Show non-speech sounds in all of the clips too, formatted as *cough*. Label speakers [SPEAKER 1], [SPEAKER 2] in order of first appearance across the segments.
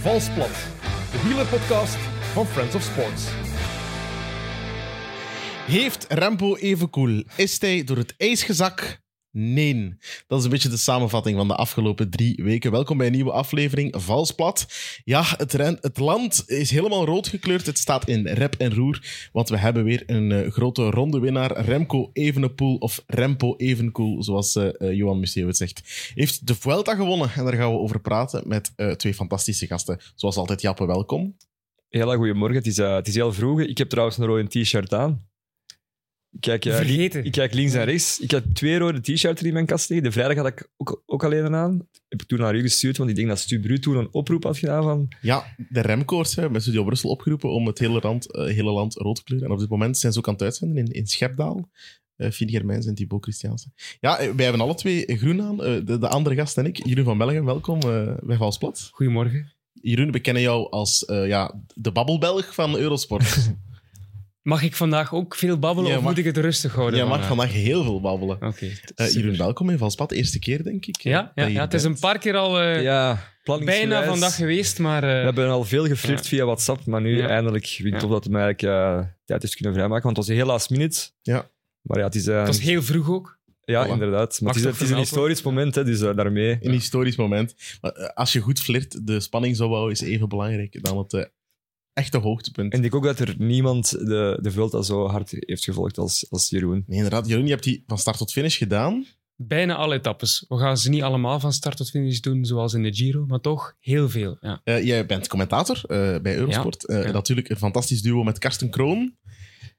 [SPEAKER 1] Valsplat, de wielerpodcast van Friends of Sports.
[SPEAKER 2] Heeft Rempo even cool? Is hij door het ijs gezakt? Nee. Dat is een beetje de samenvatting van de afgelopen drie weken. Welkom bij een nieuwe aflevering Valsplat. Ja, het, ren- het land is helemaal rood gekleurd. Het staat in rep en roer, want we hebben weer een eh, grote ronde winnaar. Remco Evenepoel, of Rempo Evenkoel, zoals eh, eh, Johan Museeuw het zegt, heeft de Vuelta gewonnen. En daar gaan we over praten met eh, twee fantastische gasten. Zoals altijd, Jappe, welkom.
[SPEAKER 3] Hela, goedemorgen. Het is, eh, het is heel vroeg. Ik heb trouwens een rode t-shirt aan. Ik kijk, eh, li-
[SPEAKER 4] Vergeten.
[SPEAKER 3] ik kijk links en rechts. Ik heb twee rode t-shirts in mijn kast liggen. De vrijdag had ik ook, ook alleen een aan. Heb ik toen naar u gestuurd, want ik denk dat Stu Bru toen een oproep had gedaan van...
[SPEAKER 2] Ja, de remkoers hebben met Studio Brussel opgeroepen om het hele land, eh, hele land rood te kleuren. En op dit moment zijn ze ook aan het uitzenden in, in Schepdaal. Eh Fien Germijns en Thibaut Christiaanse. Ja, eh, wij hebben alle twee groen aan. Eh, de, de andere gast en ik, Jeroen van Belgen, welkom eh, bij Valsplat.
[SPEAKER 4] Goedemorgen.
[SPEAKER 2] Jeroen, we kennen jou als eh, ja, de babbelbelg van
[SPEAKER 4] *laughs*
[SPEAKER 2] Eurosport.
[SPEAKER 4] Mag ik vandaag ook veel babbelen
[SPEAKER 2] Jij
[SPEAKER 4] of
[SPEAKER 2] mag-
[SPEAKER 4] moet ik het rustig houden?
[SPEAKER 2] Jij mag
[SPEAKER 4] vandaag?
[SPEAKER 2] vandaag heel veel babbelen.
[SPEAKER 4] Oké.
[SPEAKER 2] Eh,
[SPEAKER 4] super.
[SPEAKER 2] Jeroen, welkom in Valsplat. Eerste keer, denk ik. eh,
[SPEAKER 4] Ja,
[SPEAKER 2] dat
[SPEAKER 4] ja,
[SPEAKER 2] je
[SPEAKER 4] ja,
[SPEAKER 2] hier
[SPEAKER 4] het is
[SPEAKER 2] bent.
[SPEAKER 4] een paar keer al eh,
[SPEAKER 3] ja, planningsgewijs.
[SPEAKER 4] bijna vandaag geweest, maar eh,
[SPEAKER 3] We hebben al veel geflirt via WhatsApp, maar nu
[SPEAKER 4] Ja.
[SPEAKER 3] eindelijk vind ik
[SPEAKER 4] Ja.
[SPEAKER 3] tof dat we eigenlijk eh, tijd is kunnen vrijmaken. Want het was heel last minute.
[SPEAKER 2] Ja.
[SPEAKER 3] Maar ja, het is, eh,
[SPEAKER 4] het was heel vroeg ook.
[SPEAKER 3] ja
[SPEAKER 2] Voilà.
[SPEAKER 3] inderdaad. Maar
[SPEAKER 4] Mag
[SPEAKER 3] het is,
[SPEAKER 4] toch
[SPEAKER 3] het is een
[SPEAKER 4] vermeld worden?
[SPEAKER 3] historisch moment, hè, dus eh, daarmee...
[SPEAKER 2] Een historisch moment. Maar, eh, als je goed flirt, de spanning zou houden, is even belangrijk dan het eh, echte hoogtepunt.
[SPEAKER 3] En ik denk ook dat er niemand de, de Vuelta zo hard heeft gevolgd als, als Jeroen.
[SPEAKER 2] Nee, inderdaad. Jeroen, je hebt die van start tot finish gedaan.
[SPEAKER 4] Bijna alle etappes. We gaan ze niet allemaal van start tot finish doen, zoals in de Giro, maar toch heel veel. Ja.
[SPEAKER 2] Eh, jij bent commentator eh, bij Eurosport. Eh,
[SPEAKER 4] ja.
[SPEAKER 2] Natuurlijk een fantastisch duo met Karsten Kroon.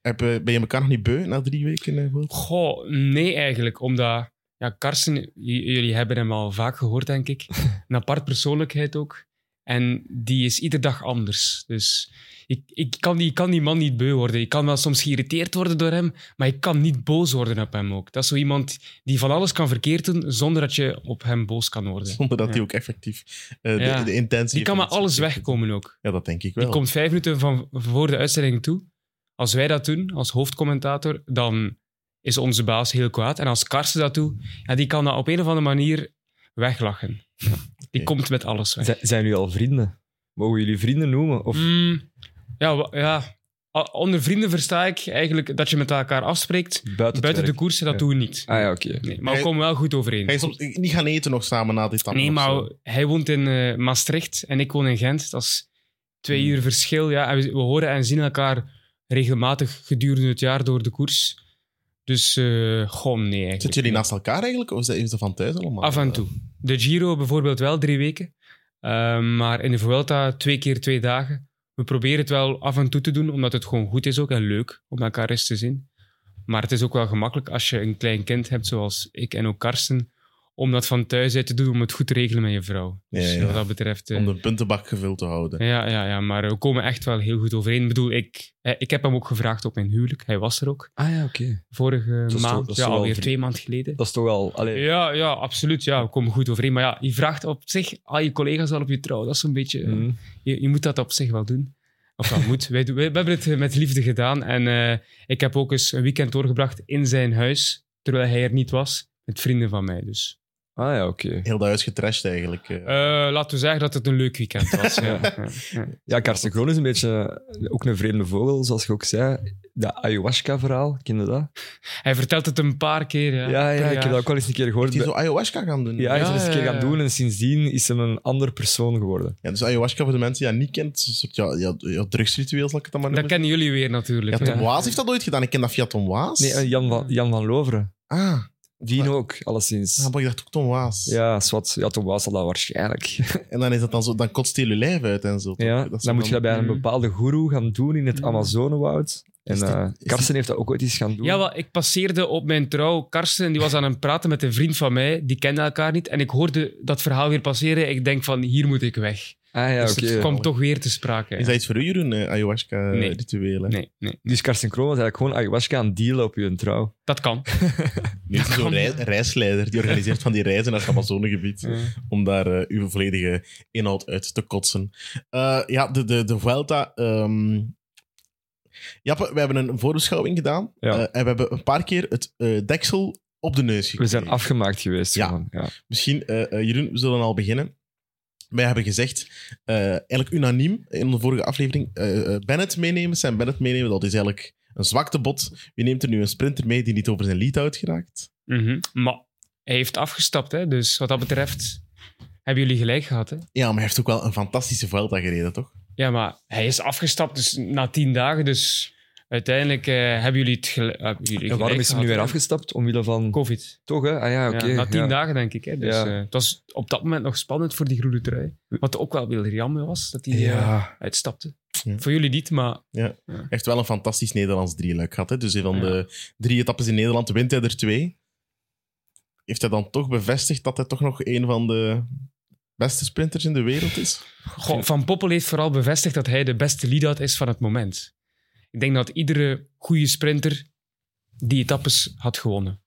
[SPEAKER 2] Heb, eh, ben je elkaar nog niet beu na drie weken? eh, Wout?
[SPEAKER 4] Goh, nee eigenlijk, omdat... Ja, Karsten, j- jullie hebben hem al vaak gehoord, denk ik. Een apart persoonlijkheid ook. En die is iedere dag anders. Dus ik, ik, kan die, ik kan die man niet beu worden. Ik kan wel soms geïrriteerd worden door hem, maar ik kan niet boos worden op hem ook. Dat is zo iemand die van alles kan verkeerd doen, zonder dat je op hem boos kan worden.
[SPEAKER 2] Zonder dat
[SPEAKER 4] Ja.
[SPEAKER 2] hij ook effectief eh, de-
[SPEAKER 4] Ja.
[SPEAKER 2] de, intentie
[SPEAKER 4] Die kan met
[SPEAKER 2] heeft om het
[SPEAKER 4] alles
[SPEAKER 2] zo te doen.
[SPEAKER 4] wegkomen ook.
[SPEAKER 2] Ja, dat denk ik
[SPEAKER 4] Die
[SPEAKER 2] wel.
[SPEAKER 4] komt vijf minuten van voor de uitzending toe. Als wij dat doen, als hoofdcommentator, dan is onze baas heel kwaad. En als Karsten dat doet, ja, die kan dat op een of andere manier weglachen. Die
[SPEAKER 2] Oké.
[SPEAKER 4] komt met alles weg.
[SPEAKER 3] Zijn, zijn jullie al vrienden? Mogen jullie vrienden noemen? Of
[SPEAKER 4] Mm, ja, wa- ja. O- Onder vrienden versta ik eigenlijk dat je met elkaar afspreekt.
[SPEAKER 3] buiten,
[SPEAKER 4] Buiten de
[SPEAKER 3] de
[SPEAKER 4] koersen, dat
[SPEAKER 3] Ja.
[SPEAKER 4] doen we niet.
[SPEAKER 3] Ah ja, oké.
[SPEAKER 4] Nee, maar we
[SPEAKER 2] Eh, Hij-
[SPEAKER 4] komen wel goed
[SPEAKER 2] Ga je
[SPEAKER 4] overeen.
[SPEAKER 2] soms niet gaan eten nog samen na dit tappen
[SPEAKER 4] Nee,
[SPEAKER 2] of
[SPEAKER 4] maar
[SPEAKER 2] zo?
[SPEAKER 4] hij woont in eh, Maastricht en ik woon in Gent. Dat is twee
[SPEAKER 3] Hmm.
[SPEAKER 4] uur verschil. Ja. En we, we horen en zien elkaar regelmatig gedurende het jaar door de koers. Dus eh goh, nee eigenlijk.
[SPEAKER 2] Zitten jullie naast elkaar eigenlijk? Of is dat- is dat van thuis allemaal? Eh,
[SPEAKER 4] Af
[SPEAKER 3] eh.
[SPEAKER 4] en toe. De Giro bijvoorbeeld wel drie weken. Eh, maar in de Vuelta twee keer twee dagen. We proberen het wel af en toe te doen, omdat het gewoon goed is ook en leuk om elkaar eens te zien. Maar het is ook wel gemakkelijk als je een klein kind hebt, zoals ik en ook Karsten, om dat van thuis uit te doen, om het goed te regelen met je vrouw. Dus
[SPEAKER 2] Ja, ja.
[SPEAKER 4] wat dat betreft... eh,
[SPEAKER 2] Om de puntenbak gevuld te houden.
[SPEAKER 4] ja, ja, ja, maar we komen echt wel heel goed overeen. Ik bedoel, ik, eh, ik heb hem ook gevraagd op mijn huwelijk. Hij was er ook
[SPEAKER 3] Ah ja, oké.
[SPEAKER 4] vorige
[SPEAKER 3] is toch-
[SPEAKER 4] maand.
[SPEAKER 3] dat is
[SPEAKER 4] ja,
[SPEAKER 3] toch wel
[SPEAKER 4] alweer
[SPEAKER 3] vri-
[SPEAKER 4] twee maanden geleden.
[SPEAKER 3] Dat is toch wel... Allee,
[SPEAKER 4] Ja, ja, absoluut. Ja, we komen goed overeen. Maar ja, je vraagt op zich al je collega's al op je trouw. Dat is een beetje... eh,
[SPEAKER 3] mhm.
[SPEAKER 4] Je, je moet dat op zich wel doen. Of dat moet. Wij, doen- wij- we hebben het eh, met liefde gedaan. En eh, ik heb ook eens een weekend doorgebracht in zijn huis, terwijl hij er niet was, met vrienden van mij. Dus
[SPEAKER 3] Ah ja, oké.
[SPEAKER 2] Heel dat huis getrashed eigenlijk. eh.
[SPEAKER 4] Eh, laten we zeggen dat het een leuk weekend
[SPEAKER 3] *laughs*
[SPEAKER 4] was. ja. Ja, ja.
[SPEAKER 3] Ja, Karsten Kroon is een beetje eh, ook een vreemde vogel, zoals je ook zei. Dat ayahuasca-verhaal, ken je dat?
[SPEAKER 4] Hij vertelt het een paar keer. Ja,
[SPEAKER 3] Ja, ja,
[SPEAKER 4] per
[SPEAKER 3] ik heb
[SPEAKER 4] jaar.
[SPEAKER 3] dat ook wel eens een keer
[SPEAKER 2] Heeft
[SPEAKER 3] gehoord.
[SPEAKER 2] hij
[SPEAKER 3] Ja,
[SPEAKER 2] zo ayahuasca gaan doen?
[SPEAKER 3] hij is
[SPEAKER 4] Ja,
[SPEAKER 3] dat eens een keer
[SPEAKER 4] ja,
[SPEAKER 3] gaan
[SPEAKER 4] ja.
[SPEAKER 3] doen en sindsdien is hem een ander persoon geworden.
[SPEAKER 2] Ja, dus ayahuasca, voor de mensen die dat niet kent, is een soort ja, ja, ja, drugsritueel, zal ik het dan maar
[SPEAKER 4] Dat
[SPEAKER 2] noemen.
[SPEAKER 4] kennen jullie weer natuurlijk.
[SPEAKER 2] Ja, Tom
[SPEAKER 4] Ja.
[SPEAKER 2] Waas heeft dat ooit gedaan. Ik ken dat via Tom Waas.
[SPEAKER 3] Nee, eh, Jan van, Jan van Loveren.
[SPEAKER 2] ah,
[SPEAKER 3] Die
[SPEAKER 2] Maar-
[SPEAKER 3] ook,
[SPEAKER 2] ja,
[SPEAKER 3] alleszins.
[SPEAKER 2] maar ik dacht ook Tom Waas.
[SPEAKER 3] Ja, zwart. Ja, Tom Waas had dat waarschijnlijk.
[SPEAKER 2] En dan, is dat dan, zo, dan kotst heel je lijf uit en zo. toch?
[SPEAKER 3] Ja,
[SPEAKER 2] Dat
[SPEAKER 3] dan,
[SPEAKER 2] is
[SPEAKER 3] moet je dat bij een
[SPEAKER 4] Mm.
[SPEAKER 3] bepaalde guru gaan doen in het
[SPEAKER 4] Mm.
[SPEAKER 3] Amazonewoud. En
[SPEAKER 2] Is die-
[SPEAKER 3] eh,
[SPEAKER 2] is die-
[SPEAKER 3] Karsten heeft dat ook ooit eens gaan doen.
[SPEAKER 4] Ja, wel, ik passeerde op mijn trouw Karsten en die was aan het praten met een vriend van mij. Die kende elkaar niet. En ik hoorde dat verhaal weer passeren. Ik denk van, hier moet ik weg.
[SPEAKER 3] Ah ja,
[SPEAKER 4] dus
[SPEAKER 3] oké.
[SPEAKER 4] het kwam toch weer te sprake.
[SPEAKER 2] Is dat iets voor u, Jeroen, eh,
[SPEAKER 4] Nee.
[SPEAKER 2] ayahuasca-rituelen?
[SPEAKER 4] Nee, nee,
[SPEAKER 3] Dus Karsten Kroon was eigenlijk gewoon ayahuasca aan het dealen op je trouw.
[SPEAKER 4] dat kan.
[SPEAKER 2] Nu is er zo'n rei- reisleider die organiseert van die reizen naar het Amazonegebied om daar eh, uw volledige inhoud uit te kotsen. Eh, ja, de, de, de Vuelta... ehm, Jappe, we hebben een voorbeschouwing gedaan
[SPEAKER 3] Ja.
[SPEAKER 2] eh, en we hebben een paar keer het eh, deksel op de neus gekregen.
[SPEAKER 3] We zijn afgemaakt geweest.
[SPEAKER 2] Ja.
[SPEAKER 3] gewoon, ja.
[SPEAKER 2] Misschien, eh, eh, Jeroen, we zullen al beginnen Wij hebben gezegd, eh, eigenlijk unaniem in de vorige aflevering, eh, eh, Bennett meenemen, Sam Bennett meenemen, dat is eigenlijk een zwakte bot. Wie neemt er nu een sprinter mee die niet over zijn lead out geraakt?
[SPEAKER 4] Mhm. Maar hij heeft afgestapt, hè? dus wat dat betreft hebben jullie gelijk gehad. Hè?
[SPEAKER 2] Ja, maar hij heeft ook wel een fantastische Vuelta gereden, toch?
[SPEAKER 4] Ja, maar hij is afgestapt dus na tien dagen, dus uiteindelijk eh, hebben jullie het gel- hebben jullie gelijk
[SPEAKER 3] En waarom is hij nu
[SPEAKER 4] gehad,
[SPEAKER 3] weer
[SPEAKER 4] hè?
[SPEAKER 3] afgestapt? Omwille van...
[SPEAKER 4] Covid.
[SPEAKER 3] Toch, hè? Ah ja, oké.
[SPEAKER 4] Ja, na tien
[SPEAKER 3] ja.
[SPEAKER 4] dagen, denk ik. Hè? Dus,
[SPEAKER 3] Ja.
[SPEAKER 4] eh, het was op dat moment nog spannend voor die groene trui. Wat ook wel weer jammer was, dat hij eh,
[SPEAKER 3] Ja.
[SPEAKER 4] uitstapte.
[SPEAKER 2] Ja.
[SPEAKER 4] Voor jullie niet, maar
[SPEAKER 2] Hij heeft wel een fantastisch Nederlands drieluik gehad. Hè? Dus van
[SPEAKER 4] Ja.
[SPEAKER 2] de drie etappes in Nederland wint hij er twee. Heeft hij dan toch bevestigd dat hij toch nog een van de beste sprinters in de wereld is?
[SPEAKER 4] Goh, Van Poppel heeft vooral bevestigd dat hij de beste lead-out is van het moment. Ik denk dat iedere goede sprinter die etappes had gewonnen.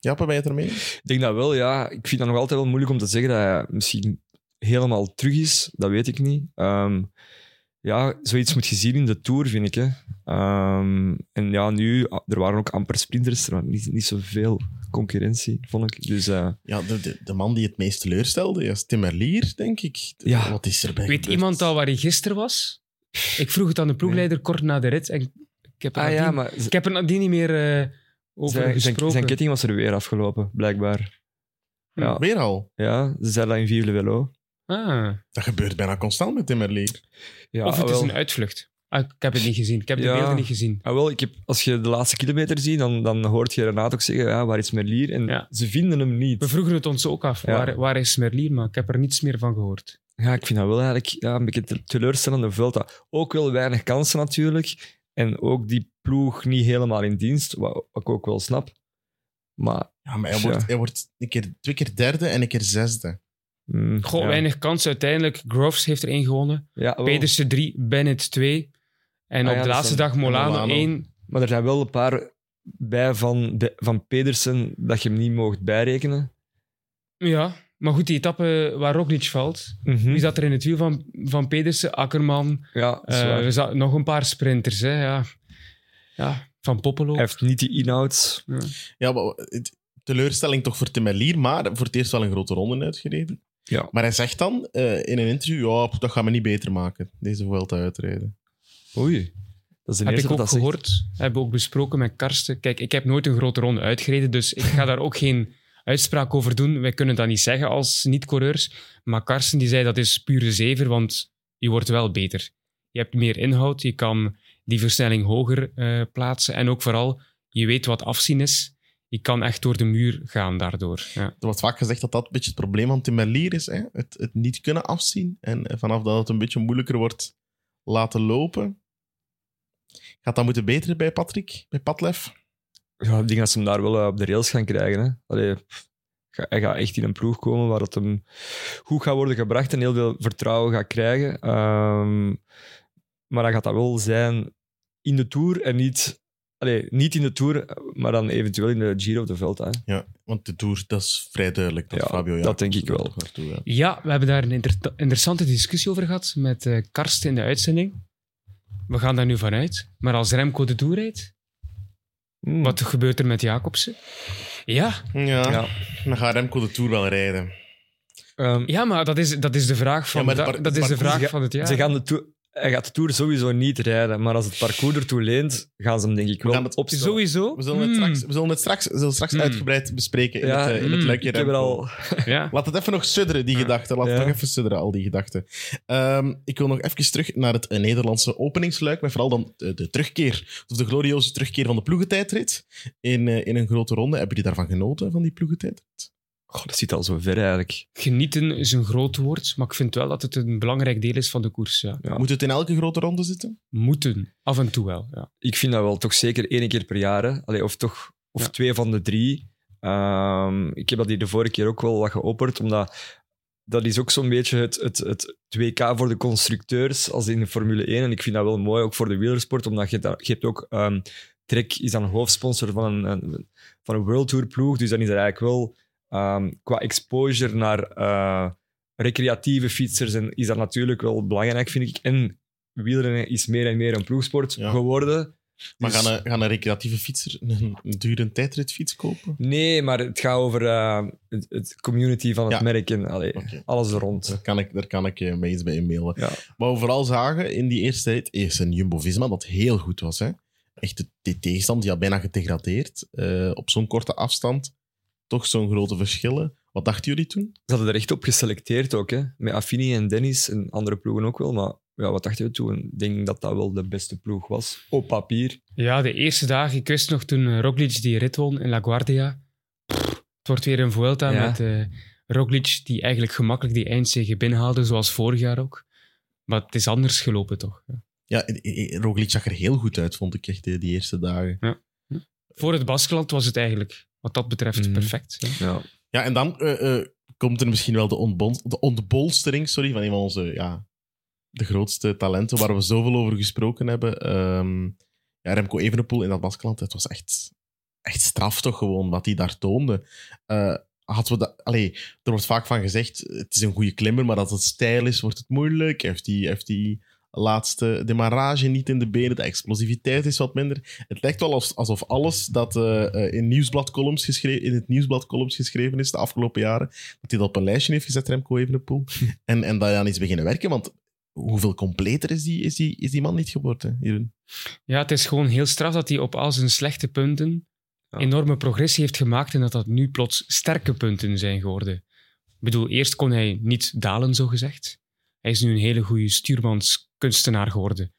[SPEAKER 2] Ja, ben jij het ermee?
[SPEAKER 3] Ik denk dat wel, ja. Ik vind dat nog altijd wel moeilijk om te zeggen dat hij misschien helemaal terug is. Dat weet ik niet. Ehm, ja, zoiets moet je zien in de Tour, vind ik. Hè. Ehm, en ja, nu, ah, er waren ook amper sprinters. Er was niet, niet zoveel concurrentie, vond ik. Dus eh,
[SPEAKER 2] Ja, de, de, de man die het meest teleurstelde is Tim Merlier, denk ik. De-
[SPEAKER 3] Ja.
[SPEAKER 2] Wat is er bij
[SPEAKER 4] Weet
[SPEAKER 2] gebeurd?
[SPEAKER 4] iemand al waar hij gisteren was? Ik vroeg het aan de ploegleider kort na de rit en ik heb er,
[SPEAKER 3] ah
[SPEAKER 4] nadien,
[SPEAKER 3] ja, maar z-
[SPEAKER 4] ik heb er nadien niet meer eh, over
[SPEAKER 3] zijn, zijn,
[SPEAKER 4] gesproken.
[SPEAKER 3] zijn ketting was er weer afgelopen, blijkbaar. Ja,
[SPEAKER 2] Weer al.
[SPEAKER 3] ja ze zei dat in Vive le Velo.
[SPEAKER 4] Ah,
[SPEAKER 2] Dat gebeurt bijna constant met Tim Merlier.
[SPEAKER 3] Ja,
[SPEAKER 4] of het is
[SPEAKER 3] wel.
[SPEAKER 4] een uitvlucht. Ah, ik heb het niet gezien. Ik heb
[SPEAKER 3] Ja.
[SPEAKER 4] de beelden niet gezien.
[SPEAKER 3] Ah, wel, ik heb, als je de laatste kilometer ziet, dan, dan hoort je Renaat ook zeggen, ja, waar is Merlier? En
[SPEAKER 4] Ja.
[SPEAKER 3] ze vinden hem niet.
[SPEAKER 4] We vroegen het ons ook af.
[SPEAKER 3] Ja.
[SPEAKER 4] Waar, waar is Merlier? Maar ik heb er niets meer van gehoord.
[SPEAKER 3] Ja, ik vind dat wel eigenlijk ja, een beetje te- teleurstellende Vuelta. Ook wel weinig kansen natuurlijk. En ook die ploeg niet helemaal in dienst, wa- wat ik ook wel snap. Maar
[SPEAKER 2] Ja, maar hij
[SPEAKER 3] Ja.
[SPEAKER 2] wordt, hij wordt een keer, twee keer derde en een keer zesde.
[SPEAKER 3] mm,
[SPEAKER 4] Goh,
[SPEAKER 3] ja.
[SPEAKER 4] weinig kans uiteindelijk. Groves heeft er één gewonnen.
[SPEAKER 3] Ja, wel.
[SPEAKER 4] Pedersen 3, Bennett 2. En
[SPEAKER 3] Ah
[SPEAKER 4] op
[SPEAKER 3] ja,
[SPEAKER 4] de
[SPEAKER 3] dat
[SPEAKER 4] laatste
[SPEAKER 3] is dan-
[SPEAKER 4] dag Molano
[SPEAKER 2] Molano.
[SPEAKER 4] 1.
[SPEAKER 3] Maar er zijn wel een paar bij van, de, van Pedersen dat je hem niet mocht bijrekenen.
[SPEAKER 4] Ja, maar goed, die etappe waar Roglic valt.
[SPEAKER 3] Mhm.
[SPEAKER 4] Wie zat er in het wiel van, van Pedersen? Akkerman.
[SPEAKER 3] Ja, dat is
[SPEAKER 4] Eh,
[SPEAKER 3] waar.
[SPEAKER 4] er zat nog een paar sprinters. Hè, ja. Ja, van Poppelo.
[SPEAKER 3] Hij heeft niet die inhoud.
[SPEAKER 2] Ja, maar het- teleurstelling toch voor Tim Merlier, maar voor het eerst wel een grote ronde uitgereden.
[SPEAKER 3] Ja.
[SPEAKER 2] Maar hij zegt dan eh, in een interview, ja, pff, dat gaat me niet beter maken, deze Vuelta uitrijden.
[SPEAKER 3] Oei. Dat is de
[SPEAKER 4] heb
[SPEAKER 3] eerste
[SPEAKER 4] ik ook
[SPEAKER 3] dat dat zegt.
[SPEAKER 4] gehoord. Hebben we ook besproken met Karsten. Kijk, ik heb nooit een grote ronde uitgereden, dus ik ga daar ook geen uitspraak over doen. Wij kunnen dat niet zeggen als niet-coureurs. Maar Karsten die zei dat is pure zever, want je wordt wel beter. Je hebt meer inhoud, je kan die versnelling hoger eh, plaatsen. En ook vooral, je weet wat afzien is. Je kan echt door de muur gaan daardoor. Ja.
[SPEAKER 2] Er wordt vaak gezegd dat dat een beetje het probleem van Tim Merlier is, hè? Het, het niet kunnen afzien. En eh, vanaf dat het een beetje moeilijker wordt laten lopen, gaat dat moeten beteren bij Patrick, bij Patlef.
[SPEAKER 3] Ja, ik denk dat ze hem daar wel eh, op de rails gaan krijgen. Hè. Allee, pff, ga- hij gaat echt in een ploeg komen waar het hem goed gaat worden gebracht en heel veel vertrouwen gaat krijgen. Ehm, maar dan gaat dat wel zijn in de Tour en niet... Allee, niet in de Tour, maar dan eventueel in de Giro of de Vuelta. hè.
[SPEAKER 2] Ja, want de Tour, dat is vrij duidelijk. Dat
[SPEAKER 3] Ja,
[SPEAKER 2] Fabio
[SPEAKER 3] dat
[SPEAKER 2] Jacobs
[SPEAKER 3] denk ik
[SPEAKER 2] er
[SPEAKER 3] wel.
[SPEAKER 2] toch naartoe gaat.
[SPEAKER 4] ja, we hebben daar een inter- interessante discussie over gehad met eh, Karsten in de uitzending. We gaan daar nu vanuit. Maar als Remco de Tour rijdt,
[SPEAKER 3] Hmm.
[SPEAKER 4] Wat gebeurt er met Jacobsen? Ja,
[SPEAKER 2] Ja,
[SPEAKER 3] Ja.
[SPEAKER 2] dan gaat Remco de Tour wel rijden.
[SPEAKER 3] Ehm,
[SPEAKER 4] ja maar dat is, dat is de vraag van,
[SPEAKER 2] Ja, maar
[SPEAKER 4] da-
[SPEAKER 2] par-
[SPEAKER 4] dat is de
[SPEAKER 2] parcours
[SPEAKER 4] vraag
[SPEAKER 3] ga-
[SPEAKER 4] van het jaar.
[SPEAKER 3] ze gaan de Tour- hij gaat de Tour sowieso niet rijden, maar als het parcours ertoe leent, gaan ze hem denk ik wel
[SPEAKER 2] gaan het
[SPEAKER 3] opstellen.
[SPEAKER 4] Sowieso.
[SPEAKER 2] We zullen het
[SPEAKER 4] Hmm.
[SPEAKER 2] straks, we zullen het straks, we zullen het straks
[SPEAKER 4] Mm.
[SPEAKER 2] uitgebreid bespreken in
[SPEAKER 3] Hmm. Ja, hmm.
[SPEAKER 2] het, eh, in het
[SPEAKER 4] mm,
[SPEAKER 2] luikje
[SPEAKER 3] Ik heb er
[SPEAKER 2] Remco.
[SPEAKER 3] al...
[SPEAKER 4] *laughs* Ja.
[SPEAKER 2] Laat het even nog sudderen, die gedachten. Laat het
[SPEAKER 3] Ja.
[SPEAKER 2] nog even sudderen, al die gedachten. Ehm, ik wil nog even terug naar het eh, Nederlandse openingsluik, maar vooral dan eh, de, de terugkeer, of de glorieuze terugkeer van de ploegentijdrit in, eh, in een grote ronde. Hebben jullie daarvan genoten, van die ploegentijdrit?
[SPEAKER 3] Goh, dat zit al zo ver eigenlijk.
[SPEAKER 4] Genieten is een groot woord, maar ik vind wel dat het een belangrijk deel is van de koers. Ja.
[SPEAKER 3] Ja.
[SPEAKER 2] Moet het in elke grote ronde zitten?
[SPEAKER 4] Moeten, af en toe wel. Ja.
[SPEAKER 3] ik vind dat wel toch zeker één keer per jaar. hè. Allee, of toch of
[SPEAKER 4] Ja.
[SPEAKER 3] twee van de drie. Ehm, ik heb dat hier de vorige keer ook wel wat geopperd, omdat dat is ook zo'n beetje het, het, het 2K voor de constructeurs als in de Formule 1. En ik vind dat wel mooi, ook voor de wielersport, omdat je, daar- je hebt ook... ehm Trek is dan hoofdsponsor van een, een- van een World Tour ploeg, dus dan is dat eigenlijk wel... ehm, qua exposure naar eh, recreatieve fietsers en is dat natuurlijk wel belangrijk, vind ik. En wielrennen is meer en meer een ploegsport
[SPEAKER 2] Ja.
[SPEAKER 3] geworden.
[SPEAKER 2] Maar
[SPEAKER 3] Dus-
[SPEAKER 2] gaan eh, een, gaan een recreatieve fietser een, een dure tijdritfiets kopen?
[SPEAKER 3] Nee, maar het gaat over eh, het, het community van het
[SPEAKER 2] Ja.
[SPEAKER 3] merk en allee,
[SPEAKER 2] Oké.
[SPEAKER 3] alles er rond.
[SPEAKER 2] Daar kan ik, daar kan ik eh, mee eens bij inmailen.
[SPEAKER 3] Ja.
[SPEAKER 2] Maar we vooral zagen in die eerste tijd eerst een Jumbo-Visma dat heel goed was. Hè? Echt de, de tegenstand, die had bijna gedegradeerd. eh, op zo'n korte afstand toch zo'n grote verschillen. Wat dachten jullie toen?
[SPEAKER 3] Ze hadden er echt op geselecteerd ook, hè? met Affini en Dennis en andere ploegen ook wel. Maar ja, wat dachten we toen? Ik denk dat dat wel de beste ploeg was, op papier.
[SPEAKER 4] Ja, de eerste dagen. Ik wist nog toen eh, Roglic die rit won in La Guardia. Pff, het wordt weer een Vuelta
[SPEAKER 3] Ja.
[SPEAKER 4] met eh, Roglic die eigenlijk gemakkelijk die eindzege binnenhaalde, zoals vorig jaar ook. Maar het is anders gelopen toch.
[SPEAKER 2] Ja, eh, eh, Roglic zag er heel goed uit, vond ik echt eh, die eerste dagen.
[SPEAKER 4] Voor het Baskeland was het eigenlijk, wat dat betreft,
[SPEAKER 3] Mhm.
[SPEAKER 4] perfect. ja.
[SPEAKER 3] Ja.
[SPEAKER 2] Ja, en dan eh, eh, komt er misschien wel de, ontbon- de ontbolstering sorry, van een van onze ja, de grootste talenten waar we zoveel over gesproken hebben. Ehm, ja, Remco Evenepoel in dat Baskeland, het was echt, echt straf toch gewoon wat hij daar toonde. Eh hadden we dat, allee, er wordt vaak van gezegd, het is een goede klimmer, maar als het stijl is, wordt het moeilijk. Heeft die, heeft die laatste demarrage niet in de benen, de explosiviteit is wat minder. Het lijkt wel als- alsof alles dat eh, eh, in, nieuwsbladcolumns geschreven, in het nieuwsbladcolumns geschreven is de afgelopen jaren, dat hij dat op een lijstje heeft gezet, Remco Evenepoel, en, en dat hij aan iets beginnen werken, want hoeveel completer is die, is die, is die man niet geworden, Jeroen?
[SPEAKER 4] Ja, het is gewoon heel straf dat hij op al zijn slechte punten
[SPEAKER 3] Ja.
[SPEAKER 4] enorme progressie heeft gemaakt en dat dat nu plots sterke punten zijn geworden. Ik bedoel, eerst kon hij niet dalen, zogezegd. Hij is nu een hele goede stuurmanskunstenaar geworden.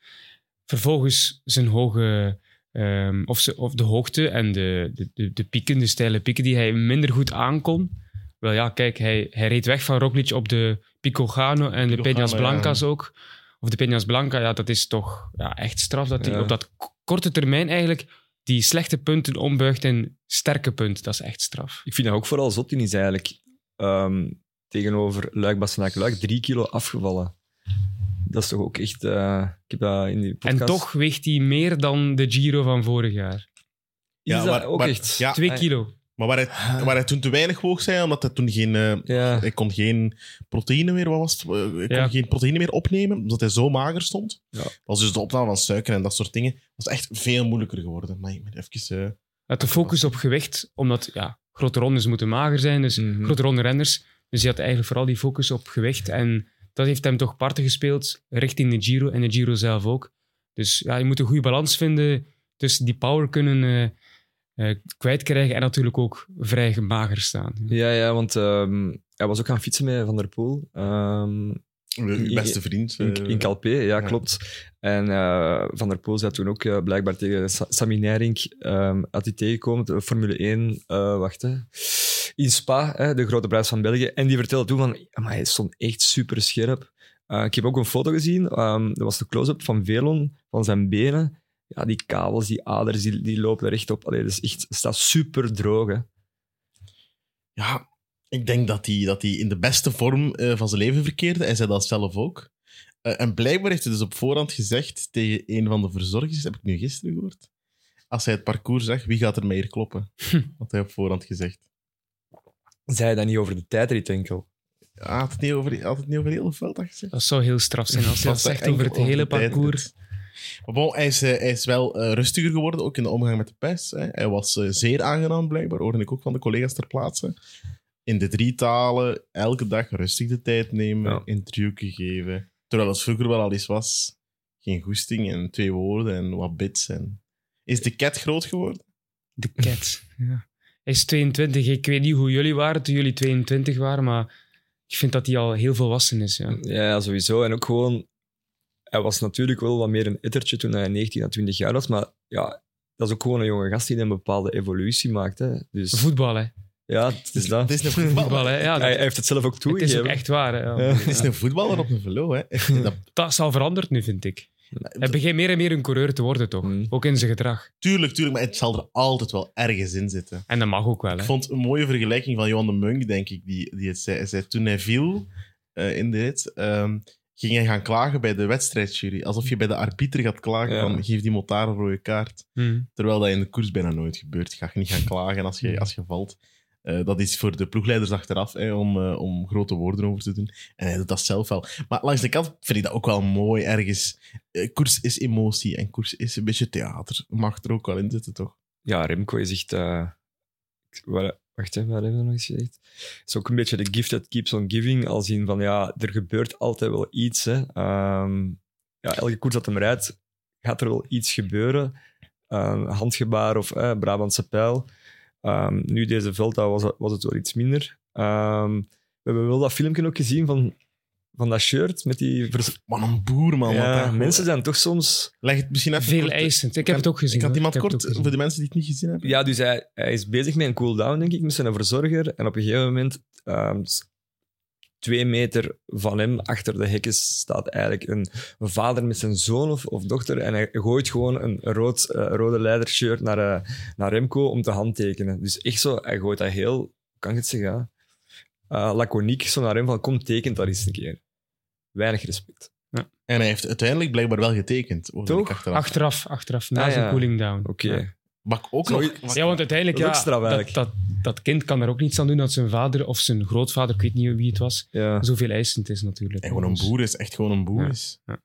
[SPEAKER 4] Vervolgens zijn hoge, ehm, of, ze, of de hoogte en de, de, de, de pieken, de steile pieken die hij minder goed aankon. Wel ja, kijk, hij, hij reed weg van Roglic op de Pico Gano en de
[SPEAKER 2] Pico Gano,
[SPEAKER 4] Peñas
[SPEAKER 2] ja.
[SPEAKER 4] Blancas ook. Of de Peñas Blanca, ja, dat is toch ja, echt straf dat hij
[SPEAKER 3] Ja.
[SPEAKER 4] op dat k- korte termijn eigenlijk die slechte punten ombuigt in sterke punten. Dat is echt straf.
[SPEAKER 3] Ik vind dat ook vooral zot in is eigenlijk ehm, tegenover Luik Bastenaak Luik drie kilo afgevallen. Dat is toch ook echt. eh, ik heb dat in die podcast.
[SPEAKER 4] En toch weegt hij meer dan de Giro van vorig jaar.
[SPEAKER 3] is dat
[SPEAKER 2] maar-
[SPEAKER 3] ook
[SPEAKER 2] maar-
[SPEAKER 3] echt.
[SPEAKER 2] ja.
[SPEAKER 4] Twee
[SPEAKER 3] Ah,
[SPEAKER 4] kilo.
[SPEAKER 2] Maar waar hij, waar hij toen te weinig woog, zei hij, omdat hij toen geen, eh,
[SPEAKER 3] Ja.
[SPEAKER 2] hij kon geen proteïne meer, wat was het? Eh, Hij kon
[SPEAKER 4] Ja.
[SPEAKER 2] geen proteïne meer opnemen, omdat hij zo mager stond.
[SPEAKER 3] Ja.
[SPEAKER 2] Dat was dus de opname van suiker en dat soort dingen. was echt veel moeilijker geworden. Maar ik moet even... eh,
[SPEAKER 4] Met de focus op gewicht, omdat ja, grote rondes moeten mager zijn, dus
[SPEAKER 3] Mhm.
[SPEAKER 4] grote ronde renners. Dus hij had eigenlijk vooral die focus op gewicht. En dat heeft hem toch parten gespeeld richting de Giro en de Giro zelf ook. Dus ja, je moet een goede balans vinden tussen die power kunnen eh, eh, kwijtkrijgen en natuurlijk ook vrij mager staan.
[SPEAKER 3] Ja, ja, want ehm, hij was ook gaan fietsen met Van der Poel. ehm,
[SPEAKER 2] eh, uw beste vriend.
[SPEAKER 3] in,
[SPEAKER 2] eh,
[SPEAKER 3] in Calpe, ja,
[SPEAKER 2] ja.
[SPEAKER 3] klopt. En eh, Van der Poel zei toen ook eh, blijkbaar tegen Sa- Sami Nijrink, ehm had hij tegengekomen, de Formule 1, eh wacht hè, in Spa, hè, de grote prijs van België. En die vertelde toen van, maar hij stond echt super scherp. Eh, ik heb ook een foto gezien, ehm, dat was de close-up van Velon, van zijn benen. Ja, die kabels, die aders, die, die lopen er echt op. Allee, dat is echt, het staat super droog. Hè.
[SPEAKER 2] Ja, ik denk dat hij, dat hij in de beste vorm eh, van zijn leven verkeerde. Hij zei dat zelf ook. Eh, en blijkbaar heeft hij dus op voorhand gezegd tegen een van de verzorgers, heb ik nu gisteren gehoord, als hij het parcours zag, wie gaat er mij hier kloppen? Had hij op voorhand gezegd.
[SPEAKER 3] Zei hij dat niet over de tijdrit enkel?
[SPEAKER 2] Ja, had het niet over, had het niet over heel veel dat gezegd?
[SPEAKER 4] Dat zou heel straf zijn als hij *laughs* dat
[SPEAKER 2] Was
[SPEAKER 4] zegt
[SPEAKER 2] enkel
[SPEAKER 4] over het hele
[SPEAKER 2] de tijdrit.
[SPEAKER 4] parcours.
[SPEAKER 2] Maar bon, hij is, eh, hij is wel eh, rustiger geworden, ook in de omgang met de pers. Hè. Hij was eh, zeer aangenaam, blijkbaar, hoorde ik ook van de collega's ter plaatse. In de drie talen, elke dag rustig de tijd nemen,
[SPEAKER 3] Ja.
[SPEAKER 2] interview gegeven. Terwijl het vroeger wel al eens was. Geen goesting en twee woorden en wat bits. En... Is de cat groot geworden?
[SPEAKER 4] De cat. ja. Hij is 22. Ik weet niet hoe jullie waren toen jullie 22 waren, maar ik vind dat hij al heel volwassen is. Ja.
[SPEAKER 3] Ja, sowieso. En ook gewoon, hij was natuurlijk wel wat meer een ettertje toen hij 19 à 20 jaar was. Maar ja, dat is ook gewoon een jonge gast die een bepaalde evolutie maakt. Hè. Dus
[SPEAKER 4] Voetbal, hè?
[SPEAKER 3] ja, het is dat.
[SPEAKER 2] Het is een voetballer.
[SPEAKER 4] Voetbal, *laughs* hè? Ja,
[SPEAKER 3] Hij,
[SPEAKER 4] dat,
[SPEAKER 3] hij heeft het zelf ook
[SPEAKER 4] het is ook
[SPEAKER 3] toegegeven.
[SPEAKER 4] echt waar. Hè? *laughs* Ja.
[SPEAKER 3] Ja.
[SPEAKER 2] Het is een voetballer op een velo, hè? Dat,
[SPEAKER 4] Dat is al veranderd nu, vind ik. Hij begint meer en meer een coureur te worden, toch?
[SPEAKER 3] Mm.
[SPEAKER 4] Ook in zijn gedrag.
[SPEAKER 2] tuurlijk, tuurlijk, maar het zal er altijd wel ergens in zitten.
[SPEAKER 4] En dat mag ook wel, hè?
[SPEAKER 2] Ik vond een mooie vergelijking van Johan de Munk, denk ik, die, die het zei. Hij zei toen hij viel eh, in de rit, ehm, ging hij gaan klagen bij de wedstrijdjury. Alsof je bij de arbiter gaat klagen
[SPEAKER 3] Ja.
[SPEAKER 2] van geef die motaar een rode kaart.
[SPEAKER 4] Mm.
[SPEAKER 2] Terwijl dat in de koers bijna nooit gebeurt. Ga je niet gaan klagen als je, als je valt. Eh, Eh, dat is voor de ploegleiders achteraf hè, om, eh, om grote woorden over te doen. En hij doet dat zelf wel. Maar langs de kant vind ik dat ook wel mooi ergens. Eh, koers is emotie en koers is een beetje theater. Mag er ook wel in zitten, toch?
[SPEAKER 3] Ja, Remco is echt... eh, wa- wacht, hè, wat hebben we nog eens gezegd? Het is ook een beetje de gift that keeps on giving. Als in van, ja, er gebeurt altijd wel iets. Hè. Ehm, ja, elke koers dat hem rijdt, gaat er wel iets gebeuren. Ehm, handgebaar of eh, Brabantse pijl. Ehm, nu deze Velta was, was het wel iets minder. Ehm, we hebben wel dat filmpje ook gezien van, van dat shirt met die... vers-
[SPEAKER 2] Man, een boer, man.
[SPEAKER 3] Ja,
[SPEAKER 2] wat daar-
[SPEAKER 3] mensen zijn toch soms...
[SPEAKER 2] Leg het misschien even
[SPEAKER 4] Veel
[SPEAKER 2] kort-
[SPEAKER 4] eisend. Ik
[SPEAKER 2] kan-
[SPEAKER 4] heb het ook gezien.
[SPEAKER 2] Ik had
[SPEAKER 4] hoor.
[SPEAKER 2] iemand
[SPEAKER 4] heb het
[SPEAKER 2] kort,
[SPEAKER 4] ook gezien.
[SPEAKER 2] voor de mensen die het niet gezien hebben.
[SPEAKER 3] Ja, dus hij, hij is bezig met een cooldown, denk ik, met zijn verzorger. En op een gegeven moment, ehm, s- twee meter van hem, achter de hekken, staat eigenlijk een, een vader met zijn zoon of, of dochter. En hij gooit gewoon een rood, eh, rode leidershirt naar, eh, naar Remco om te handtekenen. Dus echt zo, hij gooit dat heel, hoe kan ik het zeggen, ja? Eh, laconiek zo naar hem van, kom, tekent dat eens een keer. Weinig respect.
[SPEAKER 2] En hij heeft uiteindelijk blijkbaar wel getekend. hoorde
[SPEAKER 3] Toch?
[SPEAKER 2] ik Achteraf.
[SPEAKER 4] Achteraf, achteraf, na
[SPEAKER 3] Ah,
[SPEAKER 4] zijn
[SPEAKER 3] ja.
[SPEAKER 4] cooling down.
[SPEAKER 3] Oké.
[SPEAKER 4] Ja.
[SPEAKER 2] Mag ik ook
[SPEAKER 3] Zo-
[SPEAKER 2] nog... mag-
[SPEAKER 4] Ja, want uiteindelijk,
[SPEAKER 3] Dat
[SPEAKER 4] ja,
[SPEAKER 3] is ook straf
[SPEAKER 4] dat,
[SPEAKER 3] eigenlijk.
[SPEAKER 4] dat, dat kind kan er ook niets aan doen dat zijn vader of zijn grootvader, ik weet niet wie het was,
[SPEAKER 3] Ja.
[SPEAKER 4] zoveel eisend is natuurlijk.
[SPEAKER 2] En gewoon een
[SPEAKER 4] Dus-
[SPEAKER 2] boer is, echt gewoon een boer
[SPEAKER 4] Ja,
[SPEAKER 2] is.
[SPEAKER 4] ja.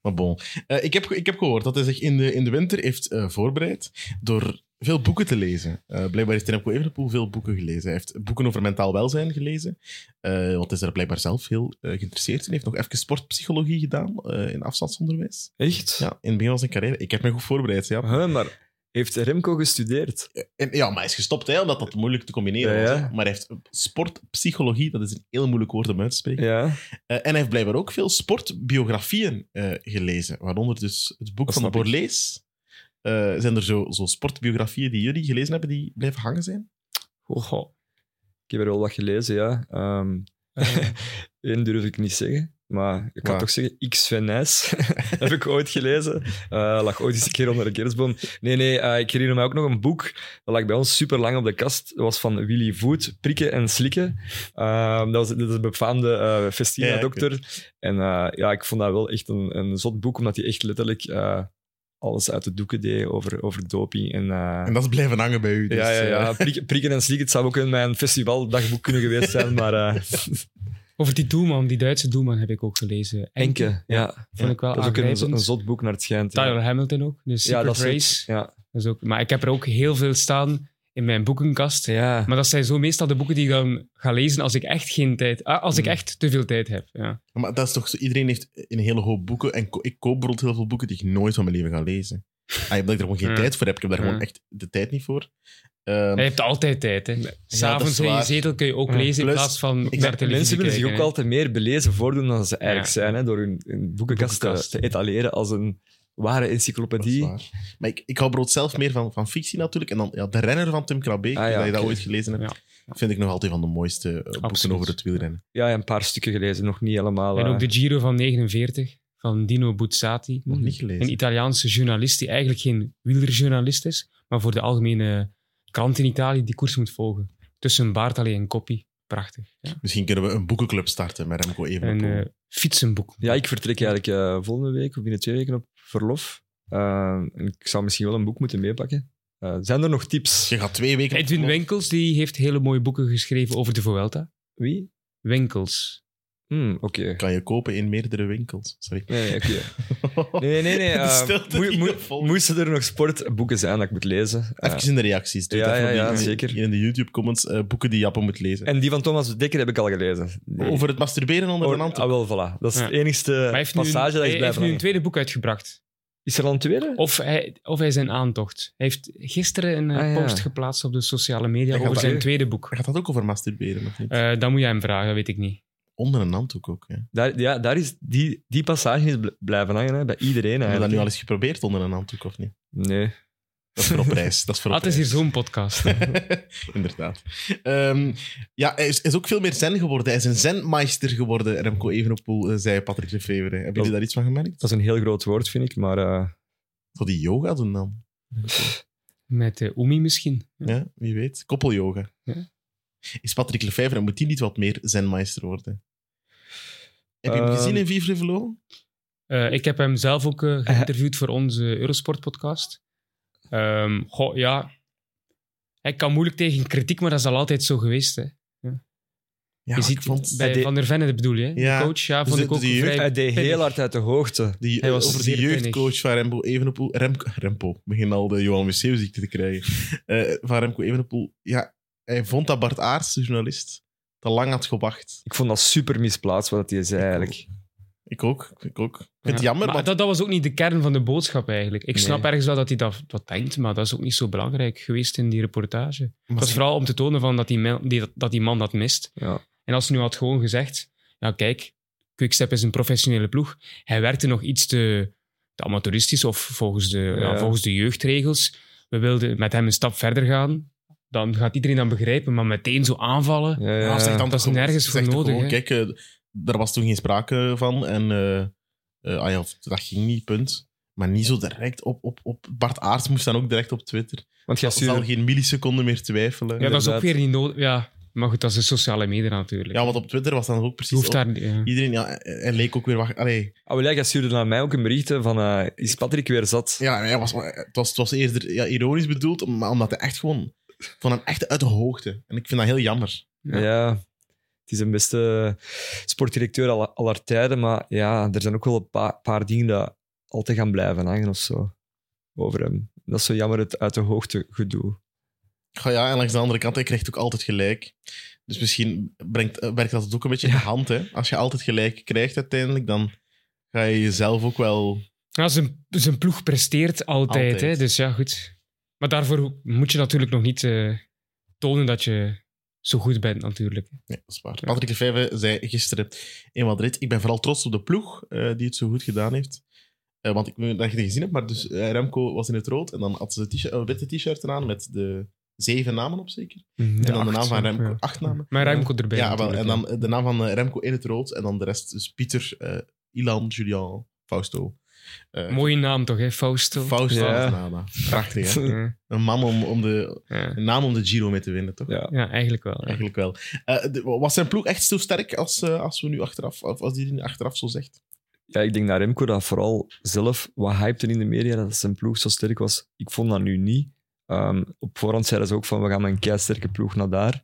[SPEAKER 2] Maar bon. Eh, ik, heb, ik heb gehoord dat hij zich in de, in de winter heeft eh, voorbereid door veel boeken te lezen. Eh, blijkbaar heeft Remco Evenepoel veel boeken gelezen. Hij heeft boeken over mentaal welzijn gelezen, eh, want hij is er blijkbaar zelf heel eh, geïnteresseerd in. Hij heeft nog even sportpsychologie gedaan eh, in afstandsonderwijs.
[SPEAKER 3] Echt?
[SPEAKER 2] Ja, in het begin van zijn carrière. Ik heb me goed voorbereid, ja.
[SPEAKER 3] Huh, maar heeft Remco gestudeerd?
[SPEAKER 2] En, ja, maar hij is gestopt, hè, omdat dat moeilijk te combineren
[SPEAKER 3] Ja,
[SPEAKER 2] was.
[SPEAKER 3] ja.
[SPEAKER 2] hè. Maar hij heeft eh, sportpsychologie, dat is een heel moeilijk woord om uit te spreken.
[SPEAKER 3] Ja.
[SPEAKER 2] Eh, en hij heeft blijkbaar ook veel sportbiografieën eh, gelezen. Waaronder dus het boek
[SPEAKER 3] Dat
[SPEAKER 2] van de
[SPEAKER 3] snap ik.
[SPEAKER 2] Borlees. Eh, zijn er zo, zo sportbiografieën die jullie gelezen hebben die blijven hangen zijn?
[SPEAKER 4] Goh, goh.
[SPEAKER 3] Oh, Ik heb er wel wat gelezen, ja. Ehm *laughs*
[SPEAKER 4] Eh,
[SPEAKER 3] Eén durf ik niet zeggen, maar ik kan
[SPEAKER 2] Maar-
[SPEAKER 3] toch zeggen X van Nys. *laughs* heb ik ooit gelezen. Eh, lag ooit eens een keer onder de kerstboom. Nee, nee, eh, ik herinner me ook nog een boek. Dat lag bij ons super lang op de kast. Dat was van Willy Voet, Prikken en Slikken. Ehm, dat, was, dat is een befaamde eh
[SPEAKER 2] Ja, ja, ik
[SPEAKER 3] Festina-dokter. en eh, ja, ik vond dat wel echt een, een zot boek, omdat hij echt letterlijk eh, alles uit de doeken deed over, over doping. En, eh,
[SPEAKER 2] En dat is blijven hangen bij u. Dus,
[SPEAKER 3] ja, ja,
[SPEAKER 2] eh,
[SPEAKER 3] ja. Prikken, prikken en slikken. Het zou ook in mijn festivaldagboek kunnen geweest zijn, maar... eh,
[SPEAKER 4] Over die doelman, die Duitse doelman heb ik ook gelezen.
[SPEAKER 3] *laughs* Enke, ja.
[SPEAKER 4] Vond ik wel
[SPEAKER 3] Dat is ook een, zo-
[SPEAKER 4] aangrijpend.
[SPEAKER 3] een zot boek naar het schijnt. ja.
[SPEAKER 4] Tyler Hamilton ook, de Secret
[SPEAKER 3] ja, dat is het.
[SPEAKER 4] Race.
[SPEAKER 3] Ja.
[SPEAKER 4] Dat is ook, maar ik heb er ook heel veel staan in mijn boekenkast.
[SPEAKER 3] Ja.
[SPEAKER 4] Maar dat zijn zo meestal de boeken die ik dan ga lezen als ik echt geen tijd... ah, Als ik
[SPEAKER 2] Hmm.
[SPEAKER 3] Mm.
[SPEAKER 4] echt te veel tijd heb, ja.
[SPEAKER 2] Maar dat is toch zo, iedereen heeft een hele hoop boeken. En ko- ik koop bijvoorbeeld heel veel boeken die ik nooit van mijn leven ga lezen. Ah, omdat ik er gewoon geen
[SPEAKER 4] Ja.
[SPEAKER 2] tijd voor heb. Ik heb daar
[SPEAKER 4] Ja.
[SPEAKER 2] gewoon echt de tijd niet voor. Ehm,
[SPEAKER 4] Je hebt altijd tijd, hè. S'avonds in je
[SPEAKER 2] waar.
[SPEAKER 4] zetel kun je ook
[SPEAKER 3] Ja.
[SPEAKER 4] lezen in
[SPEAKER 2] Plus,
[SPEAKER 4] plaats van
[SPEAKER 2] ik-
[SPEAKER 4] naar televisie
[SPEAKER 3] Mensen willen zich ook
[SPEAKER 4] kijken, hè.
[SPEAKER 3] altijd meer belezen voordoen dan ze eigenlijk
[SPEAKER 4] Ja.
[SPEAKER 3] zijn, hè, door hun, hun boekenkast te,
[SPEAKER 4] Boekenkast.
[SPEAKER 3] te etaleren als een ware
[SPEAKER 2] Dat is
[SPEAKER 3] encyclopedie.
[SPEAKER 2] waar. Maar ik, ik hou brood zelf meer van, van fictie natuurlijk. En dan ja, De Renner van Tim Krabbeek,
[SPEAKER 3] Ah, ja,
[SPEAKER 2] dat je dat
[SPEAKER 3] oké.
[SPEAKER 2] ooit gelezen hebt, vind ik nog altijd van de mooiste eh, boeken
[SPEAKER 4] Absoluut.
[SPEAKER 2] over het wielrennen.
[SPEAKER 3] Ja, een paar stukken gelezen, nog niet helemaal.
[SPEAKER 4] En
[SPEAKER 3] eh.
[SPEAKER 4] ook de Giro van 49 van Dino Buzzati.
[SPEAKER 2] Nog niet gelezen.
[SPEAKER 4] Een Italiaanse journalist die eigenlijk geen wielerjournalist is, maar voor de algemene krant in Italië die koers moet volgen. Tussen baard alleen en koppie. Prachtig. Ja.
[SPEAKER 2] Misschien kunnen we een boekenclub starten met Remco
[SPEAKER 4] En
[SPEAKER 2] Evenepoel.
[SPEAKER 4] eh fietsenboek.
[SPEAKER 3] Ja, ik vertrek eigenlijk eh, volgende week of binnen twee weken op verlof. Eh, en ik zou misschien wel een boek moeten meepakken. Eh, zijn er nog tips?
[SPEAKER 2] je gaat twee weken... op
[SPEAKER 4] Edwin
[SPEAKER 2] verlof.
[SPEAKER 4] Winkels die heeft hele mooie boeken geschreven over de Vuelta.
[SPEAKER 3] Wie?
[SPEAKER 4] Winkels.
[SPEAKER 3] Hmm, oké.
[SPEAKER 2] Kan je kopen in meerdere winkels. Sorry.
[SPEAKER 3] Nee, nee, oké.
[SPEAKER 2] *laughs*
[SPEAKER 3] nee, nee, nee. nee,
[SPEAKER 2] De
[SPEAKER 3] eh,
[SPEAKER 2] stilte
[SPEAKER 3] moe-
[SPEAKER 2] die
[SPEAKER 3] moe-
[SPEAKER 2] gevolgd.
[SPEAKER 3] moesten er nog sportboeken zijn dat ik moet lezen? Eh,
[SPEAKER 2] Even in de reacties. Doe
[SPEAKER 3] Ja,
[SPEAKER 2] het even
[SPEAKER 3] ja,
[SPEAKER 2] op die-
[SPEAKER 3] ja, zeker.
[SPEAKER 2] In de YouTube-comments eh, boeken die Jappe moet lezen.
[SPEAKER 3] En die van Thomas Dekker heb ik al gelezen. Die-
[SPEAKER 2] Over het masturberen onder
[SPEAKER 3] Oh,
[SPEAKER 2] een Oh, hand.
[SPEAKER 3] ah, wel, voilà. Dat is
[SPEAKER 4] Ja.
[SPEAKER 3] het enigste
[SPEAKER 4] Maar hij heeft nu,
[SPEAKER 3] Eh, passage dat
[SPEAKER 4] hij
[SPEAKER 3] is
[SPEAKER 4] heeft
[SPEAKER 3] blijven
[SPEAKER 4] nu een
[SPEAKER 3] hangen.
[SPEAKER 4] Oh. tweede boek uitgebracht.
[SPEAKER 3] Is er al een tweede?
[SPEAKER 4] Of hij, of hij zijn aantocht. Hij heeft gisteren een eh,
[SPEAKER 3] Ah, ja.
[SPEAKER 4] post geplaatst op de sociale media
[SPEAKER 2] Hij gaat
[SPEAKER 4] over zijn
[SPEAKER 2] dat-
[SPEAKER 4] tweede boek.
[SPEAKER 3] oh.
[SPEAKER 2] Gaat dat ook over masturberen of niet?
[SPEAKER 4] Eh dan moet jij hem vragen, dat weet ik niet.
[SPEAKER 2] onder een handdoek ook. Hè.
[SPEAKER 3] Daar, ja, daar is, die, die passage is bl- blijven hangen hè, bij iedereen
[SPEAKER 2] Hebben we dat nu al
[SPEAKER 3] eigenlijk.
[SPEAKER 2] eens geprobeerd onder een handdoek of niet?
[SPEAKER 3] Nee.
[SPEAKER 2] Dat is
[SPEAKER 3] *laughs*
[SPEAKER 2] voor op reis. Dat is voor op
[SPEAKER 4] Ah, het is hier
[SPEAKER 2] reis.
[SPEAKER 4] zo'n podcast.
[SPEAKER 2] Inderdaad. Ehm, ja, hij is, is ook veel meer zen geworden. Hij is een zenmeister geworden, Remco Evenepoel, eh, zei Patrick Lefevre. Hebben
[SPEAKER 4] Oh.
[SPEAKER 2] jullie daar iets van gemerkt?
[SPEAKER 3] Dat is een heel groot woord, vind ik, maar... eh,
[SPEAKER 2] Voor die yoga doen dan?
[SPEAKER 4] Met eh Oemi misschien.
[SPEAKER 2] Ja, wie weet. Koppelyoga.
[SPEAKER 4] Ja.
[SPEAKER 2] Is Patrick Lefevre, moet hij niet wat meer zenmeister worden? Heb je hem
[SPEAKER 3] Ehm,
[SPEAKER 2] gezien in Vivre Velo?
[SPEAKER 4] Eh, ik heb hem zelf ook eh, geïnterviewd voor onze Eurosport-podcast. Ehm, goh, ja. Hij kan moeilijk tegen kritiek, maar dat is al altijd zo geweest. Hè.
[SPEAKER 2] Ja,
[SPEAKER 4] je
[SPEAKER 2] ik
[SPEAKER 4] ziet
[SPEAKER 2] vond
[SPEAKER 4] bij
[SPEAKER 3] hij
[SPEAKER 4] Van der Venne, bedoel je? hè?
[SPEAKER 2] Ja.
[SPEAKER 4] De coach, ja,
[SPEAKER 2] Dus
[SPEAKER 4] vond
[SPEAKER 2] de-
[SPEAKER 4] ik ook
[SPEAKER 2] die
[SPEAKER 4] vrij...
[SPEAKER 3] Hij deed
[SPEAKER 4] pennig.
[SPEAKER 3] heel hard uit de hoogte.
[SPEAKER 2] die,
[SPEAKER 4] Hij was
[SPEAKER 2] over die
[SPEAKER 4] zeer
[SPEAKER 2] jeugdcoach van Remco Evenepoel... Remco, Remco, ik begin al de Johan Museeuw-ziekte te krijgen. Eh, van Remco Evenepoel. Ja, hij vond dat Bart Aarts, de journalist, te lang had gewacht.
[SPEAKER 3] Ik vond dat super misplaatst wat hij zei eigenlijk.
[SPEAKER 2] Ik ook, ik ook. Ik vind het
[SPEAKER 4] Ja.
[SPEAKER 2] jammer,
[SPEAKER 4] maar
[SPEAKER 2] want
[SPEAKER 4] dat, dat was ook niet de kern van de boodschap eigenlijk. Ik
[SPEAKER 3] Nee.
[SPEAKER 4] snap ergens wel dat hij dat, dat denkt, maar dat is ook niet zo belangrijk geweest in die reportage. Het was
[SPEAKER 2] ze-
[SPEAKER 4] vooral om te tonen van dat, die man, die, dat die man dat mist.
[SPEAKER 3] Ja.
[SPEAKER 4] En als hij nu had gewoon gezegd, ja kijk, Quickstep is een professionele ploeg. Hij werkte nog iets te, te amateuristisch of volgens de, ja.
[SPEAKER 3] Ja.
[SPEAKER 4] volgens de jeugdregels. We wilden met hem een stap verder gaan. Dan gaat iedereen dat begrijpen, maar meteen zo aanvallen. Ah,
[SPEAKER 3] Ja,
[SPEAKER 2] Ja, zeg
[SPEAKER 3] ja.
[SPEAKER 2] dan
[SPEAKER 4] dat is
[SPEAKER 2] toch-
[SPEAKER 4] nergens
[SPEAKER 2] zeg
[SPEAKER 4] voor
[SPEAKER 2] toch
[SPEAKER 4] nodig,
[SPEAKER 2] gewoon, Kijk, eh, daar was toen geen sprake van. En eh, eh, ah ja, of- dat ging niet, punt. Eh, Maar niet zo direct op, op, op. Bart Aarts moest dan ook direct op Twitter.
[SPEAKER 3] Want jij
[SPEAKER 2] Dat zal
[SPEAKER 3] stuurde...
[SPEAKER 2] geen milliseconde meer twijfelen.
[SPEAKER 4] Ja,
[SPEAKER 2] Ja,
[SPEAKER 4] dat is ook
[SPEAKER 3] inderdaad.
[SPEAKER 4] weer niet nodig. Ja, maar goed, dat is de sociale media natuurlijk.
[SPEAKER 2] want op Twitter was dan ook precies.
[SPEAKER 4] Je hoeft
[SPEAKER 2] op-
[SPEAKER 4] daar... ja.
[SPEAKER 2] Iedereen ja, en leek ook weer. Wacht, allee,
[SPEAKER 3] Ah, wel, ja, jij stuurde naar mij ook een bericht hè, van eh, is Patrick weer zat?
[SPEAKER 2] ja, hij was, eh, het, was, het was eerder ja, ironisch bedoeld, maar omdat hij echt gewoon. ik vond hem echt uit de hoogte. En ik vind dat heel jammer.
[SPEAKER 4] Ja.
[SPEAKER 3] Ja. Het is een beste sportdirecteur aller, aller tijden, maar ja, er zijn ook wel een paar, paar dingen die altijd gaan blijven hangen of zo over hem. Dat is zo jammer, het uit de hoogte gedoe.
[SPEAKER 2] Ja, ja, en langs de andere kant, hij krijgt ook altijd gelijk. Dus misschien brengt, eh, werkt dat ook een beetje in de hand. Hè? Als je altijd gelijk krijgt uiteindelijk, dan ga je jezelf ook wel...
[SPEAKER 4] Ja, zijn, zijn ploeg presteert altijd,
[SPEAKER 2] Altijd.
[SPEAKER 4] Hè? dus ja, goed. Maar daarvoor moet je natuurlijk nog niet eh, tonen dat je zo goed bent, natuurlijk.
[SPEAKER 2] Nee, dat is waar. Patrick de Vijve zei gisteren in Madrid, ik ben vooral trots op de ploeg eh, die het zo goed gedaan heeft. Eh, want ik weet niet dat je het gezien hebt, maar dus, eh, Remco was in het rood en dan had ze een t-shirt- een witte t-shirt aan met de zeven namen op zeker.
[SPEAKER 3] Mhm.
[SPEAKER 2] en dan de naam van Remco, acht namen.
[SPEAKER 4] Maar Remco erbij.
[SPEAKER 2] Ja, wel,
[SPEAKER 4] natuurlijk,
[SPEAKER 2] en
[SPEAKER 4] hè.
[SPEAKER 2] dan de naam van eh, Remco in het rood. En dan de rest dus Pieter, eh, Ilan, Julian, Fausto. Eh,
[SPEAKER 4] Mooie naam toch, hè? Fausto.
[SPEAKER 2] Fausto
[SPEAKER 3] Ja.
[SPEAKER 2] Nada. Prachtig, hè?
[SPEAKER 4] ja,
[SPEAKER 2] Een man om, om de,
[SPEAKER 4] ja.
[SPEAKER 2] een naam om de Giro mee te winnen, toch?
[SPEAKER 3] Ja.
[SPEAKER 4] Ja, eigenlijk wel. ja.
[SPEAKER 2] Eigenlijk wel. Eh, de- was zijn ploeg echt zo sterk als, eh, als we nu achteraf, of als die nu achteraf zo zegt?
[SPEAKER 3] ja, ik denk naar Remco dat vooral zelf wat hypte in de media dat zijn ploeg zo sterk was. Ik vond dat nu niet. Ehm, op voorhand zeiden ze ook van we gaan met een keisterke ploeg naar daar.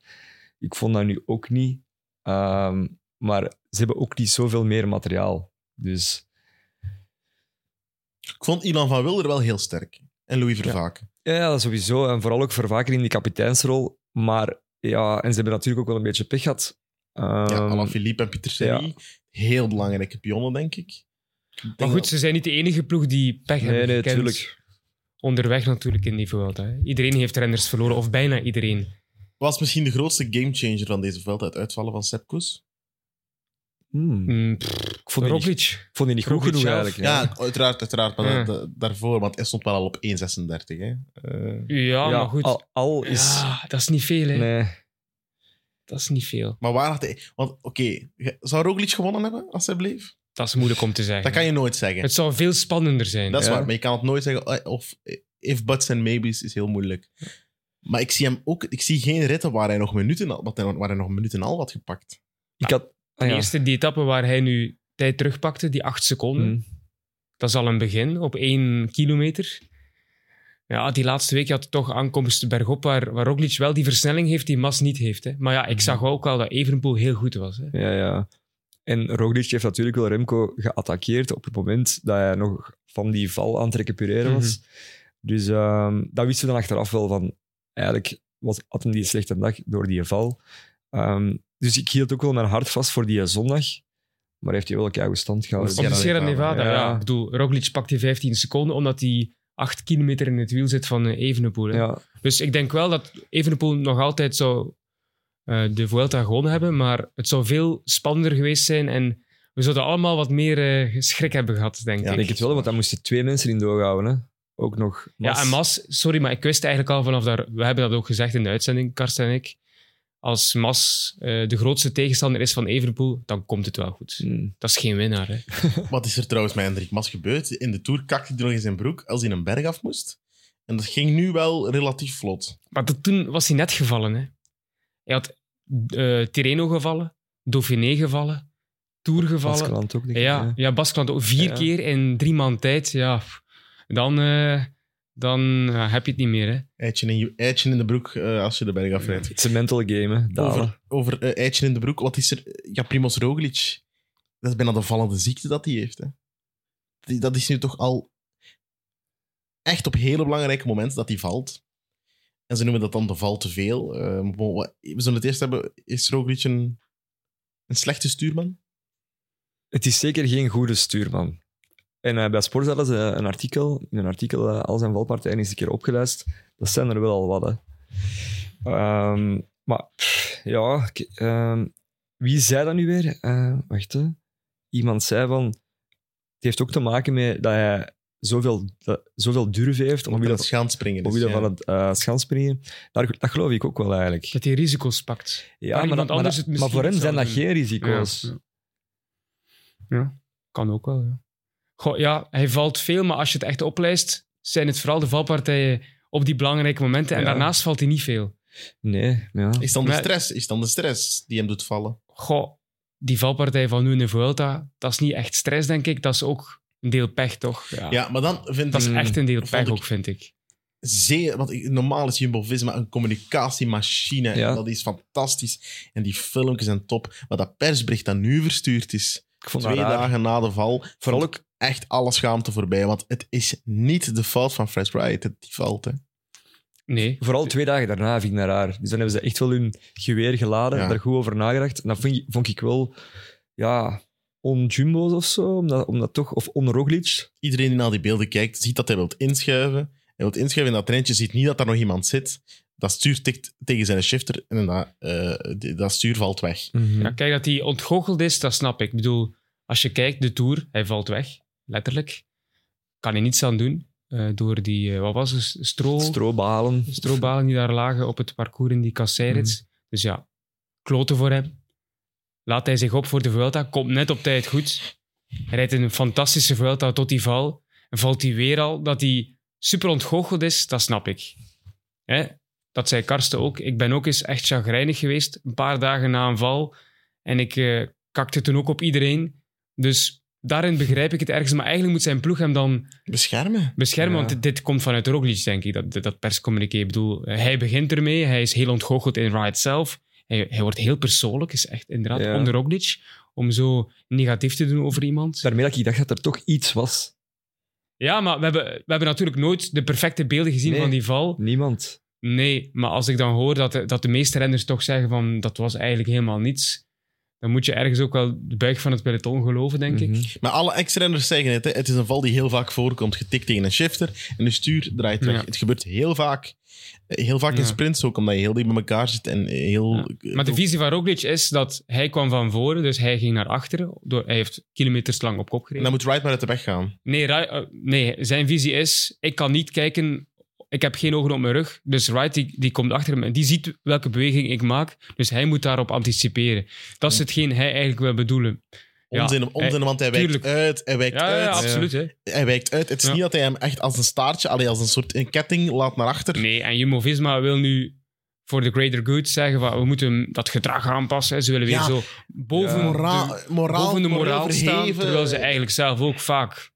[SPEAKER 3] Ik vond dat nu ook niet. Ehm, maar ze hebben ook niet zoveel meer materiaal. Dus
[SPEAKER 2] Ik vond Ilan van Wilder wel heel sterk. En Louis Vervaken.
[SPEAKER 3] Ja, ja, sowieso. En vooral ook Vervaker in die kapiteinsrol. Maar ja, en ze hebben natuurlijk ook wel een beetje pech gehad. Ehm,
[SPEAKER 2] Ja, Alain Philippe en Pieter Seri. Heel belangrijke pionnen, denk ik. Ik denk
[SPEAKER 4] Maar goed,
[SPEAKER 2] dat-
[SPEAKER 4] ze zijn niet de enige ploeg die pech
[SPEAKER 3] nee,
[SPEAKER 4] hebben
[SPEAKER 3] nee,
[SPEAKER 4] gekend
[SPEAKER 3] natuurlijk.
[SPEAKER 4] Onderweg natuurlijk in die Vuelta. hè. Iedereen heeft renners verloren, of bijna iedereen.
[SPEAKER 2] was misschien de grootste gamechanger van deze veld uit uitvallen van Sepp Koes.
[SPEAKER 4] Mm, pff,
[SPEAKER 3] Ik vond die niet,
[SPEAKER 4] Roglic.
[SPEAKER 3] Hmm, ik vond die niet goed
[SPEAKER 4] Roglic
[SPEAKER 3] genoeg
[SPEAKER 4] zelf.
[SPEAKER 3] eigenlijk. hè.
[SPEAKER 2] Ja, uiteraard, uiteraard. Maar
[SPEAKER 4] Ja.
[SPEAKER 2] da- da- daarvoor, want hij stond wel al op 1,36. hè. Eh,
[SPEAKER 4] Ja,
[SPEAKER 3] Ja,
[SPEAKER 4] Ah, maar goed.
[SPEAKER 3] Al, al is...
[SPEAKER 4] Ja, dat is niet veel, hè.
[SPEAKER 3] Nee.
[SPEAKER 4] Dat is niet veel.
[SPEAKER 2] maar waar had hij... Want, oké, ge- zou Roglic gewonnen hebben als hij bleef?
[SPEAKER 4] Dat is moeilijk om te zeggen.
[SPEAKER 2] Dat kan je nooit zeggen.
[SPEAKER 4] Het zou veel spannender zijn.
[SPEAKER 2] Dat is
[SPEAKER 3] Ja.
[SPEAKER 2] waar, maar je kan het nooit zeggen. eh, Of eh, if buts and maybes is heel moeilijk. Maar ik zie hem ook... Ik zie geen ritten waar hij nog minuten al, wat hij- waar hij nog minuten al had gepakt.
[SPEAKER 3] Ik had... ah,
[SPEAKER 4] De
[SPEAKER 3] ja.
[SPEAKER 4] eerste, die etappe waar hij nu tijd terugpakte, die acht seconden,
[SPEAKER 3] Mm.
[SPEAKER 4] dat is al een begin op één kilometer. Ja, die laatste week had toch aankomst bergop, waar, waar Roglic wel die versnelling heeft die Mas niet heeft. Hè. Maar ja,
[SPEAKER 3] Mm.
[SPEAKER 4] ik zag ook wel dat Evenpoel heel goed was. Hè.
[SPEAKER 3] Ja, ja. En Roglic heeft natuurlijk wel Remco geattaqueerd op het moment dat hij nog van die val aan het recupereren was.
[SPEAKER 4] Mhm.
[SPEAKER 3] Dus ehm, dat wisten we dan achteraf wel van. Eigenlijk was, had hem die slechte dag door die val. Ehm, dus ik hield ook wel mijn hart vast voor die zondag. Maar heeft hij wel een keigoed stand gehouden.
[SPEAKER 4] Op de
[SPEAKER 2] Sierra
[SPEAKER 4] Sierra
[SPEAKER 2] Nevada,
[SPEAKER 4] Nevada, ja.
[SPEAKER 3] ja.
[SPEAKER 4] Ik bedoel, Roglic pakt die 15 seconden omdat hij acht kilometer in het wiel zit van eh, Evenepoel. hè.
[SPEAKER 3] Ja,
[SPEAKER 4] Dus ik denk wel dat Evenepoel nog altijd zou eh, de Vuelta gewonnen hebben, maar het zou veel spannender geweest zijn en we zouden allemaal wat meer eh schrik hebben gehad, denk
[SPEAKER 2] Ja,
[SPEAKER 3] ik
[SPEAKER 4] ik.
[SPEAKER 3] denk het wel, want daar moesten twee mensen in doorhouden. Hè. Ook nog. Mas.
[SPEAKER 4] Ja, en Mas, sorry, maar ik wist eigenlijk al vanaf daar, we hebben dat ook gezegd in de uitzending, Karsten en ik, als Mas eh, de grootste tegenstander is van Evenepoel, dan komt het wel goed.
[SPEAKER 3] Hmm.
[SPEAKER 4] Dat is geen winnaar, hè.
[SPEAKER 2] Wat is er trouwens met Hendrik Mas gebeurd? In de Tour kakte hij nog eens in broek als hij een berg af moest. En dat ging nu wel relatief vlot.
[SPEAKER 4] Maar dat- toen was hij net gevallen, hè. Hij had eh Tirreno gevallen, Dauphiné gevallen, Tour gevallen.
[SPEAKER 3] Baskeland ook, denk ik,
[SPEAKER 4] Ja,
[SPEAKER 3] hè.
[SPEAKER 4] ja Baskeland ook vier
[SPEAKER 3] Ja.
[SPEAKER 4] keer in drie maanden tijd. Ja. pff. Dan, eh, dan ja, heb je het niet meer. Hè.
[SPEAKER 2] Eitje in, je- eitje in de broek eh, als je de berg afrijdt.
[SPEAKER 3] Het is een mental game, hè. Dalen.
[SPEAKER 2] Over, over eh, eitje in de broek, wat is er? eh, Ja, Primoz Roglic. Dat is bijna de vallende ziekte dat hij heeft. Hè. Die, dat is nu toch al echt op hele belangrijke momenten dat hij valt. En ze noemen dat dan de val te veel. Eh, maar bon, wat- we zullen het eerst hebben. Is Roglic een, een slechte stuurman?
[SPEAKER 3] Het is zeker geen goede stuurman. En eh, bij Sport hadden ze een artikel, in een artikel eh, al zijn valpartijen eens een keer opgeluist. Dat zijn er wel al wat, hè. Ehm, maar pff, ja, ik- ehm, wie zei dat nu weer? Eh, wacht, hè. Iemand zei van... Het heeft ook te maken met dat hij zoveel, dat- zoveel durf heeft om
[SPEAKER 2] Omdat
[SPEAKER 3] omwille
[SPEAKER 2] het schaanspringen is.
[SPEAKER 3] omwille
[SPEAKER 2] dus ja.
[SPEAKER 3] van het eh schansspringen. Daar, dat geloof ik ook wel, eigenlijk.
[SPEAKER 4] Dat die risico's pakt.
[SPEAKER 3] Ja,
[SPEAKER 4] iemand
[SPEAKER 3] dat-
[SPEAKER 4] anders
[SPEAKER 3] dat-
[SPEAKER 4] het
[SPEAKER 3] maar voor
[SPEAKER 4] misschien
[SPEAKER 3] hem zijn dat
[SPEAKER 4] zou doen.
[SPEAKER 3] geen risico's.
[SPEAKER 4] Ja, ja. Ja, kan ook wel. Ja. Goh, ja, hij valt veel, maar als je het echt oplijst, zijn het vooral de valpartijen op die belangrijke momenten. En
[SPEAKER 3] Ja.
[SPEAKER 4] daarnaast valt hij niet veel.
[SPEAKER 3] Nee, ja.
[SPEAKER 2] Is dan de
[SPEAKER 4] Maar-
[SPEAKER 2] stress? Is dan de stress die hem doet vallen?
[SPEAKER 4] Goh, die valpartij van nu in de Vuelta, dat is niet echt stress, denk ik. Dat is ook een deel pech, toch? Ja. Mm.
[SPEAKER 2] Ja, maar dan vind
[SPEAKER 4] Dat is
[SPEAKER 2] ik
[SPEAKER 4] echt een deel
[SPEAKER 2] Vond
[SPEAKER 4] pech
[SPEAKER 2] ik-
[SPEAKER 4] ook, vind ik.
[SPEAKER 2] zeer... Want ik- normaal is Jumbo-Visma een communicatiemachine.
[SPEAKER 3] Ja.
[SPEAKER 2] En dat is fantastisch. En die filmpjes zijn top. Maar dat persbericht dat nu verstuurd is,
[SPEAKER 3] Ik vond dat
[SPEAKER 2] twee
[SPEAKER 3] raar.
[SPEAKER 2] dagen na de val,
[SPEAKER 3] Vooral
[SPEAKER 2] vooral
[SPEAKER 3] ook
[SPEAKER 2] echt alle schaamte voorbij. Want het is niet de fout van Fred Wright, dat die valt. Hè.
[SPEAKER 4] Nee.
[SPEAKER 3] Vooral twee dagen daarna vind ik dat raar. Dus dan hebben ze echt wel hun geweer geladen,
[SPEAKER 2] Ja.
[SPEAKER 3] daar goed over nagedacht. En dat vond, ik- vond ik wel, ja, on-jumbo's of zo. Omdat, omdat toch, of on-Roglic.
[SPEAKER 2] Iedereen die naar die beelden kijkt, ziet dat hij wilt inschuiven. Hij wilt inschuiven in dat treintje, ziet niet dat daar nog iemand zit. Dat stuur tikt tegen zijn shifter en dat, eh, die- dat stuur valt weg.
[SPEAKER 3] Mhm.
[SPEAKER 4] Ja, kijk, dat hij ontgoocheld is, dat snap ik. Ik bedoel, als je kijkt, de Tour, hij valt weg, letterlijk. Kan hij niets aan doen, eh, door die, eh, wat was het, stro,
[SPEAKER 3] Strobalen.
[SPEAKER 4] strobalen die daar lagen op het parcours in die kasseirits. Dus ja, kloten voor hem. Laat hij zich op voor de Vuelta, komt net op tijd goed. Hij rijdt een fantastische Vuelta tot die val. En valt hij weer al, dat hij super ontgoocheld is, dat snap ik. Hè? Dat zei Karsten ook. Ik ben ook eens echt chagrijnig geweest, een paar dagen na een val. En ik eh, kakte toen ook op iedereen. Dus daarin begrijp ik het ergens. Maar eigenlijk moet zijn ploeg hem dan
[SPEAKER 2] Beschermen.
[SPEAKER 4] beschermen.
[SPEAKER 3] Ja.
[SPEAKER 4] Want dit, dit komt vanuit Roglic, denk ik, dat, dat perscommuniqué. Ik bedoel, hij begint ermee. Hij is heel ontgoocheld in Riot zelf. Hij, hij wordt heel persoonlijk. is echt inderdaad
[SPEAKER 3] Ja.
[SPEAKER 4] onder Roglic. Om zo negatief te doen over iemand.
[SPEAKER 3] Daarmee dat ik dacht dat er toch iets was.
[SPEAKER 4] Ja, maar we hebben, we hebben natuurlijk nooit de perfecte beelden gezien
[SPEAKER 3] Nee.
[SPEAKER 4] van die val.
[SPEAKER 3] Niemand.
[SPEAKER 4] Nee, maar als ik dan hoor dat de, dat de meeste renners toch zeggen van dat was eigenlijk helemaal niets, dan moet je ergens ook wel de buik van het peloton geloven, denk ik.
[SPEAKER 3] Mhm.
[SPEAKER 2] Maar alle ex-renners zeggen het. Hè. Het is een val die heel vaak voorkomt. Getikt tegen een shifter en de stuur draait weg.
[SPEAKER 4] Ja.
[SPEAKER 2] Het gebeurt heel vaak. Eh, Heel vaak
[SPEAKER 4] Ja.
[SPEAKER 2] in sprints ook, omdat je heel dicht bij elkaar zit. En heel, eh,
[SPEAKER 4] Maar de visie van Roglic is dat hij kwam van voren, dus hij ging naar achteren. Door, hij heeft kilometers lang op kop
[SPEAKER 2] En
[SPEAKER 4] gereden.
[SPEAKER 2] dan moet Wright maar uit de weg gaan.
[SPEAKER 4] Nee, Ra- eh, nee, zijn visie is: ik kan niet kijken, ik heb geen ogen op mijn rug. Dus Wright die, die komt achter me en die ziet welke beweging ik maak. Dus hij moet daarop anticiperen. Dat is hetgeen hij eigenlijk wil bedoelen. Ja,
[SPEAKER 2] Onzin, onzin want hij wijkt
[SPEAKER 4] tuurlijk.
[SPEAKER 2] uit. Hij wijkt
[SPEAKER 4] Ja, ja, ja,
[SPEAKER 2] uit.
[SPEAKER 4] absoluut. Hè.
[SPEAKER 2] Hij wijkt uit. Het is
[SPEAKER 4] Ja.
[SPEAKER 2] niet dat hij hem echt als een staartje, allee, als een soort een ketting laat naar achter.
[SPEAKER 4] Nee, en Jumbo Visma wil nu voor de greater good zeggen: van, we moeten dat gedrag aanpassen. hè. Ze willen weer
[SPEAKER 2] Ja.
[SPEAKER 4] zo boven,
[SPEAKER 3] Ja.
[SPEAKER 2] Moraal,
[SPEAKER 4] de,
[SPEAKER 2] moraal,
[SPEAKER 4] boven de moraal staan.
[SPEAKER 2] verheven.
[SPEAKER 4] Terwijl ze eigenlijk zelf ook vaak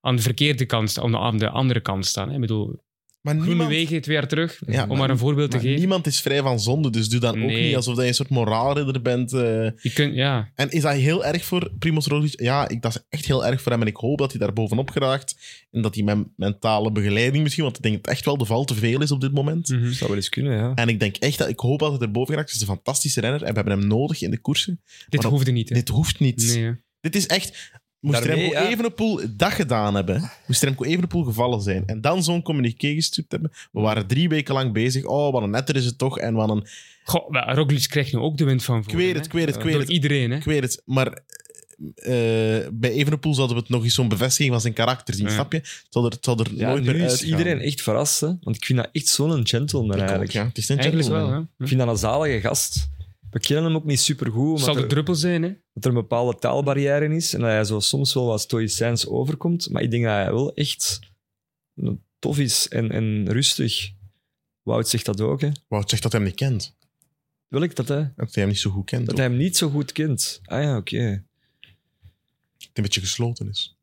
[SPEAKER 4] aan de verkeerde kant staan, aan de andere kant staan. Hè. Ik bedoel,
[SPEAKER 2] maar
[SPEAKER 4] Groene
[SPEAKER 2] niemand,
[SPEAKER 4] Wegen het weer terug,
[SPEAKER 2] Ja,
[SPEAKER 4] om maar een voorbeeld te
[SPEAKER 2] maar
[SPEAKER 4] geven.
[SPEAKER 2] niemand is vrij van zonde, dus doe dan ook
[SPEAKER 4] Nee.
[SPEAKER 2] niet alsof dat je een soort moraalridder bent. eh.
[SPEAKER 4] Je kunt, ja.
[SPEAKER 2] En is dat heel erg voor Primoz Roglic? Ja, ik, dat is echt heel erg voor hem. En ik hoop dat hij daar bovenop geraakt. En dat hij met mentale begeleiding misschien... Want ik denk dat het echt wel de val te veel is op dit moment.
[SPEAKER 4] Mhm.
[SPEAKER 3] Dat zou wel eens kunnen, ja.
[SPEAKER 2] En ik denk echt dat... Ik hoop dat hij er boven geraakt. Het is een fantastische renner. En we hebben hem nodig in de koersen.
[SPEAKER 4] Dit
[SPEAKER 2] Maar op-
[SPEAKER 4] hoefde niet. Hè.
[SPEAKER 2] Dit hoeft niet.
[SPEAKER 4] Nee, hè.
[SPEAKER 2] Dit is echt... Moest
[SPEAKER 3] Daarmee,
[SPEAKER 2] Remco
[SPEAKER 3] ja.
[SPEAKER 2] Evenepoel dat gedaan hebben, moest Remco Evenepoel gevallen zijn en dan zo'n communiqué gestuurd hebben, we waren drie weken lang bezig, oh, wat een netter is het toch, en wat een...
[SPEAKER 4] Goh, maar Roglic krijgt nu ook de wind van
[SPEAKER 2] Ik
[SPEAKER 4] voren.
[SPEAKER 2] weet het, ik weet het, ik weet
[SPEAKER 4] Door
[SPEAKER 2] het.
[SPEAKER 4] iedereen, hè.
[SPEAKER 2] Ik weet het, maar eh, bij Evenepoel zouden we het nog eens zo'n bevestiging van zijn karakter zien,
[SPEAKER 4] Ja.
[SPEAKER 2] snap je? Het zal er, het zal er
[SPEAKER 3] ja
[SPEAKER 2] nooit
[SPEAKER 3] nu
[SPEAKER 2] meer
[SPEAKER 3] is
[SPEAKER 2] uitgaan.
[SPEAKER 3] iedereen echt verrast, hè. Want ik vind dat echt zo'n gentleman,
[SPEAKER 2] Ik ook,
[SPEAKER 3] eigenlijk.
[SPEAKER 2] ja. Het is een
[SPEAKER 4] Eigenlijk wel,
[SPEAKER 2] gentleman.
[SPEAKER 4] hè.
[SPEAKER 3] Ik vind dat een zalige gast. We kennen hem ook niet supergoed,
[SPEAKER 4] Het
[SPEAKER 3] maar
[SPEAKER 4] zal de
[SPEAKER 3] er-
[SPEAKER 4] druppel zijn, hè.
[SPEAKER 3] dat er een bepaalde taalbarrière is en dat hij zo soms wel wat stoïcijns overkomt. Maar ik denk dat hij wel echt tof is en, en rustig. Wout zegt dat ook, hè.
[SPEAKER 2] Wout zegt dat hij hem niet kent.
[SPEAKER 3] Wil ik dat, hè?
[SPEAKER 2] Dat hij hem niet zo goed kent.
[SPEAKER 3] Dat
[SPEAKER 2] ook.
[SPEAKER 3] hij hem niet zo goed kent. Ah ja, oké.
[SPEAKER 2] Dat hij een beetje gesloten is.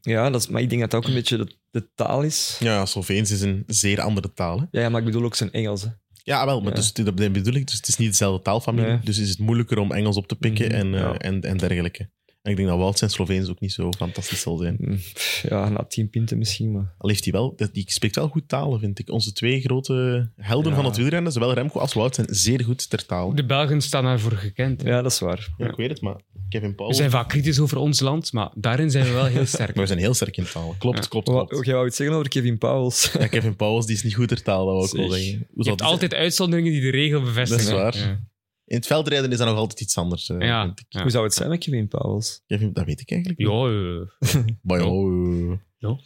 [SPEAKER 3] Ja, dat is, maar ik denk dat dat ook een beetje de de taal is. Ja,
[SPEAKER 2] Ja, ja, Sloveens is een zeer andere taal. Hè?
[SPEAKER 3] ja, maar ik bedoel ook zijn Engels. Hè.
[SPEAKER 2] Ja, wel, maar
[SPEAKER 3] Ja.
[SPEAKER 2] Dus, dat bedoel ik. Dus het is niet dezelfde taalfamilie.
[SPEAKER 3] Nee.
[SPEAKER 2] Dus is het moeilijker om Engels op te pikken
[SPEAKER 3] Mhm,
[SPEAKER 2] en, eh,
[SPEAKER 3] ja.
[SPEAKER 2] en, en dergelijke. En ik denk dat Wout zijn Sloveens ook niet zo fantastisch zal zijn.
[SPEAKER 3] Mm, pff, Ja, na tien pinten misschien, maar...
[SPEAKER 2] Al heeft hij wel, dat- die spreekt wel goed talen, vind ik. Onze twee grote helden
[SPEAKER 3] Ja.
[SPEAKER 2] van het wielrennen, zowel Remco als Wout, zijn zeer goed ter taal.
[SPEAKER 4] De Belgen staan daarvoor gekend. hè.
[SPEAKER 3] Ja, dat is waar.
[SPEAKER 2] Ja, ik weet het, maar Kevin Paul.
[SPEAKER 4] We zijn vaak kritisch over ons land, maar daarin zijn we wel heel sterk.
[SPEAKER 2] Maar *laughs* we zijn heel sterk in talen. Klopt, klopt,
[SPEAKER 3] Wat,
[SPEAKER 2] klopt.
[SPEAKER 3] jij wou iets zeggen over Kevin Pauwels?
[SPEAKER 2] Ja, Kevin Pauwels die is niet goed ter taal, dat wil ik wel
[SPEAKER 3] Zeg.
[SPEAKER 2] zeggen. Hoe
[SPEAKER 4] Je
[SPEAKER 2] zal
[SPEAKER 4] hebt
[SPEAKER 2] die zijn?
[SPEAKER 4] altijd uitzonderingen die de regel bevestigen.
[SPEAKER 2] Dat is waar.
[SPEAKER 4] Ja.
[SPEAKER 2] In het veldrijden is dat nog altijd iets anders. eh,
[SPEAKER 4] Ja.
[SPEAKER 2] vind ik.
[SPEAKER 3] *laughs*
[SPEAKER 4] Ja.
[SPEAKER 3] Hoe zou het zijn met Kevin Pauwels?
[SPEAKER 2] Kevin, dat weet ik eigenlijk niet.
[SPEAKER 4] Jo, eh,
[SPEAKER 2] Maar ja, eh,
[SPEAKER 4] Ja.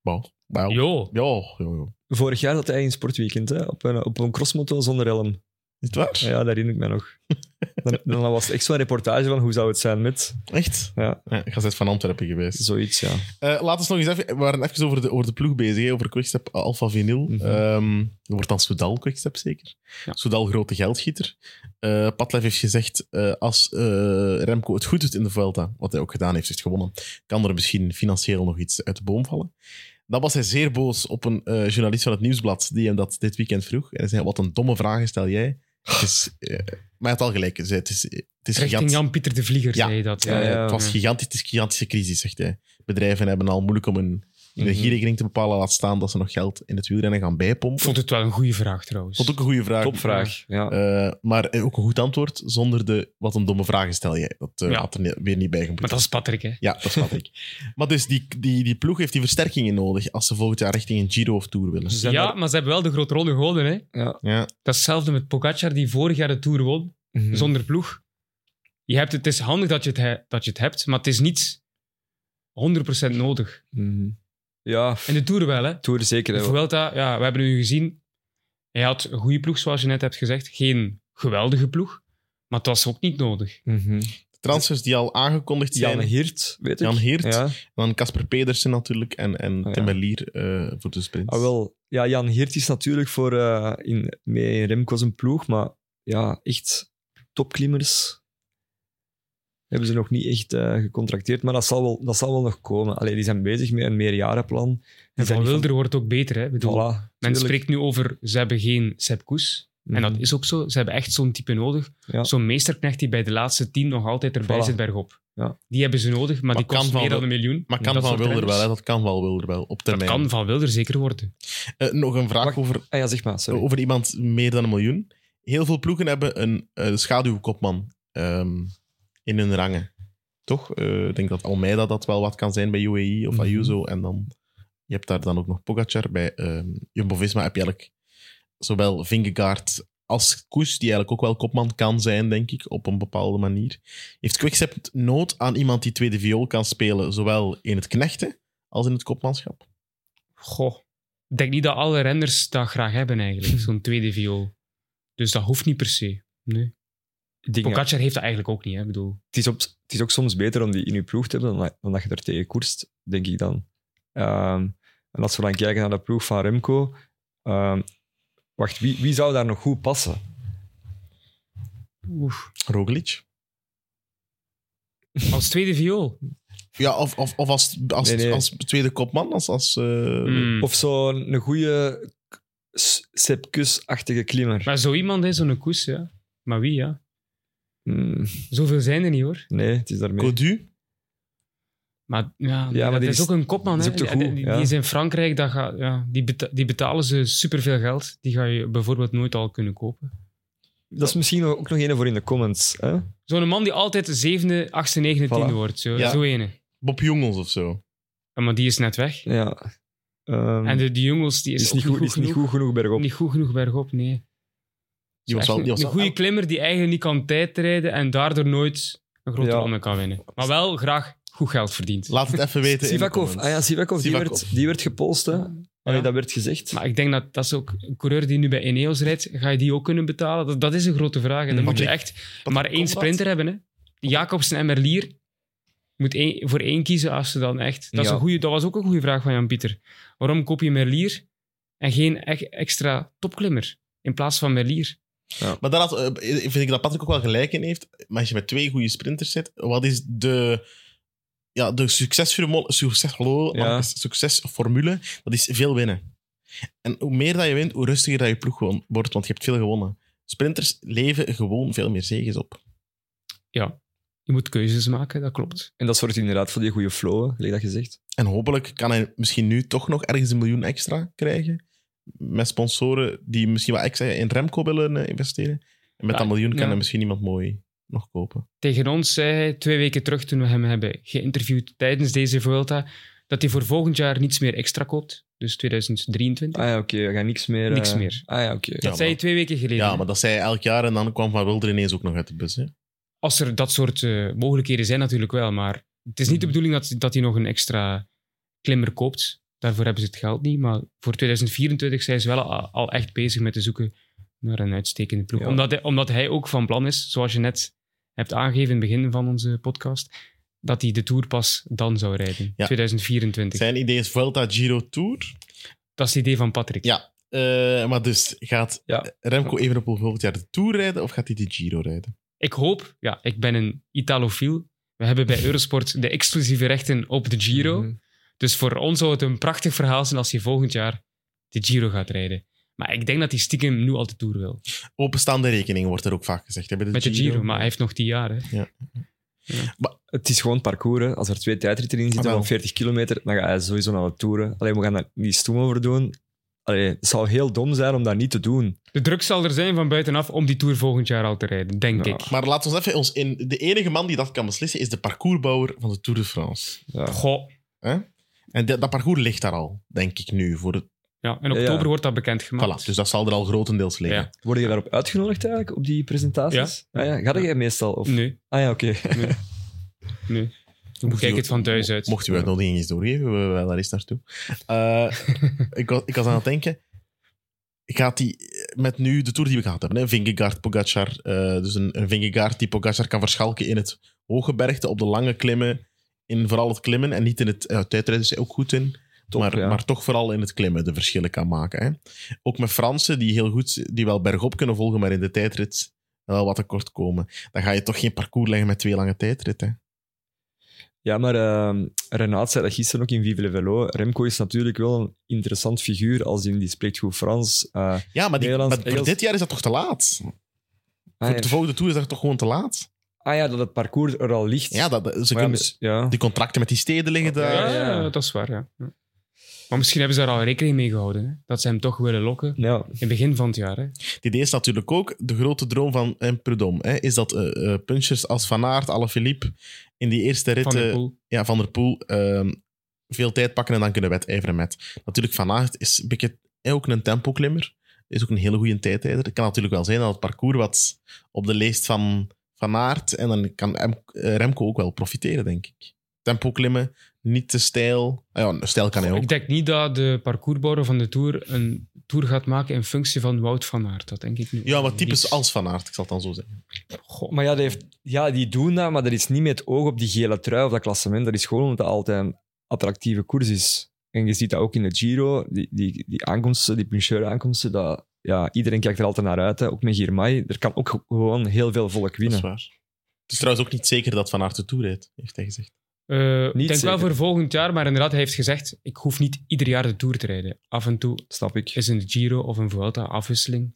[SPEAKER 2] maar- maar ja.
[SPEAKER 4] jo.
[SPEAKER 2] Ja, ja, ja.
[SPEAKER 3] Vorig jaar zat hij in sportweekend, hè? Op, een, op een crossmoto zonder helm.
[SPEAKER 2] Is het waar?
[SPEAKER 3] Ja, dat herinner ik me
[SPEAKER 4] *laughs*
[SPEAKER 3] nog. Dan, dan was het echt zo'n reportage van hoe zou het zijn met
[SPEAKER 2] Echt?
[SPEAKER 3] Ja.
[SPEAKER 2] ik was net van Antwerpen geweest.
[SPEAKER 3] zoiets, ja.
[SPEAKER 2] Eh, laat ons nog eens even... We waren even over de, over de ploeg bezig, hè, over Quickstep Alpha Vinyl.
[SPEAKER 3] Mhm.
[SPEAKER 2] Ehm, dat wordt dan Soudal Quickstep zeker.
[SPEAKER 4] Ja.
[SPEAKER 2] Soudal, grote geldgieter. Eh Patlev heeft gezegd, eh, als eh, Remco het goed doet in de Vuelta, wat hij ook gedaan heeft, heeft gewonnen, kan er misschien financieel nog iets uit de boom vallen. Dan was hij zeer boos op een eh, journalist van het Nieuwsblad die hem dat dit weekend vroeg. En hij zei, wat een domme vraag stel jij. Het is, eh, maar hij had al gelijk. Hij zei, Het is, het is
[SPEAKER 4] Richting
[SPEAKER 2] gigantisch.
[SPEAKER 4] Jan-Pieter de Vlieger
[SPEAKER 2] Ja.
[SPEAKER 4] zei je dat.
[SPEAKER 3] Ja,
[SPEAKER 2] Eh,
[SPEAKER 3] ja.
[SPEAKER 2] het was gigantisch, het is een gigantische crisis, zegt hij. Bedrijven hebben al moeilijk om hun energierekening te bepalen, laat staan dat ze nog geld in het wielrennen gaan
[SPEAKER 4] Ik
[SPEAKER 2] bijpompen.
[SPEAKER 4] vond het wel een goede vraag trouwens.
[SPEAKER 2] Vond ook een goede vraag.
[SPEAKER 3] Topvraag. Ja.
[SPEAKER 2] Eh, maar eh, ook een goed antwoord zonder de wat een domme vragen stel jij. Dat eh,
[SPEAKER 4] Ja.
[SPEAKER 2] had er ne- weer niet bij
[SPEAKER 4] Maar
[SPEAKER 2] gemoet.
[SPEAKER 4] dat is Patrick, hè.
[SPEAKER 2] Ja, dat snap ik. Maar dus die, die, die ploeg heeft die versterkingen nodig als ze volgend jaar richting een Giro of Tour willen.
[SPEAKER 3] Ze zijn
[SPEAKER 4] ja,
[SPEAKER 3] daar-
[SPEAKER 4] maar ze hebben wel de grote ronde gewonnen, hè.
[SPEAKER 2] Ja,
[SPEAKER 4] Dat is hetzelfde met Pogacar, die vorig jaar de Tour won,
[SPEAKER 3] Mhm.
[SPEAKER 4] zonder ploeg. Je hebt het, het is handig dat je het, he- dat je het hebt, maar het is niet 100% nodig.
[SPEAKER 3] Mhm. Ja,
[SPEAKER 4] En de Tour wel, hè.
[SPEAKER 3] Tour zeker. hè.
[SPEAKER 4] Bijvoorbeeld, ja, we hebben nu gezien, hij had een goede ploeg, zoals je net hebt gezegd. Geen geweldige ploeg, maar het was ook niet nodig.
[SPEAKER 3] Mhm.
[SPEAKER 2] de transfers die al aangekondigd zijn.
[SPEAKER 3] Jan Hiert, weet ik.
[SPEAKER 2] Jan Hiert.
[SPEAKER 3] Ja.
[SPEAKER 2] Dan Casper Pedersen natuurlijk en, en
[SPEAKER 3] Ja.
[SPEAKER 2] Tim Merlier eh, voor de sprint.
[SPEAKER 3] Ah, wel. ja, Jan Hiert is natuurlijk voor, eh, in, mee in Remco zijn ploeg, maar ja, echt topklimmers hebben ze nog niet echt eh, gecontracteerd. Maar dat zal, wel, dat zal wel nog komen. Allee, die zijn bezig met een meerjarenplan. Die zijn
[SPEAKER 4] En van
[SPEAKER 3] niet
[SPEAKER 4] Wilder wordt ook beter, hè. Ik Bedoel,
[SPEAKER 3] Voilà,
[SPEAKER 4] men
[SPEAKER 3] tuurlijk. Mhm.
[SPEAKER 4] spreekt nu over, ze hebben geen Sepp Koes. En dat is ook zo. Ze hebben echt zo'n type nodig.
[SPEAKER 3] Ja.
[SPEAKER 4] Zo'n meesterknecht die bij de laatste tien nog altijd erbij
[SPEAKER 3] Voilà.
[SPEAKER 4] zit bergop.
[SPEAKER 3] Ja.
[SPEAKER 4] Die hebben ze nodig, maar, die
[SPEAKER 2] kan
[SPEAKER 4] kost
[SPEAKER 2] van
[SPEAKER 4] meer dan
[SPEAKER 2] Wil-
[SPEAKER 4] een miljoen.
[SPEAKER 2] maar kan
[SPEAKER 4] Dat
[SPEAKER 2] van
[SPEAKER 4] soort
[SPEAKER 2] Wilder wel,
[SPEAKER 4] renners.
[SPEAKER 2] hè, dat kan van Wilder wel, op
[SPEAKER 4] Dat
[SPEAKER 2] termijn.
[SPEAKER 4] kan van Wilder zeker worden.
[SPEAKER 2] Eh, nog een vraag
[SPEAKER 3] Mag-
[SPEAKER 2] over
[SPEAKER 3] Ah ja, zeg maar, sorry.
[SPEAKER 4] Oh,
[SPEAKER 2] over iemand meer dan een miljoen. Heel veel ploegen hebben een eh, schaduwkopman ehm, in hun rangen. Toch? Eh, ik denk dat Almeida dat wel wat kan zijn bij UAE of
[SPEAKER 3] Mhm.
[SPEAKER 2] Ayuso. En dan, je hebt daar dan ook nog Pogacar. Bij ehm Jumbo-Visma heb je eigenlijk zowel Vingegaard als Koes, die eigenlijk ook wel kopman kan zijn, denk ik, op een bepaalde manier. Heeft Quickstep nood aan iemand die tweede viool kan spelen, zowel in het knechten als in het kopmanschap?
[SPEAKER 4] Goh. Ik denk niet dat alle renners dat graag hebben eigenlijk,
[SPEAKER 3] *laughs*
[SPEAKER 4] zo'n tweede viool. Dus dat hoeft niet per se. Nee.
[SPEAKER 3] Ik denk, ja,
[SPEAKER 4] Pogacar heeft dat eigenlijk ook niet, hè. Ik bedoel,
[SPEAKER 3] het, is op, het is ook soms beter om die in je ploeg te hebben dan, dan dat je er tegen koerst, denk ik dan. Ehm, en als we dan kijken naar de ploeg van Remco... ehm, wacht, wie, wie zou daar nog goed passen?
[SPEAKER 2] Roglic?
[SPEAKER 4] als tweede viool.
[SPEAKER 2] Ja, of, of, of als, als,
[SPEAKER 3] Nee, nee.
[SPEAKER 2] als tweede kopman, als... als eh,
[SPEAKER 4] Mm.
[SPEAKER 3] *laughs* Of zo'n goede Sepkus-achtige klimmer.
[SPEAKER 4] Maar zo iemand is zo'n koes, ja. Maar wie, ja.
[SPEAKER 3] Mm,
[SPEAKER 4] Zoveel zijn er niet, hoor.
[SPEAKER 3] nee, het is daarmee.
[SPEAKER 2] Codu?
[SPEAKER 4] Maar ja,
[SPEAKER 3] maar
[SPEAKER 4] dat
[SPEAKER 3] die
[SPEAKER 4] is
[SPEAKER 3] is-
[SPEAKER 4] ook een kopman.
[SPEAKER 3] die is
[SPEAKER 4] hè.
[SPEAKER 3] ook te
[SPEAKER 4] Die,
[SPEAKER 3] goed,
[SPEAKER 4] die-
[SPEAKER 3] ja.
[SPEAKER 4] die is in Frankrijk, dat ga, ja, die, beta- die betalen ze superveel geld. Die ga je bijvoorbeeld nooit al kunnen kopen.
[SPEAKER 3] Dat is misschien ook nog een voor in de comments. Hè?
[SPEAKER 4] Zo'n man die altijd zevende, achtste, negende,
[SPEAKER 3] Voilà.
[SPEAKER 4] tiende wordt. Zo,
[SPEAKER 2] Ja.
[SPEAKER 4] zo ene.
[SPEAKER 2] Bob Jongels of zo.
[SPEAKER 4] Ja, maar die is net weg.
[SPEAKER 3] Ja. Ehm,
[SPEAKER 4] En de, die jongens, die
[SPEAKER 3] die
[SPEAKER 4] is,
[SPEAKER 3] is, niet, goed, die is niet goed genoeg bergop.
[SPEAKER 4] Niet goed genoeg bergop, nee.
[SPEAKER 2] Die was
[SPEAKER 4] Echt
[SPEAKER 2] wel, die
[SPEAKER 4] een,
[SPEAKER 2] was
[SPEAKER 4] een
[SPEAKER 2] wel-
[SPEAKER 4] goede klimmer die eigenlijk niet kan tijdrijden en daardoor nooit een grote
[SPEAKER 3] Ja.
[SPEAKER 4] ronde kan winnen. Maar wel graag goed geld verdient.
[SPEAKER 2] Laat het even weten. in de
[SPEAKER 3] Sivakov,
[SPEAKER 2] comments.
[SPEAKER 3] ah ja, Sivakov, Die,
[SPEAKER 2] Sivakov.
[SPEAKER 3] werd, die werd gepolst. Hè? Allee, dat werd gezegd.
[SPEAKER 4] Maar ik denk dat dat is ook een coureur die nu bij Ineos rijdt, ga je die ook kunnen betalen? Dat, dat is een grote vraag.
[SPEAKER 3] Mm.
[SPEAKER 4] En dan moet je
[SPEAKER 2] Patrick-
[SPEAKER 4] echt
[SPEAKER 2] Patrick
[SPEAKER 4] maar één
[SPEAKER 2] Conrad?
[SPEAKER 4] sprinter hebben. Hè. Jacobsen en Merlier moet één, voor één kiezen als ze dan echt. Dat, is
[SPEAKER 3] Ja.
[SPEAKER 4] een goeie, dat was ook een goede vraag van Jan-Pieter. Waarom koop je Merlier en geen e- extra topklimmer in plaats van Merlier?
[SPEAKER 2] Maar daar had, eh, vind ik dat Patrick ook wel gelijk in heeft. Maar als je met twee goede sprinters zit, wat is de ja, de succesformule, succes, hallo,
[SPEAKER 3] Ja.
[SPEAKER 2] succesformule, dat is veel winnen. En hoe meer dat je wint, hoe rustiger dat je ploeg gewoon wordt, want je hebt veel gewonnen. Sprinters leven gewoon veel meer zegens op.
[SPEAKER 4] Je moet keuzes maken, dat klopt.
[SPEAKER 3] En dat zorgt inderdaad voor die goede flow, hè, gelijk dat gezegd.
[SPEAKER 2] En hopelijk kan hij misschien nu toch nog ergens een miljoen extra krijgen. Met sponsoren die misschien wat extra in Remco willen eh, investeren. En met
[SPEAKER 4] Ja,
[SPEAKER 2] dat miljoen kan
[SPEAKER 4] ja.
[SPEAKER 2] hij misschien iemand mooi nog kopen.
[SPEAKER 4] Tegen ons zei hij twee weken terug, toen we hem hebben geïnterviewd tijdens deze Vuelta, dat hij voor volgend jaar niets meer extra koopt. Dus 2023.
[SPEAKER 3] Ah ja, oké, we gaan niks meer... eh,
[SPEAKER 4] Niks meer.
[SPEAKER 3] Ah ja, oké.
[SPEAKER 2] Ja,
[SPEAKER 4] dat zei hij
[SPEAKER 2] maar-
[SPEAKER 4] twee weken geleden.
[SPEAKER 2] Ja, maar dat zei hij elk jaar en dan kwam Van Wilder ineens ook nog uit de bus. Hè?
[SPEAKER 4] Als er dat soort eh, mogelijkheden zijn, natuurlijk wel. Maar het is niet
[SPEAKER 2] Mhm.
[SPEAKER 4] de bedoeling dat, dat hij nog een extra klimmer koopt. Daarvoor hebben ze het geld niet. Maar voor 2024 zijn ze wel al, al echt bezig met te zoeken naar een uitstekende ploeg.
[SPEAKER 3] Ja.
[SPEAKER 4] Omdat, hij, omdat hij ook van plan is, zoals je net hebt aangegeven in het begin van onze podcast, dat hij de Tour pas dan zou rijden.
[SPEAKER 2] Ja.
[SPEAKER 4] 2024.
[SPEAKER 2] Zijn idee is Vuelta Giro Tour.
[SPEAKER 4] Dat is het idee van Patrick.
[SPEAKER 2] Ja. Eh, maar dus, gaat
[SPEAKER 3] Ja.
[SPEAKER 2] Remco Evenepoel volgend jaar de Tour rijden of gaat hij de Giro rijden?
[SPEAKER 4] Ik hoop, ja, ik ben een Italofiel. We hebben bij Eurosport de exclusieve rechten op de Giro.
[SPEAKER 3] Mhm.
[SPEAKER 4] Dus voor ons zou het een prachtig verhaal zijn als hij volgend jaar de Giro gaat rijden. Maar ik denk dat hij stiekem nu al de Tour wil.
[SPEAKER 2] Openstaande rekening wordt er ook vaak gezegd. Hè, bij de
[SPEAKER 4] Met de
[SPEAKER 2] Giro.
[SPEAKER 4] Giro, maar hij heeft nog tien jaar. Hè.
[SPEAKER 3] Het is gewoon parcours. hè. Als er twee tijdritten in
[SPEAKER 2] Ah,
[SPEAKER 3] zitten
[SPEAKER 2] wel.
[SPEAKER 3] van 40 kilometer, dan ga je sowieso naar de toeren. Alleen we gaan daar niet stoem over doen. Allee, het zou heel dom zijn om dat niet te doen.
[SPEAKER 4] De druk zal er zijn van buitenaf om die Tour volgend jaar al te rijden, denk
[SPEAKER 3] Ja.
[SPEAKER 4] ik.
[SPEAKER 2] Maar laten we ons even... Ons in, de enige man die dat kan beslissen is de parcoursbouwer van de Tour de France.
[SPEAKER 3] Ja.
[SPEAKER 4] Goh.
[SPEAKER 2] En dat, dat parcours ligt daar al, denk ik nu. Voor het,
[SPEAKER 4] Ja, in
[SPEAKER 3] Ja.
[SPEAKER 4] oktober wordt dat bekendgemaakt.
[SPEAKER 2] voilà, dus dat zal er al grotendeels liggen.
[SPEAKER 4] Ja.
[SPEAKER 3] Word je daarop uitgenodigd eigenlijk, op die presentaties?
[SPEAKER 4] Ja.
[SPEAKER 3] Ah, ja. Ga jij meestal? Of...
[SPEAKER 4] Nee,
[SPEAKER 3] Ah ja, oké. *laughs*
[SPEAKER 4] nee.
[SPEAKER 2] Mocht
[SPEAKER 4] Dan bekijk
[SPEAKER 2] u-
[SPEAKER 4] het van thuis uit.
[SPEAKER 2] Mocht u uitnodiging eens doorgeven, we wel daar eens naartoe. Eh, *laughs* ik, was, ik was aan het denken, gaat die met nu de tour die we gehad hebben, hè, Vingegaard, Pogacar, eh, dus een, een Vingegaard die Pogacar kan verschalken in het hoge bergte, op de lange klimmen, in vooral het klimmen en niet in het ja, tijdrijden is hij ook goed in.
[SPEAKER 3] Top,
[SPEAKER 2] maar,
[SPEAKER 3] ja.
[SPEAKER 2] maar toch vooral in het klimmen de verschillen kan maken. Hè. Ook met Fransen die heel goed, die wel bergop kunnen volgen, maar in de tijdrit wel wat tekort komen. Dan ga je toch geen parcours leggen met twee lange tijdritten. hè.
[SPEAKER 3] Ja, maar ehm Renaat zei dat gisteren ook in Vive le Velo. Remco is natuurlijk wel een interessant figuur, als in die spreekt goed Frans. Eh,
[SPEAKER 2] Ja, maar, die,
[SPEAKER 3] Nederlands,
[SPEAKER 2] maar voor
[SPEAKER 3] Engels.
[SPEAKER 2] dit jaar is dat toch te laat?
[SPEAKER 3] ah,
[SPEAKER 2] Voor
[SPEAKER 3] ja.
[SPEAKER 2] de volgende toer is dat toch gewoon te laat?
[SPEAKER 3] Ah ja, dat het parcours er al ligt.
[SPEAKER 2] Ja, dat, ze
[SPEAKER 3] Maar ja,
[SPEAKER 2] kunnen,
[SPEAKER 3] mis- ja.
[SPEAKER 2] die contracten met die steden liggen daar.
[SPEAKER 4] Ja,
[SPEAKER 3] Ja, ja.
[SPEAKER 4] ja, dat is waar. Ja. Ja. Maar misschien hebben ze daar al rekening mee gehouden. Hè? Dat ze hem toch willen lokken in
[SPEAKER 3] Ja,
[SPEAKER 4] het begin van het jaar. Hè?
[SPEAKER 2] Het idee is natuurlijk ook, de grote droom van eh, Prudhomme, hè, is dat eh, eh, punchers als Van Aert, Alaphilippe, in die eerste rit
[SPEAKER 4] Van
[SPEAKER 2] van,
[SPEAKER 4] de Poel.
[SPEAKER 2] ja, van der Poel ehm, veel tijd pakken en dan kunnen wedijveren met. Natuurlijk, Van Aert is een beetje, eh, ook een tempoklimmer. Is ook een hele goede tijdrijder. Het kan natuurlijk wel zijn dat het parcours wat op de leest van Van Aert, en dan kan Em- eh, Remco ook wel profiteren, denk ik. Tempo klimmen, niet te stijl. Ah ja, stijl kan hij ook.
[SPEAKER 4] Ik denk niet dat de parcoursbouwer van de Tour een Tour gaat maken in functie van Wout van Aert. Dat denk ik niet.
[SPEAKER 2] Ja, maar typisch
[SPEAKER 4] Niet.
[SPEAKER 2] als Van Aert, ik zal het dan zo zeggen.
[SPEAKER 4] Goh,
[SPEAKER 3] Maar ja, die, heeft, ja, die doen dat, maar dat is niet met het oog op die gele trui of dat klassement. Dat is gewoon omdat het altijd een attractieve koers is. En je ziet dat ook in de Giro, die, die, die aankomsten, die puncheur-aankomsten, dat, ja, iedereen kijkt er altijd naar uit. Hè. Ook met Girmay, er kan ook ge- gewoon heel veel volk
[SPEAKER 2] Dat is
[SPEAKER 3] winnen.
[SPEAKER 2] waar. Het is trouwens ook niet zeker dat Van Aert de Tour rijdt, heeft hij gezegd.
[SPEAKER 4] eh, ik
[SPEAKER 3] Niet
[SPEAKER 4] denk wel
[SPEAKER 3] zeker.
[SPEAKER 4] voor volgend jaar, maar inderdaad, hij heeft gezegd: ik hoef niet ieder jaar de Tour te rijden. Af en toe
[SPEAKER 3] Snap ik.
[SPEAKER 4] is een Giro of een Vuelta afwisseling.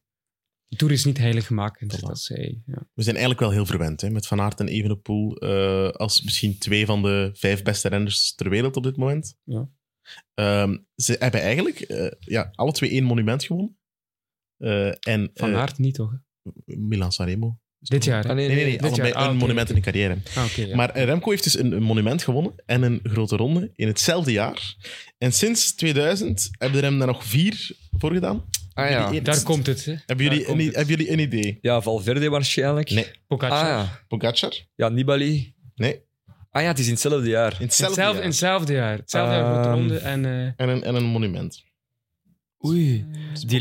[SPEAKER 4] De Tour is niet heilig gemaakt.
[SPEAKER 2] Voilà.
[SPEAKER 4] Dat zei, ja.
[SPEAKER 2] We zijn eigenlijk wel heel verwend hè? met Van Aert en Evenepoel eh, als misschien twee van de vijf beste renners ter wereld op dit moment.
[SPEAKER 4] Ja.
[SPEAKER 2] Ehm, ze hebben eigenlijk eh, ja, alle twee één monument gewonnen. Eh, en
[SPEAKER 4] Van
[SPEAKER 2] eh,
[SPEAKER 4] Aart niet toch? hè?
[SPEAKER 2] Milan Sanremo.
[SPEAKER 4] Dit jaar. hè?
[SPEAKER 3] Ah,
[SPEAKER 2] Nee, nee, nee,
[SPEAKER 4] dit
[SPEAKER 2] allebei
[SPEAKER 4] jaar. Ah,
[SPEAKER 2] een
[SPEAKER 4] oké,
[SPEAKER 2] monument
[SPEAKER 4] oké.
[SPEAKER 2] in de carrière.
[SPEAKER 4] Ah, oké, ja.
[SPEAKER 2] Maar eh, Remco heeft dus een, een monument gewonnen en een grote ronde in hetzelfde jaar. En sinds 2000 hebben er hem daar nog vier voor gedaan.
[SPEAKER 3] Ah
[SPEAKER 2] Hebben jullie
[SPEAKER 3] ja.
[SPEAKER 2] eer-
[SPEAKER 4] Daar komt het, hè?
[SPEAKER 2] Hebben jullie,
[SPEAKER 4] Daar komt
[SPEAKER 2] een, i-
[SPEAKER 4] het.
[SPEAKER 2] hebben jullie een idee?
[SPEAKER 3] Ja, Valverde waarschijnlijk.
[SPEAKER 2] Nee.
[SPEAKER 3] Ah
[SPEAKER 4] Pogacar.
[SPEAKER 3] ja.
[SPEAKER 2] Pogacar?
[SPEAKER 3] Ja, Nibali.
[SPEAKER 2] Nee,
[SPEAKER 3] Ah ja, het is in hetzelfde jaar.
[SPEAKER 2] in hetzelfde,
[SPEAKER 4] Hetzelfde, in
[SPEAKER 2] jaar.
[SPEAKER 4] hetzelfde jaar. Hetzelfde jaar grote
[SPEAKER 3] Ehm.
[SPEAKER 4] ronde en... eh,
[SPEAKER 2] En een, en een monument.
[SPEAKER 3] Oei. Die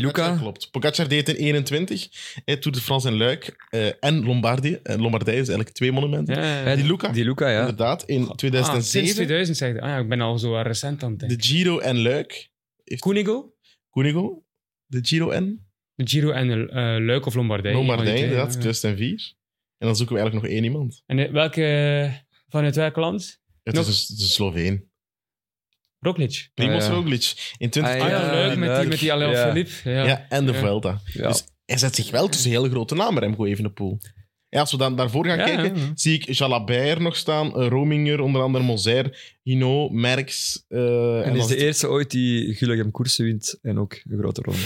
[SPEAKER 2] Pogacar,
[SPEAKER 3] Luca.
[SPEAKER 2] Klopt. Pogacar deed het in 21. Hij Tour de France en Luik. eh, en Lombardie. En Lombardije is eigenlijk twee monumenten.
[SPEAKER 4] ja, ja.
[SPEAKER 3] Eh,
[SPEAKER 2] Die Luca.
[SPEAKER 3] Die Luca, ja.
[SPEAKER 2] Inderdaad, in
[SPEAKER 4] Ah, sinds
[SPEAKER 2] 2007.
[SPEAKER 4] 2000 zeg je. Ah ja, ik ben al zo recent aan het denken.
[SPEAKER 2] de Giro en Luik.
[SPEAKER 4] Koenigo?
[SPEAKER 2] Koenigo. De Giro en
[SPEAKER 4] De Giro en eh, Luik of Lombardij.
[SPEAKER 2] Lombardije,
[SPEAKER 4] Eén van die
[SPEAKER 2] inderdaad.
[SPEAKER 4] twee, ja.
[SPEAKER 2] 2004. En dan zoeken we eigenlijk nog één iemand.
[SPEAKER 4] En eh, welke... Vanuit welk land?
[SPEAKER 2] Het
[SPEAKER 4] Nog-
[SPEAKER 2] is een, het is een Sloveen.
[SPEAKER 4] Roglic.
[SPEAKER 2] Primoz
[SPEAKER 3] Ah, ja.
[SPEAKER 2] Roglic. In 20...
[SPEAKER 3] Ah,
[SPEAKER 4] Ah ja,
[SPEAKER 3] Ja,
[SPEAKER 4] leuk met die,
[SPEAKER 3] leuk.
[SPEAKER 4] met die Alain
[SPEAKER 3] Ja.
[SPEAKER 4] Philippe. Ja.
[SPEAKER 2] Ja, en de
[SPEAKER 4] Ja.
[SPEAKER 2] Vuelta.
[SPEAKER 3] Ja.
[SPEAKER 2] Dus hij zet zich wel tussen hele grote namen, Remco Evenepoel. Ja, als we dan daarvoor gaan
[SPEAKER 4] Ja,
[SPEAKER 2] kijken,
[SPEAKER 4] ja.
[SPEAKER 2] zie ik Jalabert nog staan, eh, Rominger, onder andere Moser, Hino, Merks. eh,
[SPEAKER 3] en
[SPEAKER 2] dan
[SPEAKER 3] is de
[SPEAKER 2] zit-
[SPEAKER 3] eerste ooit die Gullegem koersen wint en ook een grote ronde.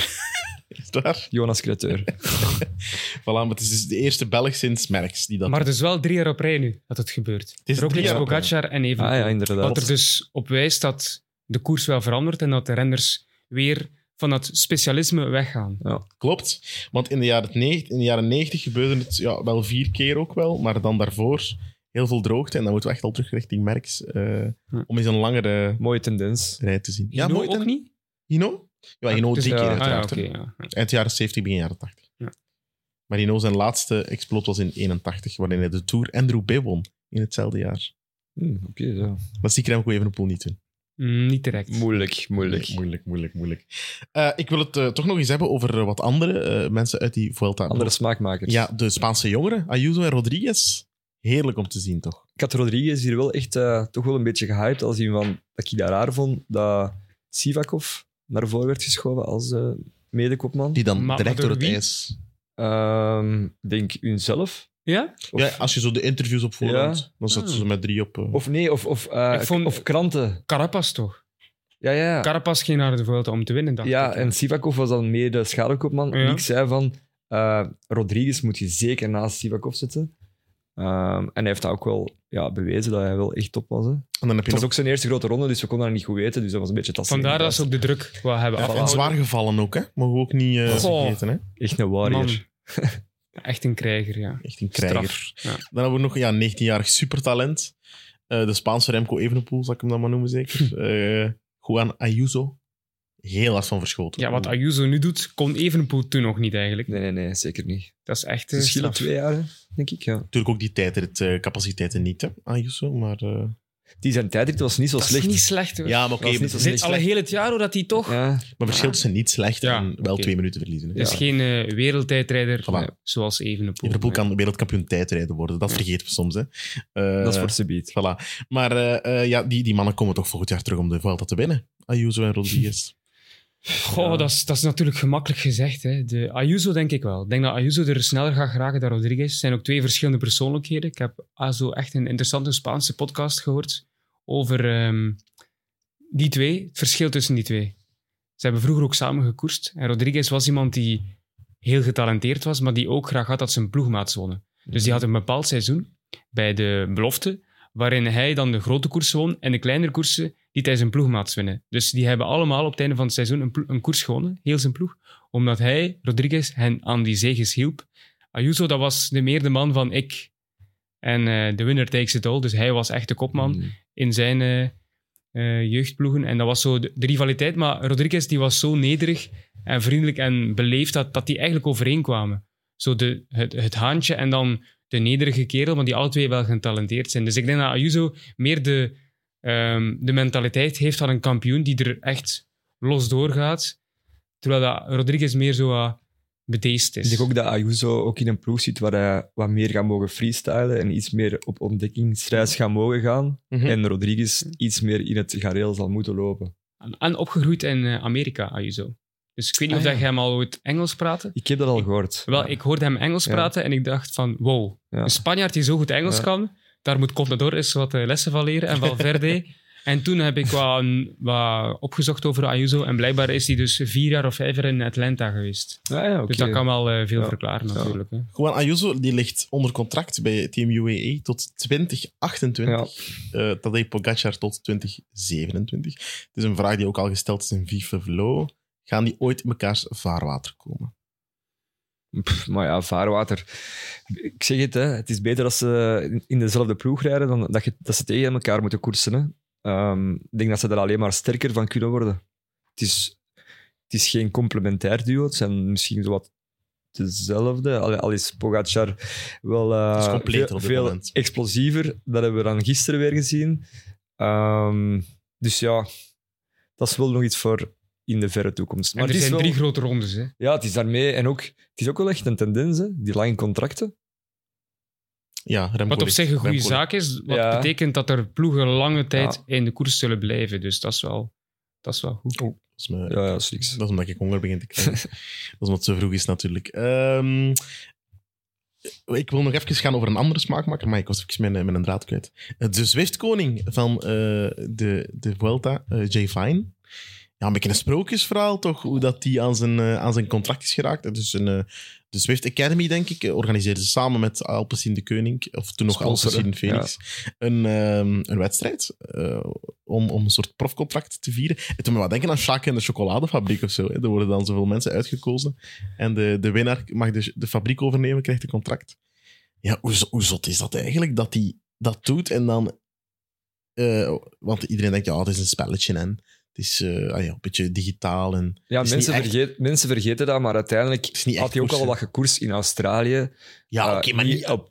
[SPEAKER 2] is daar.
[SPEAKER 3] Jonas Creteur.
[SPEAKER 2] Voilà, maar het is dus de eerste Belg sinds Merks die dat
[SPEAKER 4] Maar dus wel drie jaar op rij nu dat het gebeurt.
[SPEAKER 2] is drie
[SPEAKER 4] Roglic,
[SPEAKER 2] jaar op rij.
[SPEAKER 4] Pogacar en even.
[SPEAKER 3] Ah ja, inderdaad.
[SPEAKER 4] Wat er dus op wijst dat de koers wel verandert en dat de renners weer van dat specialisme weggaan.
[SPEAKER 2] Klopt, want in de jaren, nege- in de jaren 90 gebeurde het ja, wel vier keer ook wel, maar dan daarvoor heel veel droogte. En dan moeten we echt al terug richting Merks eh,
[SPEAKER 4] Hm.
[SPEAKER 2] om eens een langere
[SPEAKER 3] Mooie tendens.
[SPEAKER 2] rij te zien.
[SPEAKER 4] Ja,
[SPEAKER 2] mooi,
[SPEAKER 4] ook
[SPEAKER 2] dan-
[SPEAKER 4] niet?
[SPEAKER 2] Hino? Ja, Hino
[SPEAKER 4] Dus-
[SPEAKER 2] drie
[SPEAKER 3] ja,
[SPEAKER 2] keer
[SPEAKER 3] ah
[SPEAKER 4] Ah, ja,
[SPEAKER 2] uiteraard.
[SPEAKER 4] oké.
[SPEAKER 2] hè.
[SPEAKER 4] ja.
[SPEAKER 2] Eind jaren 70, begin jaren 80.
[SPEAKER 4] Ja.
[SPEAKER 2] Maar Hino zijn laatste exploot was in 81, waarin hij de Tour en de Roubaix won in hetzelfde jaar.
[SPEAKER 3] Hm,
[SPEAKER 2] Hmm,
[SPEAKER 3] Oké, zo.
[SPEAKER 2] Dat zie ik Remco Evenepoel niet doen.
[SPEAKER 4] Mm, niet direct.
[SPEAKER 3] Moeilijk, moeilijk.
[SPEAKER 2] Nee, moeilijk, moeilijk, moeilijk. Eh, ik wil het eh, toch nog eens hebben over eh, wat andere eh, mensen uit die Vuelta.
[SPEAKER 3] Andere smaakmakers.
[SPEAKER 2] Ja, de Spaanse jongeren, Ayuso en Rodriguez. Heerlijk om te zien, toch?
[SPEAKER 3] Ik had Rodriguez hier wel echt eh, toch wel een beetje gehyped als hij van dat ik dat raar vond dat Sivakov naar voren werd geschoven als eh medekopman.
[SPEAKER 2] Die dan
[SPEAKER 4] Maar-
[SPEAKER 2] direct
[SPEAKER 4] maar door
[SPEAKER 2] door het
[SPEAKER 4] wie?
[SPEAKER 2] ijs.
[SPEAKER 3] Ehm, denk hunzelf.
[SPEAKER 4] Ja?
[SPEAKER 3] Of,
[SPEAKER 2] Ja, als je zo de interviews op voorhand, dan zaten ze met drie op. eh,
[SPEAKER 3] of nee, of, of, eh,
[SPEAKER 4] Ik vond-
[SPEAKER 3] of kranten.
[SPEAKER 4] Carapaz toch?
[SPEAKER 3] Ja, ja.
[SPEAKER 4] Carapaz ging naar de Vuelta om te winnen, dacht
[SPEAKER 3] ja,
[SPEAKER 4] ik.
[SPEAKER 3] en Sivakov was dan meer de schaduwkoopman.
[SPEAKER 4] Ja.
[SPEAKER 3] En ik zei van, eh Rodriguez moet je zeker naast Sivakov zetten. Ehm, en hij heeft dat ook wel ja, bewezen dat hij wel echt top was. Hè.
[SPEAKER 2] en dan heb je
[SPEAKER 3] Het was
[SPEAKER 2] nog
[SPEAKER 3] ook zijn eerste grote ronde, dus we konden dat niet goed weten. Dus dat was een beetje tassen.
[SPEAKER 4] Vandaar dat ze ook de druk wel hebben.
[SPEAKER 2] ja, en
[SPEAKER 4] afgehouden.
[SPEAKER 2] zwaar gevallen ook, hè? Mogen we ook niet eh,
[SPEAKER 4] Goh.
[SPEAKER 2] vergeten, hè?
[SPEAKER 3] Echt een warrior.
[SPEAKER 4] Man. Echt een krijger, ja.
[SPEAKER 2] Echt een krijger.
[SPEAKER 4] Straf, ja.
[SPEAKER 2] Dan hebben we nog ja, een 19-jarig supertalent. Eh, de Spaanse Remco Evenepoel, zal ik hem dan maar noemen,
[SPEAKER 4] Hm.
[SPEAKER 2] zeker. Eh Juan Ayuso. Heel hard van verschoten.
[SPEAKER 4] Ja, wat Ayuso nu doet, kon Evenepoel toen nog niet eigenlijk.
[SPEAKER 3] Nee, nee, nee, zeker niet.
[SPEAKER 4] Dat is echt... eh,
[SPEAKER 3] Het verschillen
[SPEAKER 4] straf.
[SPEAKER 3] twee jaar, hè, denk ik. Ja.
[SPEAKER 2] Natuurlijk ook die tijdritcapaciteiten eh, niet, hè, Ayuso. Maar, eh,
[SPEAKER 3] Die zijn tijdrit was niet zo
[SPEAKER 4] Dat is
[SPEAKER 3] slecht.
[SPEAKER 4] niet slecht, hoor.
[SPEAKER 2] ja, maar oké.
[SPEAKER 3] Dat is niet zo
[SPEAKER 2] maar-
[SPEAKER 3] slecht.
[SPEAKER 4] Dit al heel het jaar, hoe dat hij toch...
[SPEAKER 3] Ja.
[SPEAKER 2] maar verschilt ze niet slecht
[SPEAKER 4] Ja,
[SPEAKER 2] en wel
[SPEAKER 4] oké.
[SPEAKER 2] twee minuten verliezen. hè.
[SPEAKER 4] Het is
[SPEAKER 3] Ja.
[SPEAKER 4] geen eh, wereldtijdrijder eh,
[SPEAKER 2] Voilà.
[SPEAKER 4] zoals Evenepoel. eh,
[SPEAKER 2] Liverpool kan wereldkampioen tijdrijden worden. Dat vergeten we soms, hè. Eh,
[SPEAKER 3] Dat is voor Subiet.
[SPEAKER 2] Voilà. Maar eh, eh, ja, die, die mannen komen toch volgend jaar terug om de Vuelta te winnen. Ayuso en Rodriguez.
[SPEAKER 4] Goh,
[SPEAKER 3] Ja.
[SPEAKER 4] dat, is, dat is natuurlijk gemakkelijk gezegd. Hè. De Ayuso denk ik wel. Ik denk dat Ayuso er sneller gaat geraken dan Rodriguez. Het zijn ook twee verschillende persoonlijkheden. Ik heb Azo echt een interessante Spaanse podcast gehoord over ehm, die twee, het verschil tussen die twee. Ze hebben vroeger ook samen gekoerst. En Rodriguez was iemand die heel getalenteerd was, maar die ook graag had dat zijn ploegmaats wonnen. Dus die had een bepaald seizoen bij de belofte, waarin hij dan de grote koersen won en de kleinere koersen die hij zijn ploegmaats winnen. Dus die hebben allemaal op het einde van het seizoen een, plo- een koers gewonnen, heel zijn ploeg, omdat hij, Rodriguez, hen aan die zeges hielp. Ayuso, dat was de meer de man van ik. En eh, de winner takes it all, dus hij was echt de kopman
[SPEAKER 3] Mm.
[SPEAKER 4] in zijn eh, eh, jeugdploegen. En dat was zo de, de rivaliteit. Maar Rodriguez die was zo nederig en vriendelijk en beleefd dat, dat die eigenlijk overeenkwamen. Zo de, het, het haantje en dan de nederige kerel, want die alle twee wel getalenteerd zijn. Dus ik denk dat Ayuso meer de, ehm, de mentaliteit heeft van een kampioen die er echt los doorgaat. Terwijl dat Rodriguez meer zo wat bedeesd
[SPEAKER 3] Ik
[SPEAKER 4] is.
[SPEAKER 3] denk ook dat Ayuso ook in een ploeg zit waar hij wat meer gaat mogen freestylen en iets meer op ontdekkingsreis gaat mogen gaan.
[SPEAKER 2] Mhm.
[SPEAKER 3] En Rodriguez iets meer in het gareel zal moeten lopen.
[SPEAKER 4] En- En opgegroeid in eh, Amerika, Ayuso. Dus ik weet niet
[SPEAKER 3] Ah,
[SPEAKER 4] of
[SPEAKER 3] ja.
[SPEAKER 4] dat jij hem al ooit Engels praatte.
[SPEAKER 3] Ik heb dat al gehoord.
[SPEAKER 4] Wel, ik hoorde hem Engels
[SPEAKER 3] Ja.
[SPEAKER 4] praten en ik dacht van, wow,
[SPEAKER 3] Ja.
[SPEAKER 4] een Spanjaard die zo goed Engels
[SPEAKER 3] Ja.
[SPEAKER 4] kan, daar moet Contador eens wat eh, lessen van leren en
[SPEAKER 3] *laughs*
[SPEAKER 4] Valverde. en toen heb ik wat, wat opgezocht over Ayuso en blijkbaar is hij dus vier jaar of vijf jaar in Atlanta geweest.
[SPEAKER 3] Ah, ja, oké.
[SPEAKER 4] Dus dat kan wel eh, veel
[SPEAKER 3] Ja.
[SPEAKER 4] verklaren
[SPEAKER 3] Ja.
[SPEAKER 4] natuurlijk. Hè.
[SPEAKER 2] Juan Ayuso die ligt onder contract bij Team UAE tot 2028. Eh Tadej Pogacar tot 2027. Het is een vraag die ook al gesteld is in Vive Vlo. Gaan die ooit in mekaars vaarwater komen?
[SPEAKER 3] Pff, maar ja, vaarwater. Ik zeg het, hè, het is beter als ze in- in dezelfde ploeg rijden dan dat, je, dat ze tegen elkaar moeten koersen. Hè. Ehm, ik denk dat ze daar alleen maar sterker van kunnen worden. Het is, het is geen complementair duo. Het zijn misschien zo wat dezelfde. Al, al is Pogacar wel eh,
[SPEAKER 2] Het is completer
[SPEAKER 3] veel,
[SPEAKER 2] op dit
[SPEAKER 3] veel
[SPEAKER 2] moment.
[SPEAKER 3] explosiever. Dat hebben we dan gisteren weer gezien. Ehm, dus ja, dat is wel nog iets voor in de verre toekomst.
[SPEAKER 4] En er
[SPEAKER 3] het is
[SPEAKER 4] zijn
[SPEAKER 3] wel-
[SPEAKER 4] drie grote rondes. Hè.
[SPEAKER 3] ja, het is daarmee. En ook, het is ook wel echt een tendens, hè, die lange contracten.
[SPEAKER 2] Ja, Remco
[SPEAKER 4] Wat op
[SPEAKER 2] Licht.
[SPEAKER 4] zich een goede
[SPEAKER 2] Remco Licht.
[SPEAKER 4] zaak is, wat
[SPEAKER 3] Ja.
[SPEAKER 4] betekent dat er ploegen lange tijd
[SPEAKER 3] Ja.
[SPEAKER 4] in de koers zullen blijven. Dus dat is wel, dat is wel goed.
[SPEAKER 2] Oh, Dat is mijn-
[SPEAKER 3] Ja, ja, zoiets.
[SPEAKER 2] Dat is omdat ik honger begin te krijgen. dat is omdat het zo vroeg is, natuurlijk. Ehm, ik wil nog even gaan over een andere smaakmaker, maar ik was even mijn, mijn draad kwijt. De Zwiftkoning van eh, de, de Vuelta, eh, Jay Fine. Ja, een beetje een sprookjesverhaal, toch? Hoe dat die aan zijn, eh, aan zijn contract is geraakt. Dus een, eh, de Zwift Academy, denk ik, eh, organiseerde ze samen met Alpecin de Koning, of toen nog
[SPEAKER 3] Sponsoren,
[SPEAKER 2] Alpecin Felix, een, ehm, een wedstrijd eh, om, om een soort profcontract te vieren. Het doet me wat denken aan Sjaak en de chocoladefabriek of zo. Hè. Er worden dan zoveel mensen uitgekozen. En de, de winnaar mag de, de fabriek overnemen, krijgt een contract. Ja, hoe, zo- hoe zot is dat eigenlijk? Dat hij dat doet en dan... eh, want iedereen denkt, ja, het is een spelletje en het is eh, ah ja, een beetje digitaal. En,
[SPEAKER 3] Ja,
[SPEAKER 2] het is
[SPEAKER 3] mensen,
[SPEAKER 2] niet echt-
[SPEAKER 3] vergeet, mensen vergeten dat, maar uiteindelijk
[SPEAKER 2] is niet
[SPEAKER 3] had
[SPEAKER 2] echt
[SPEAKER 3] hij ook al
[SPEAKER 2] koersen.
[SPEAKER 3] wat gekoers in Australië.
[SPEAKER 2] ja,
[SPEAKER 3] Eh,
[SPEAKER 2] oké, maar niet...
[SPEAKER 3] op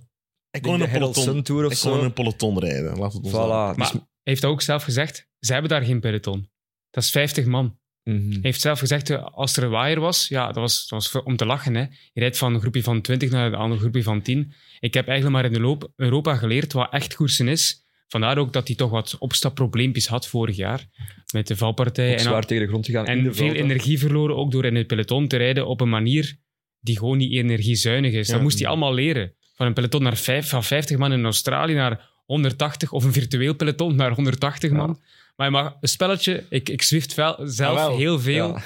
[SPEAKER 2] ik
[SPEAKER 3] de
[SPEAKER 2] kon in een
[SPEAKER 3] Herald
[SPEAKER 2] peloton,
[SPEAKER 3] Sun Tour of
[SPEAKER 2] ik kon in
[SPEAKER 3] zo.
[SPEAKER 2] een peloton rijden. Laat het ons zeggen.
[SPEAKER 3] Voilà. Dus,
[SPEAKER 4] Maar hij heeft dat ook zelf gezegd. Ze hebben daar geen peloton. Dat is 50 man.
[SPEAKER 3] Mhm.
[SPEAKER 4] Hij heeft zelf gezegd, eh, als er een waaier was, ja, dat was, dat was voor- om te lachen. Hè. Je rijdt van een groepje van 20 naar een andere groepje van 10. Ik heb eigenlijk maar in de loop Europa geleerd wat echt koersen is. Vandaar ook dat hij toch wat opstapprobleempjes had vorig jaar met de valpartij.
[SPEAKER 3] Ook
[SPEAKER 4] En,
[SPEAKER 3] zwaar tegen de grond te gaan. in
[SPEAKER 4] en
[SPEAKER 3] de
[SPEAKER 4] veel
[SPEAKER 3] Vuelta.
[SPEAKER 4] energie verloren, ook door in het peloton te rijden op een manier die gewoon niet energiezuinig is.
[SPEAKER 2] Ja.
[SPEAKER 4] Dat moest hij allemaal leren. Van een peloton naar vijf, van 50 man in Australië naar 180, of een virtueel peloton naar 180 man. Maar je mag een spelletje, ik, ik zwift wel, zelf
[SPEAKER 2] Jawel.
[SPEAKER 4] heel veel.
[SPEAKER 3] Ja.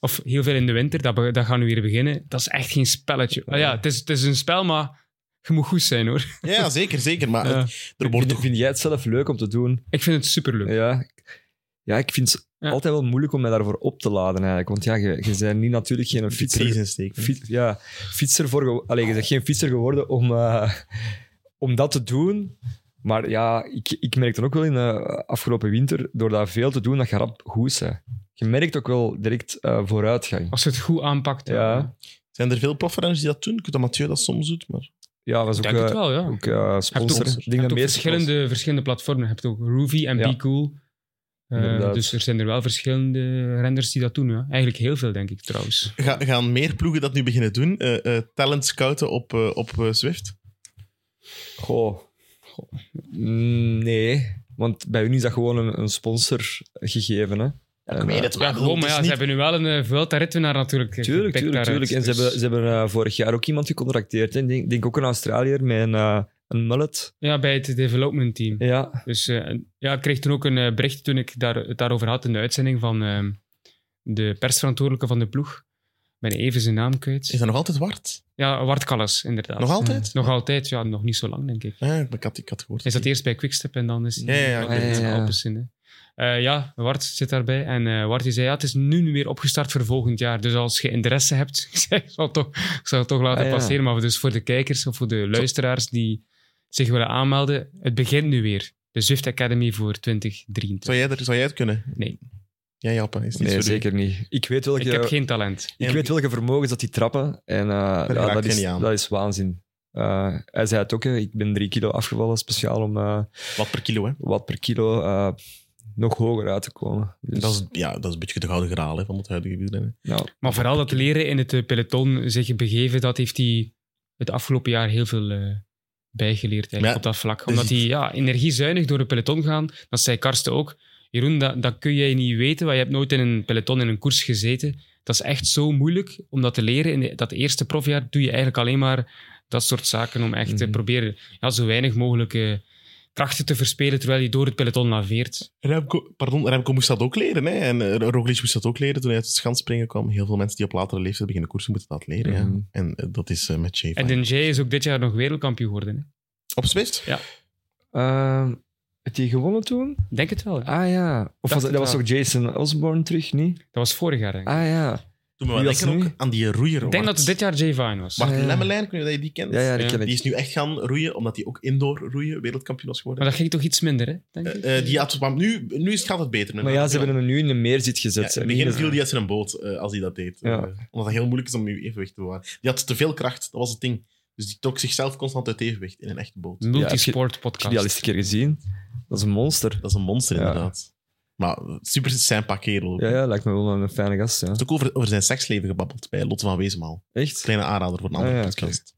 [SPEAKER 4] Of heel veel in de winter, dat, be- dat gaan we weer beginnen. Dat is echt geen spelletje. Ah ja, het is, het is een spel, maar je moet goed zijn hoor.
[SPEAKER 2] Dus- Ja, zeker, zeker.
[SPEAKER 3] *laughs*
[SPEAKER 2] Maar
[SPEAKER 4] Ja.
[SPEAKER 2] het- er wordt
[SPEAKER 3] Vind,
[SPEAKER 2] toch...
[SPEAKER 3] vind jij het zelf leuk om te doen?
[SPEAKER 4] Ik vind het superleuk.
[SPEAKER 3] Ja. Ja, ik vind het
[SPEAKER 4] Ja.
[SPEAKER 3] altijd wel moeilijk om mij daarvoor op te laden eigenlijk. Want ja, je, je bent niet natuurlijk geen
[SPEAKER 2] Die
[SPEAKER 3] fietser.
[SPEAKER 2] prijzen steken.
[SPEAKER 3] Fiets- ja, fietser voor... ge- Allee, je bent geen fietser geworden om, eh, om dat te doen. Maar ja, ik, ik merk dan ook wel in de afgelopen winter, door dat veel te doen, dat je rap goed bent. Je merkt ook wel direct eh, vooruitgang.
[SPEAKER 4] Als je het goed aanpakt. wel,
[SPEAKER 3] Ja.
[SPEAKER 4] hè.
[SPEAKER 2] Zijn er veel profrenners die dat doen? Ik weet dat Mathieu dat soms doet, maar...
[SPEAKER 3] Ja, was
[SPEAKER 4] Ik
[SPEAKER 3] ook,
[SPEAKER 4] denk het
[SPEAKER 3] eh,
[SPEAKER 4] wel, ja.
[SPEAKER 3] ook eh, sponsor.
[SPEAKER 4] ook-
[SPEAKER 3] Ik denk
[SPEAKER 4] Je
[SPEAKER 3] dat
[SPEAKER 4] hebt ook
[SPEAKER 3] meest
[SPEAKER 4] verschillende, verschillende platformen. Je hebt ook Ruby en
[SPEAKER 3] Ja.
[SPEAKER 4] Be Cool. Eh,
[SPEAKER 3] Inderdaad.
[SPEAKER 4] dus er zijn er wel verschillende renders die dat doen. Ja. Eigenlijk heel veel, denk ik trouwens.
[SPEAKER 2] Ga- gaan meer ploegen dat nu beginnen doen? Eh, eh, talent scouten op, eh, op eh, Zwift?
[SPEAKER 3] Goh. Mm, Nee, want bij hun is dat gewoon een, een sponsor gegeven. Hè? En, eh,
[SPEAKER 4] Ja, gewoon, maar ja, ze hebben nu wel een uh, Vuelta-ritwenaar natuurlijk eh,
[SPEAKER 3] Tuurlijk,
[SPEAKER 4] gepikt
[SPEAKER 3] tuurlijk,
[SPEAKER 4] daaruit.
[SPEAKER 3] tuurlijk. En ze
[SPEAKER 4] Dus-
[SPEAKER 3] hebben, ze hebben eh, vorig jaar ook iemand gecontracteerd. hè. Ik denk, denk ook een Australiër met een, eh, een mullet.
[SPEAKER 4] Ja, bij het development team.
[SPEAKER 3] Ja,
[SPEAKER 4] Dus eh, en- ja, ik kreeg toen ook een eh, bericht toen ik daar, het daarover had in de uitzending van ehm, de persverantwoordelijke van de ploeg. Ik ben even zijn naam kwijt.
[SPEAKER 2] Is dat nog altijd Wart?
[SPEAKER 4] Ja, Wart Kallas, inderdaad.
[SPEAKER 2] Nog altijd?
[SPEAKER 4] Nog altijd, ja, nog niet zo lang, denk ik.
[SPEAKER 2] Ja, ik, ik had, ik had gehoord.
[SPEAKER 4] Is dat eerst bij Quickstep en dan is het
[SPEAKER 2] Ja, ja, ja,
[SPEAKER 4] dan
[SPEAKER 2] oké.
[SPEAKER 4] is het
[SPEAKER 3] Ja, ja, ja.
[SPEAKER 4] Alpecin, hè. Eh, ja, Wart zit daarbij. En eh, Wart die zei, ja, het is nu niet meer opgestart voor volgend jaar. Dus als je interesse hebt, *laughs* ik zei, ik zal het toch, ik zal het toch laten
[SPEAKER 3] Ah, ja.
[SPEAKER 4] passeren. Maar dus voor de kijkers of voor de luisteraars die zich willen aanmelden, het begint nu weer. De Zwift Academy voor 2023.
[SPEAKER 2] Zou, jij er, zou jij het kunnen?
[SPEAKER 4] Nee.
[SPEAKER 2] Jij, Jappe, is niet
[SPEAKER 3] nee,
[SPEAKER 2] zo
[SPEAKER 3] zeker niet. Ik weet welke,
[SPEAKER 4] Ik
[SPEAKER 3] ik
[SPEAKER 4] heb geen talent.
[SPEAKER 2] eigenlijk-
[SPEAKER 3] weet welke vermogens dat die trappen. En eh, ja,
[SPEAKER 2] raakt
[SPEAKER 3] dat,
[SPEAKER 2] hij
[SPEAKER 3] is,
[SPEAKER 2] niet aan.
[SPEAKER 3] dat is waanzin. Eh, hij zei het ook, hè. ik ben drie kilo afgevallen, speciaal om eh,
[SPEAKER 2] Wat per kilo, hè?
[SPEAKER 3] wat per kilo eh, nog hoger uit te komen. Dus,
[SPEAKER 2] Dat is, ja, dat is een beetje de gouden graal hè, van het huidige wielrennen.
[SPEAKER 3] ja.
[SPEAKER 4] Maar vooral dat leren in het eh, peloton zich begeven, dat heeft hij het afgelopen jaar heel veel eh, bijgeleerd eigenlijk,
[SPEAKER 2] Maar ja,
[SPEAKER 4] op dat vlak.
[SPEAKER 2] is
[SPEAKER 4] Omdat
[SPEAKER 2] iets-
[SPEAKER 4] hij ja, energiezuinig door het peloton gaan, dat zei Karsten ook. Jeroen, dat, dat kun jij niet weten, want je hebt nooit in een peloton in een koers gezeten. Dat is echt zo moeilijk om dat te leren. In de- dat eerste profjaar doe je eigenlijk alleen maar dat soort zaken om echt te
[SPEAKER 3] Mhm.
[SPEAKER 4] proberen ja, zo weinig mogelijk eh, krachten te verspelen terwijl je door het peloton laveert.
[SPEAKER 2] Remco, pardon, Remco moest dat ook leren. Hè? En eh, Roglic moest dat ook leren toen hij uit het schanspringen kwam. Heel veel mensen die op latere leeftijd beginnen koersen, moeten dat leren. ja.
[SPEAKER 3] Mhm.
[SPEAKER 2] En eh, dat is eh, met Shea
[SPEAKER 4] En Denjay is ook dit jaar nog wereldkampioen geworden. hè?
[SPEAKER 2] Op Zwift?
[SPEAKER 3] Eh, heeft hij gewonnen toen?
[SPEAKER 4] Denk het wel. hè?
[SPEAKER 3] Ah ja. Of
[SPEAKER 4] Dacht
[SPEAKER 3] was,
[SPEAKER 4] het
[SPEAKER 3] dat was
[SPEAKER 4] wel.
[SPEAKER 3] ook Jason Osborne terug, niet?
[SPEAKER 4] Dat was vorig jaar, denk ik.
[SPEAKER 3] Ah ja.
[SPEAKER 2] Toen
[SPEAKER 3] Wie
[SPEAKER 2] we
[SPEAKER 3] was
[SPEAKER 2] denken
[SPEAKER 3] nu?
[SPEAKER 2] ook aan die roeier.
[SPEAKER 4] Ik denk dat
[SPEAKER 2] Bart.
[SPEAKER 4] het dit jaar Jay Vine was.
[SPEAKER 2] Bart
[SPEAKER 3] Ja, ja.
[SPEAKER 2] Lemmelijn, ik weet niet of je die kent.
[SPEAKER 3] Ja, ja, die
[SPEAKER 4] Ja.
[SPEAKER 3] ken ik.
[SPEAKER 2] Die is nu echt gaan roeien, omdat hij ook indoor roeien wereldkampioen was geworden.
[SPEAKER 4] Maar dat ging toch iets minder, hè? Denk ik.
[SPEAKER 2] Eh, eh, die had, maar nu, nu is, gaat het beter. met
[SPEAKER 3] Maar
[SPEAKER 2] hem.
[SPEAKER 3] ja, ze hebben hem nu in een meerzit
[SPEAKER 2] Ja,
[SPEAKER 3] gezet.
[SPEAKER 2] in
[SPEAKER 3] hè.
[SPEAKER 2] het begin
[SPEAKER 3] Niet
[SPEAKER 2] viel
[SPEAKER 3] dat-
[SPEAKER 2] die uit zijn boot eh, als hij dat deed.
[SPEAKER 3] Ja.
[SPEAKER 2] Eh, omdat dat heel moeilijk is om je evenwicht te bewaren. Die had te veel kracht, dat was het ding. Dus die trok zichzelf constant uit evenwicht in een echte boot.
[SPEAKER 4] Multisport
[SPEAKER 3] Ik heb die al eens
[SPEAKER 4] podcast.
[SPEAKER 3] een keer gezien. Dat is een monster.
[SPEAKER 2] Dat is een monster,
[SPEAKER 3] Ja.
[SPEAKER 2] inderdaad. Maar eh, super sympa kerel. ook.
[SPEAKER 3] Ja, ja, lijkt me wel een fijne gast. Ja.
[SPEAKER 2] Er is ook over, over zijn seksleven gebabbeld bij Lotte van Weesmaal.
[SPEAKER 3] Echt?
[SPEAKER 2] Kleine aanrader voor een andere
[SPEAKER 3] Ah, ja,
[SPEAKER 2] podcast.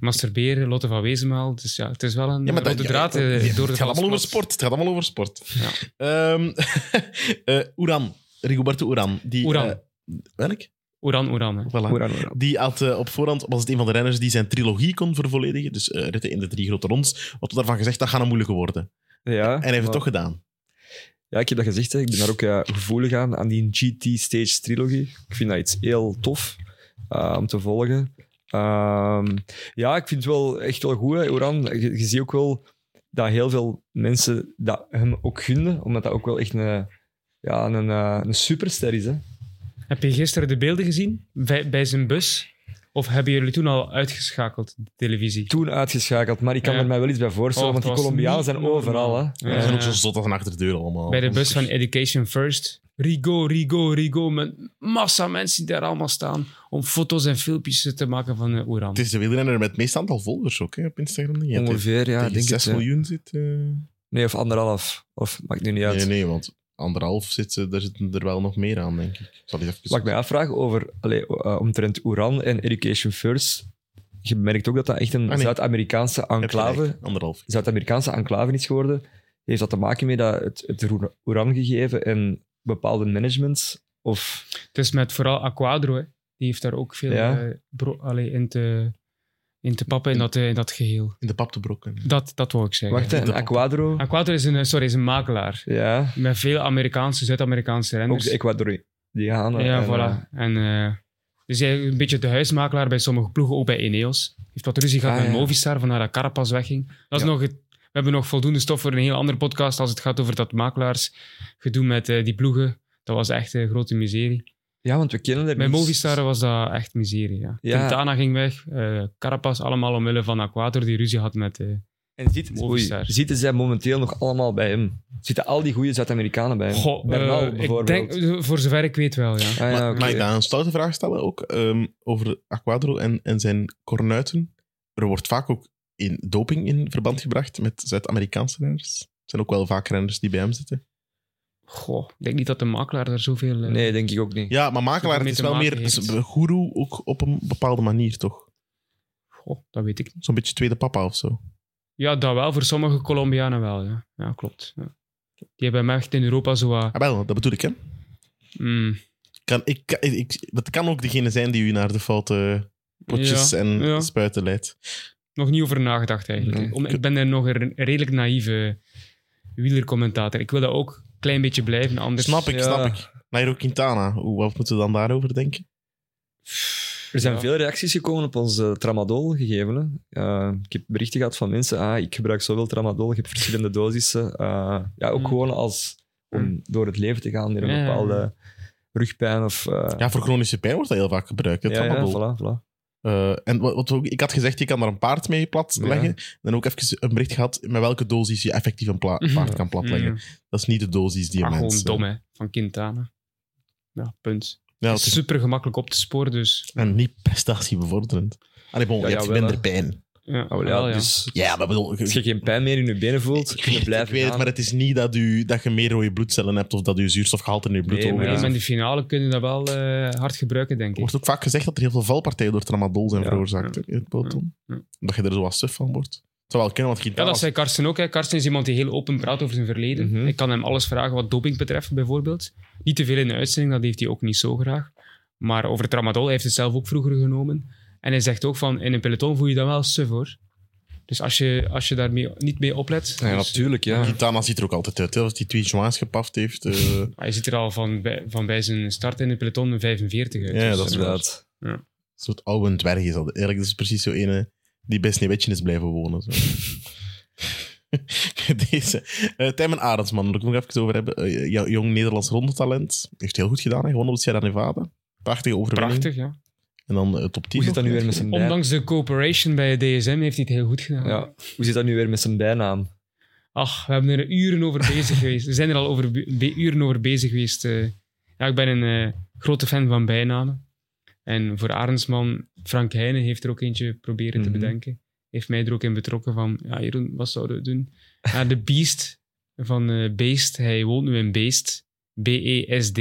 [SPEAKER 4] masturberen, Lotte van Wezenmaal. Dus ja, het is wel een
[SPEAKER 2] Ja, maar dat-
[SPEAKER 4] rode
[SPEAKER 2] ja,
[SPEAKER 4] draad eh,
[SPEAKER 2] ja,
[SPEAKER 4] door de
[SPEAKER 2] het gaat allemaal over sport.
[SPEAKER 4] Valsplat.
[SPEAKER 2] Het gaat allemaal over sport.
[SPEAKER 4] Ja.
[SPEAKER 2] Ehm *laughs* eh, Oeran. Rigoberto Oeran. Die,
[SPEAKER 4] Oeran.
[SPEAKER 2] eh, welk?
[SPEAKER 4] Oeran, Oeran. hè.
[SPEAKER 2] Voilà. Die had eh, op voorhand, was het een van de renners die zijn trilogie kon vervolledigen. Dus eh, ritten in de drie grote ronds. Wat daarvan gezegd, dat gaat een moeilijke worden.
[SPEAKER 3] Ja,
[SPEAKER 2] En hij heeft het
[SPEAKER 3] maar-
[SPEAKER 2] toch gedaan.
[SPEAKER 3] Ja, ik heb dat gezegd. Hè. Ik ben daar ook ja, gevoelig aan, aan die GT Stage Trilogie. Ik vind dat iets heel tof eh, om te volgen. Ehm, ja, ik vind het wel echt wel goed. hè. Oran, je, je ziet ook wel dat heel veel mensen dat hem ook gunden, omdat dat ook wel echt een, ja, een, eh, een superster is. Hè.
[SPEAKER 4] Heb je gisteren de beelden gezien bij, bij zijn bus? Of hebben jullie toen al uitgeschakeld, de televisie?
[SPEAKER 3] Toen uitgeschakeld, maar ik kan
[SPEAKER 4] Ja.
[SPEAKER 3] er mij wel iets bij voorstellen,
[SPEAKER 4] Oh,
[SPEAKER 3] want
[SPEAKER 4] het
[SPEAKER 3] die
[SPEAKER 4] was
[SPEAKER 3] Colombianen
[SPEAKER 4] niet
[SPEAKER 3] zijn overal. Hè.
[SPEAKER 4] normaal.
[SPEAKER 2] Ze
[SPEAKER 4] Ja.
[SPEAKER 2] zijn ook zo zot als een achterdeur allemaal.
[SPEAKER 4] Bij de bus van Education First. Rigo, Rigo, Rigo. Met massa mensen die daar allemaal staan. Om foto's en filmpjes te maken van eh, Oeran.
[SPEAKER 2] Het is de wielrenner met het meeste aantal volgers ook hè, op Instagram. denk ik. Ja,
[SPEAKER 3] Ongeveer, ja,
[SPEAKER 2] tegen
[SPEAKER 3] denk
[SPEAKER 2] 6
[SPEAKER 3] ik. ja.
[SPEAKER 2] miljoen zit. eh,
[SPEAKER 3] Nee, of anderhalf. Of maakt nu niet uit.
[SPEAKER 2] Nee, nee, want anderhalf zit, ze- daar zitten er wel nog meer aan, denk ik. Zal ik even...
[SPEAKER 3] Wat Dus ik mij afvraag over, allee, eh, omtrent Oeran en Education First, je merkt ook dat dat echt een
[SPEAKER 2] Ah, nee.
[SPEAKER 3] Zuid-Amerikaanse
[SPEAKER 2] Heb gelijk,
[SPEAKER 3] enclave,
[SPEAKER 2] Anderhalf.
[SPEAKER 3] Zuid-Amerikaanse enclave is geworden. Heeft dat te maken met dat het, het Oer- Oeran gegeven en bepaalde managements? Of
[SPEAKER 4] Het is met vooral Aquadro. Hè. Die heeft daar ook veel
[SPEAKER 3] Ja.
[SPEAKER 4] eh, bro- allee, in, te, in te pappen in dat, eh, in dat geheel.
[SPEAKER 2] In de pap te brokken.
[SPEAKER 4] Dat, dat wil ik zeggen.
[SPEAKER 3] wacht, hè, een Ecuador?
[SPEAKER 4] Aquadro is een, eh, sorry, is een makelaar.
[SPEAKER 3] Ja,
[SPEAKER 4] Met veel Amerikaanse, Zuid-Amerikaanse
[SPEAKER 3] ook
[SPEAKER 4] renners.
[SPEAKER 3] de Ecuadorianen.
[SPEAKER 4] dus- ja,
[SPEAKER 3] en,
[SPEAKER 4] voilà. En, eh, dus hij is een beetje de huismakelaar bij sommige ploegen, ook bij Ineos. Heeft wat ruzie gehad
[SPEAKER 3] Ah,
[SPEAKER 4] met
[SPEAKER 3] ja.
[SPEAKER 4] Movistar, vandaar dat Carapaz wegging. Dat is
[SPEAKER 3] Ja.
[SPEAKER 4] nog het- we hebben nog voldoende stof voor een heel andere podcast als het gaat over dat makelaarsgedoe met eh, die ploegen. Dat was echt een grote miserie.
[SPEAKER 3] ja, want we kennen er
[SPEAKER 4] Bij
[SPEAKER 3] niet-
[SPEAKER 4] Movistar was dat echt miserie, ja.
[SPEAKER 3] Ja.
[SPEAKER 4] Quintana ging weg, eh Carapaz allemaal omwille van Aquator, die ruzie had met... eh,
[SPEAKER 3] En zit, oei,
[SPEAKER 4] Movistar.
[SPEAKER 3] zitten zij momenteel nog allemaal bij hem? Zitten al die goede Zuid-Amerikanen bij hem?
[SPEAKER 4] Goh,
[SPEAKER 3] Bernal
[SPEAKER 4] eh, ik
[SPEAKER 3] bijvoorbeeld.
[SPEAKER 4] denk, voor zover ik weet wel, ja.
[SPEAKER 3] Ah, ja,
[SPEAKER 2] Ma-
[SPEAKER 3] oké.
[SPEAKER 2] Mag ik daar een stoute vraag stellen ook? ehm, over Aquadro en, en zijn kornuiten. Er wordt vaak ook in doping in verband gebracht met Zuid-Amerikaanse renners. Er zijn ook wel vaak renners die bij hem zitten.
[SPEAKER 4] Goh, ik denk niet dat de makelaar daar zoveel... eh,
[SPEAKER 3] Nee, denk ik ook niet.
[SPEAKER 2] Ja, maar makelaar
[SPEAKER 4] Zoveel
[SPEAKER 2] het
[SPEAKER 4] mee
[SPEAKER 2] is
[SPEAKER 4] te
[SPEAKER 2] wel
[SPEAKER 4] maken
[SPEAKER 2] meer dus,
[SPEAKER 4] heeft.
[SPEAKER 2] een goeroe ook op een bepaalde manier, toch?
[SPEAKER 4] Goh, dat weet ik niet.
[SPEAKER 2] Zo'n beetje tweede papa of zo.
[SPEAKER 4] Ja, dat wel. Voor sommige Colombianen wel, ja. Ja, klopt. Ja. Die hebben hem echt in Europa zo... wat-
[SPEAKER 2] Ah, wel, dat bedoel ik, hè?
[SPEAKER 4] Mm,
[SPEAKER 2] Kan, ik, ik, ik- dat kan ook degene zijn die u naar de foute potjes
[SPEAKER 4] Ja,
[SPEAKER 2] en
[SPEAKER 4] ja.
[SPEAKER 2] spuiten leidt.
[SPEAKER 4] nog niet over nagedacht, eigenlijk.
[SPEAKER 3] Nee.
[SPEAKER 4] Om, ik ben er nog een redelijk naïeve wielercommentator. Ik wil dat ook een klein beetje blijven, anders...
[SPEAKER 2] Snap ik,
[SPEAKER 3] Ja.
[SPEAKER 2] snap ik. Nairo Quintana, hoe- wat moeten we dan daarover denken?
[SPEAKER 3] Er zijn
[SPEAKER 4] Ja.
[SPEAKER 3] veel reacties gekomen op ons eh, tramadol gegeven. hè. Eh, ik heb berichten gehad van mensen. Ah, ik gebruik zoveel tramadol, ik heb verschillende dosissen. Eh, ja, ook
[SPEAKER 4] Mm.
[SPEAKER 3] gewoon als om
[SPEAKER 4] Mm.
[SPEAKER 3] door het leven te gaan met een
[SPEAKER 4] Ja, ja, ja.
[SPEAKER 3] bepaalde rugpijn of. eh,
[SPEAKER 2] Ja, voor chronische pijn wordt dat heel vaak gebruikt. hè,
[SPEAKER 3] ja, ja,
[SPEAKER 2] tramadol.
[SPEAKER 3] voilà, voilà.
[SPEAKER 2] Eh, en wat, wat we ook- ik had gezegd, je kan daar een paard mee
[SPEAKER 3] Ja.
[SPEAKER 2] platleggen. En ook even een bericht gehad met welke dosis je effectief een pla-
[SPEAKER 3] Mhm.
[SPEAKER 2] paard kan platleggen.
[SPEAKER 4] Mm,
[SPEAKER 2] Dat is niet de dosis die
[SPEAKER 3] Ah,
[SPEAKER 2] eh, je
[SPEAKER 4] maar gewoon
[SPEAKER 2] mensen...
[SPEAKER 4] dom, hè. Van Quintana. Ja, punt.
[SPEAKER 2] Ja,
[SPEAKER 4] Het
[SPEAKER 2] het
[SPEAKER 4] is
[SPEAKER 2] is-
[SPEAKER 4] super gemakkelijk op te sporen, dus...
[SPEAKER 2] en niet prestatiebevorderend. Allee, bon,
[SPEAKER 3] Ja,
[SPEAKER 2] je hebt
[SPEAKER 3] jawel,
[SPEAKER 2] minder pijn.
[SPEAKER 4] Ja,
[SPEAKER 3] Ah, wel, ja,
[SPEAKER 4] wel, Oh, ja.
[SPEAKER 3] Dus
[SPEAKER 2] Ja, maar bedoel...
[SPEAKER 3] als je geen pijn meer in je benen
[SPEAKER 2] *laughs*
[SPEAKER 3] voelt,
[SPEAKER 2] ik
[SPEAKER 3] kun je
[SPEAKER 2] weet, het, ik
[SPEAKER 3] blijven
[SPEAKER 2] weet het,
[SPEAKER 3] gaan.
[SPEAKER 2] maar het is niet dat, u, dat je meer rode bloedcellen hebt of dat je zuurstofgehalte in je bloed
[SPEAKER 3] Nee, maar
[SPEAKER 2] hoger
[SPEAKER 4] Nee,
[SPEAKER 2] is.
[SPEAKER 4] maar in de finale kunnen we dat wel eh, hard gebruiken, denk
[SPEAKER 2] Er
[SPEAKER 4] ik.
[SPEAKER 2] wordt ook vaak gezegd dat er heel veel valpartijen door tramadol zijn
[SPEAKER 3] Ja.
[SPEAKER 2] veroorzaakt hè, in het peloton.
[SPEAKER 4] Ja. Ja.
[SPEAKER 2] Dat je er zo wat suf van wordt. Het zou wel kunnen, want
[SPEAKER 4] Ja,
[SPEAKER 2] Quintana
[SPEAKER 4] dat zei Karsten ook. Hè. Karsten is iemand die heel open praat over zijn verleden.
[SPEAKER 3] Mhm.
[SPEAKER 4] Ik kan hem alles vragen wat doping betreft, bijvoorbeeld. Niet te veel in de uitzending, dat heeft hij ook niet zo graag. Maar over tramadol, hij heeft het zelf ook vroeger genomen. En hij zegt ook van, in een peloton voel je dat wel suf, hoor. Dus als je, als je daar niet mee oplet...
[SPEAKER 3] Ja,
[SPEAKER 4] dus-
[SPEAKER 3] natuurlijk, ja.
[SPEAKER 2] Quintana ziet er ook altijd uit. hè. Als hij twee joints gepaft heeft...
[SPEAKER 3] *laughs*
[SPEAKER 2] eh,
[SPEAKER 4] hij ziet er al van bij, van bij zijn start in het peloton een 45 uit.
[SPEAKER 2] Ja,
[SPEAKER 4] Dus,
[SPEAKER 2] dat is
[SPEAKER 4] eh,
[SPEAKER 3] Inderdaad.
[SPEAKER 2] Een soort oude dwerg is dat. Eigenlijk dat is precies zo ene die bij Sneeuwwitje is blijven wonen. Zo. *laughs* Deze. Eh Tijmen Arendsman, daar moet ik nog even over hebben. Eh, ja, jong Nederlands rondetalent. Heeft heel goed gedaan. Hij gewonnen op Sierra Nevada. Prachtige overwinning.
[SPEAKER 4] Prachtig, ja.
[SPEAKER 2] En dan eh, top 10.
[SPEAKER 3] Hoe zit dat nu
[SPEAKER 2] nog.
[SPEAKER 3] weer met zijn bijnaam?
[SPEAKER 4] Ondanks de cooperation bij DSM heeft hij het heel goed gedaan.
[SPEAKER 3] Ja. Hoe zit dat nu weer met zijn bijnaam?
[SPEAKER 4] Ach, we hebben er uren over bezig *laughs* geweest. We zijn er al over be- be- uren over bezig geweest. eh. ja, ik ben een eh, grote fan van bijnamen. En voor Arendsman, Frank Heijnen heeft er ook eentje proberen
[SPEAKER 3] Mhm.
[SPEAKER 4] te bedenken. Heeft mij er ook in betrokken van, ja, Jeroen, wat zouden we doen? Ja, de Beast van eh, Beest, hij E woont nu in Beest. B-E-S-D.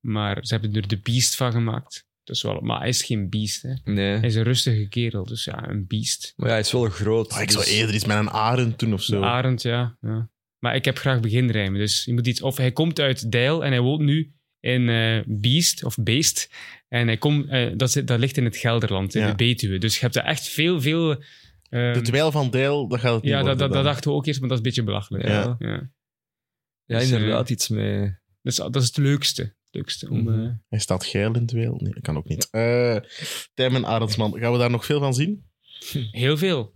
[SPEAKER 4] Maar ze hebben er de Beast van gemaakt. Dat is wel, maar hij is geen beest. Hè. Hij
[SPEAKER 3] Nee.
[SPEAKER 4] is een rustige kerel, dus ja, een beest.
[SPEAKER 3] Maar ja, hij is wel groot.
[SPEAKER 2] Ah, ik
[SPEAKER 3] dus-
[SPEAKER 2] zou eerder iets met een arend doen of zo.
[SPEAKER 4] Een arend, ja, ja. Maar ik heb graag beginrijmen, dus je moet iets... Of hij komt uit Deil en hij woont nu in eh Beest, of Beest. En hij komt... eh, dat, zit, dat ligt in het Gelderland, in
[SPEAKER 2] Ja.
[SPEAKER 4] de Betuwe. Dus je hebt daar echt veel, veel... ehm,
[SPEAKER 2] De dweil van Deil, dat gaat het niet
[SPEAKER 4] ja, dat,
[SPEAKER 2] worden
[SPEAKER 4] dat, dat
[SPEAKER 2] dan.
[SPEAKER 4] dachten we ook eerst, maar dat is een beetje belachelijk.
[SPEAKER 3] Ja.
[SPEAKER 4] Ja.
[SPEAKER 3] Ja,
[SPEAKER 4] Dus, eh,
[SPEAKER 3] inderdaad, iets mee.
[SPEAKER 4] Dat, is, dat is het leukste. Het leukste om...
[SPEAKER 3] Mhm.
[SPEAKER 4] eh,
[SPEAKER 2] Hij staat geil in dweil. Nee, dat kan ook niet. Eh Tim en Arendsman, gaan we daar nog veel van zien?
[SPEAKER 4] Heel veel.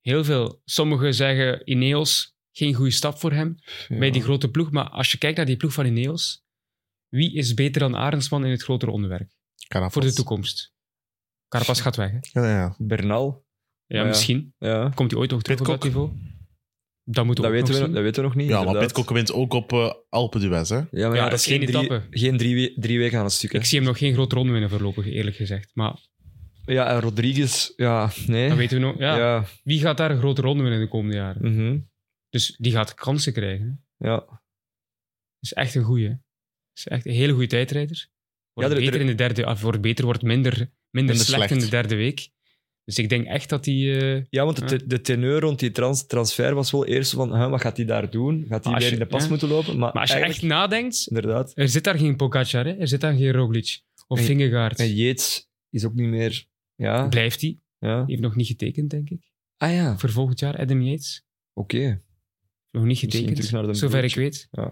[SPEAKER 4] Heel veel. Sommigen zeggen Ineos, geen goede stap voor hem bij die grote ploeg. Maar als je kijkt naar die ploeg van Ineos, wie is beter dan Arendsman in het grotere onderwerp
[SPEAKER 2] Carapaz.
[SPEAKER 4] voor de toekomst? Carapaz gaat weg, hè?
[SPEAKER 2] Ja, ja.
[SPEAKER 3] Bernal.
[SPEAKER 4] Ja,
[SPEAKER 3] Ja.
[SPEAKER 4] misschien.
[SPEAKER 3] Ja,
[SPEAKER 4] Komt hij ooit nog terug op dat
[SPEAKER 2] Pidcock.
[SPEAKER 4] niveau? Dat moeten we
[SPEAKER 3] dat
[SPEAKER 4] ook
[SPEAKER 3] weten,
[SPEAKER 4] nog
[SPEAKER 3] we, dat
[SPEAKER 4] zien.
[SPEAKER 3] weten we nog niet.
[SPEAKER 2] ja maar
[SPEAKER 3] inderdaad.
[SPEAKER 2] Pitcock wint ook op eh Alpe d'Huez, hè?
[SPEAKER 3] Ja, maar ja, dat is geen,
[SPEAKER 4] één
[SPEAKER 3] drie,
[SPEAKER 4] etappe.
[SPEAKER 3] geen drie, we- drie weken aan een stuk. hè.
[SPEAKER 4] Ik zie hem nog geen grote ronde winnen voorlopig, eerlijk gezegd. Maar
[SPEAKER 3] Eh? Ja, en Rodriguez, ja, nee.
[SPEAKER 4] dat weten we nog. Ah, Ja,
[SPEAKER 3] ja. Ja,
[SPEAKER 4] Wie gaat daar een grote ronde winnen de komende jaren?
[SPEAKER 3] mhm.
[SPEAKER 4] Dus die gaat kansen krijgen. hè.
[SPEAKER 3] ja.
[SPEAKER 4] is echt een goeie. hè. is echt een hele goede tijdrijder. Wordt
[SPEAKER 3] Ja, er-
[SPEAKER 4] beter
[SPEAKER 3] er-
[SPEAKER 4] in de derde, of wordt beter, wordt minder, minder, slecht,
[SPEAKER 2] slecht.
[SPEAKER 4] in de derde week. Dus ik denk echt dat hij. eh,
[SPEAKER 3] ja want de, de teneur rond die trans, transfer was wel eerst van, huh, wat gaat hij daar doen? Gaat hij
[SPEAKER 4] Maar als
[SPEAKER 3] weer
[SPEAKER 4] je-
[SPEAKER 3] in de pas
[SPEAKER 4] ja.
[SPEAKER 3] moeten lopen? Maar,
[SPEAKER 4] maar als je echt
[SPEAKER 3] eigenlijk-
[SPEAKER 4] nadenkt,
[SPEAKER 3] Inderdaad.
[SPEAKER 4] er zit daar geen Pogacar, hè? er zit daar geen Roglic of
[SPEAKER 3] En-
[SPEAKER 4] Vingegaard.
[SPEAKER 3] En Yates is ook niet meer... Ja,
[SPEAKER 4] Blijft hij?
[SPEAKER 3] ja.
[SPEAKER 4] Heeft nog niet getekend, denk ik.
[SPEAKER 3] Ah ja,
[SPEAKER 4] Voor volgend jaar, Adam Yates.
[SPEAKER 3] oké.
[SPEAKER 4] Nog niet
[SPEAKER 3] Misschien
[SPEAKER 4] getekend,
[SPEAKER 3] terug naar de
[SPEAKER 4] zover ik
[SPEAKER 3] broertje.
[SPEAKER 4] weet.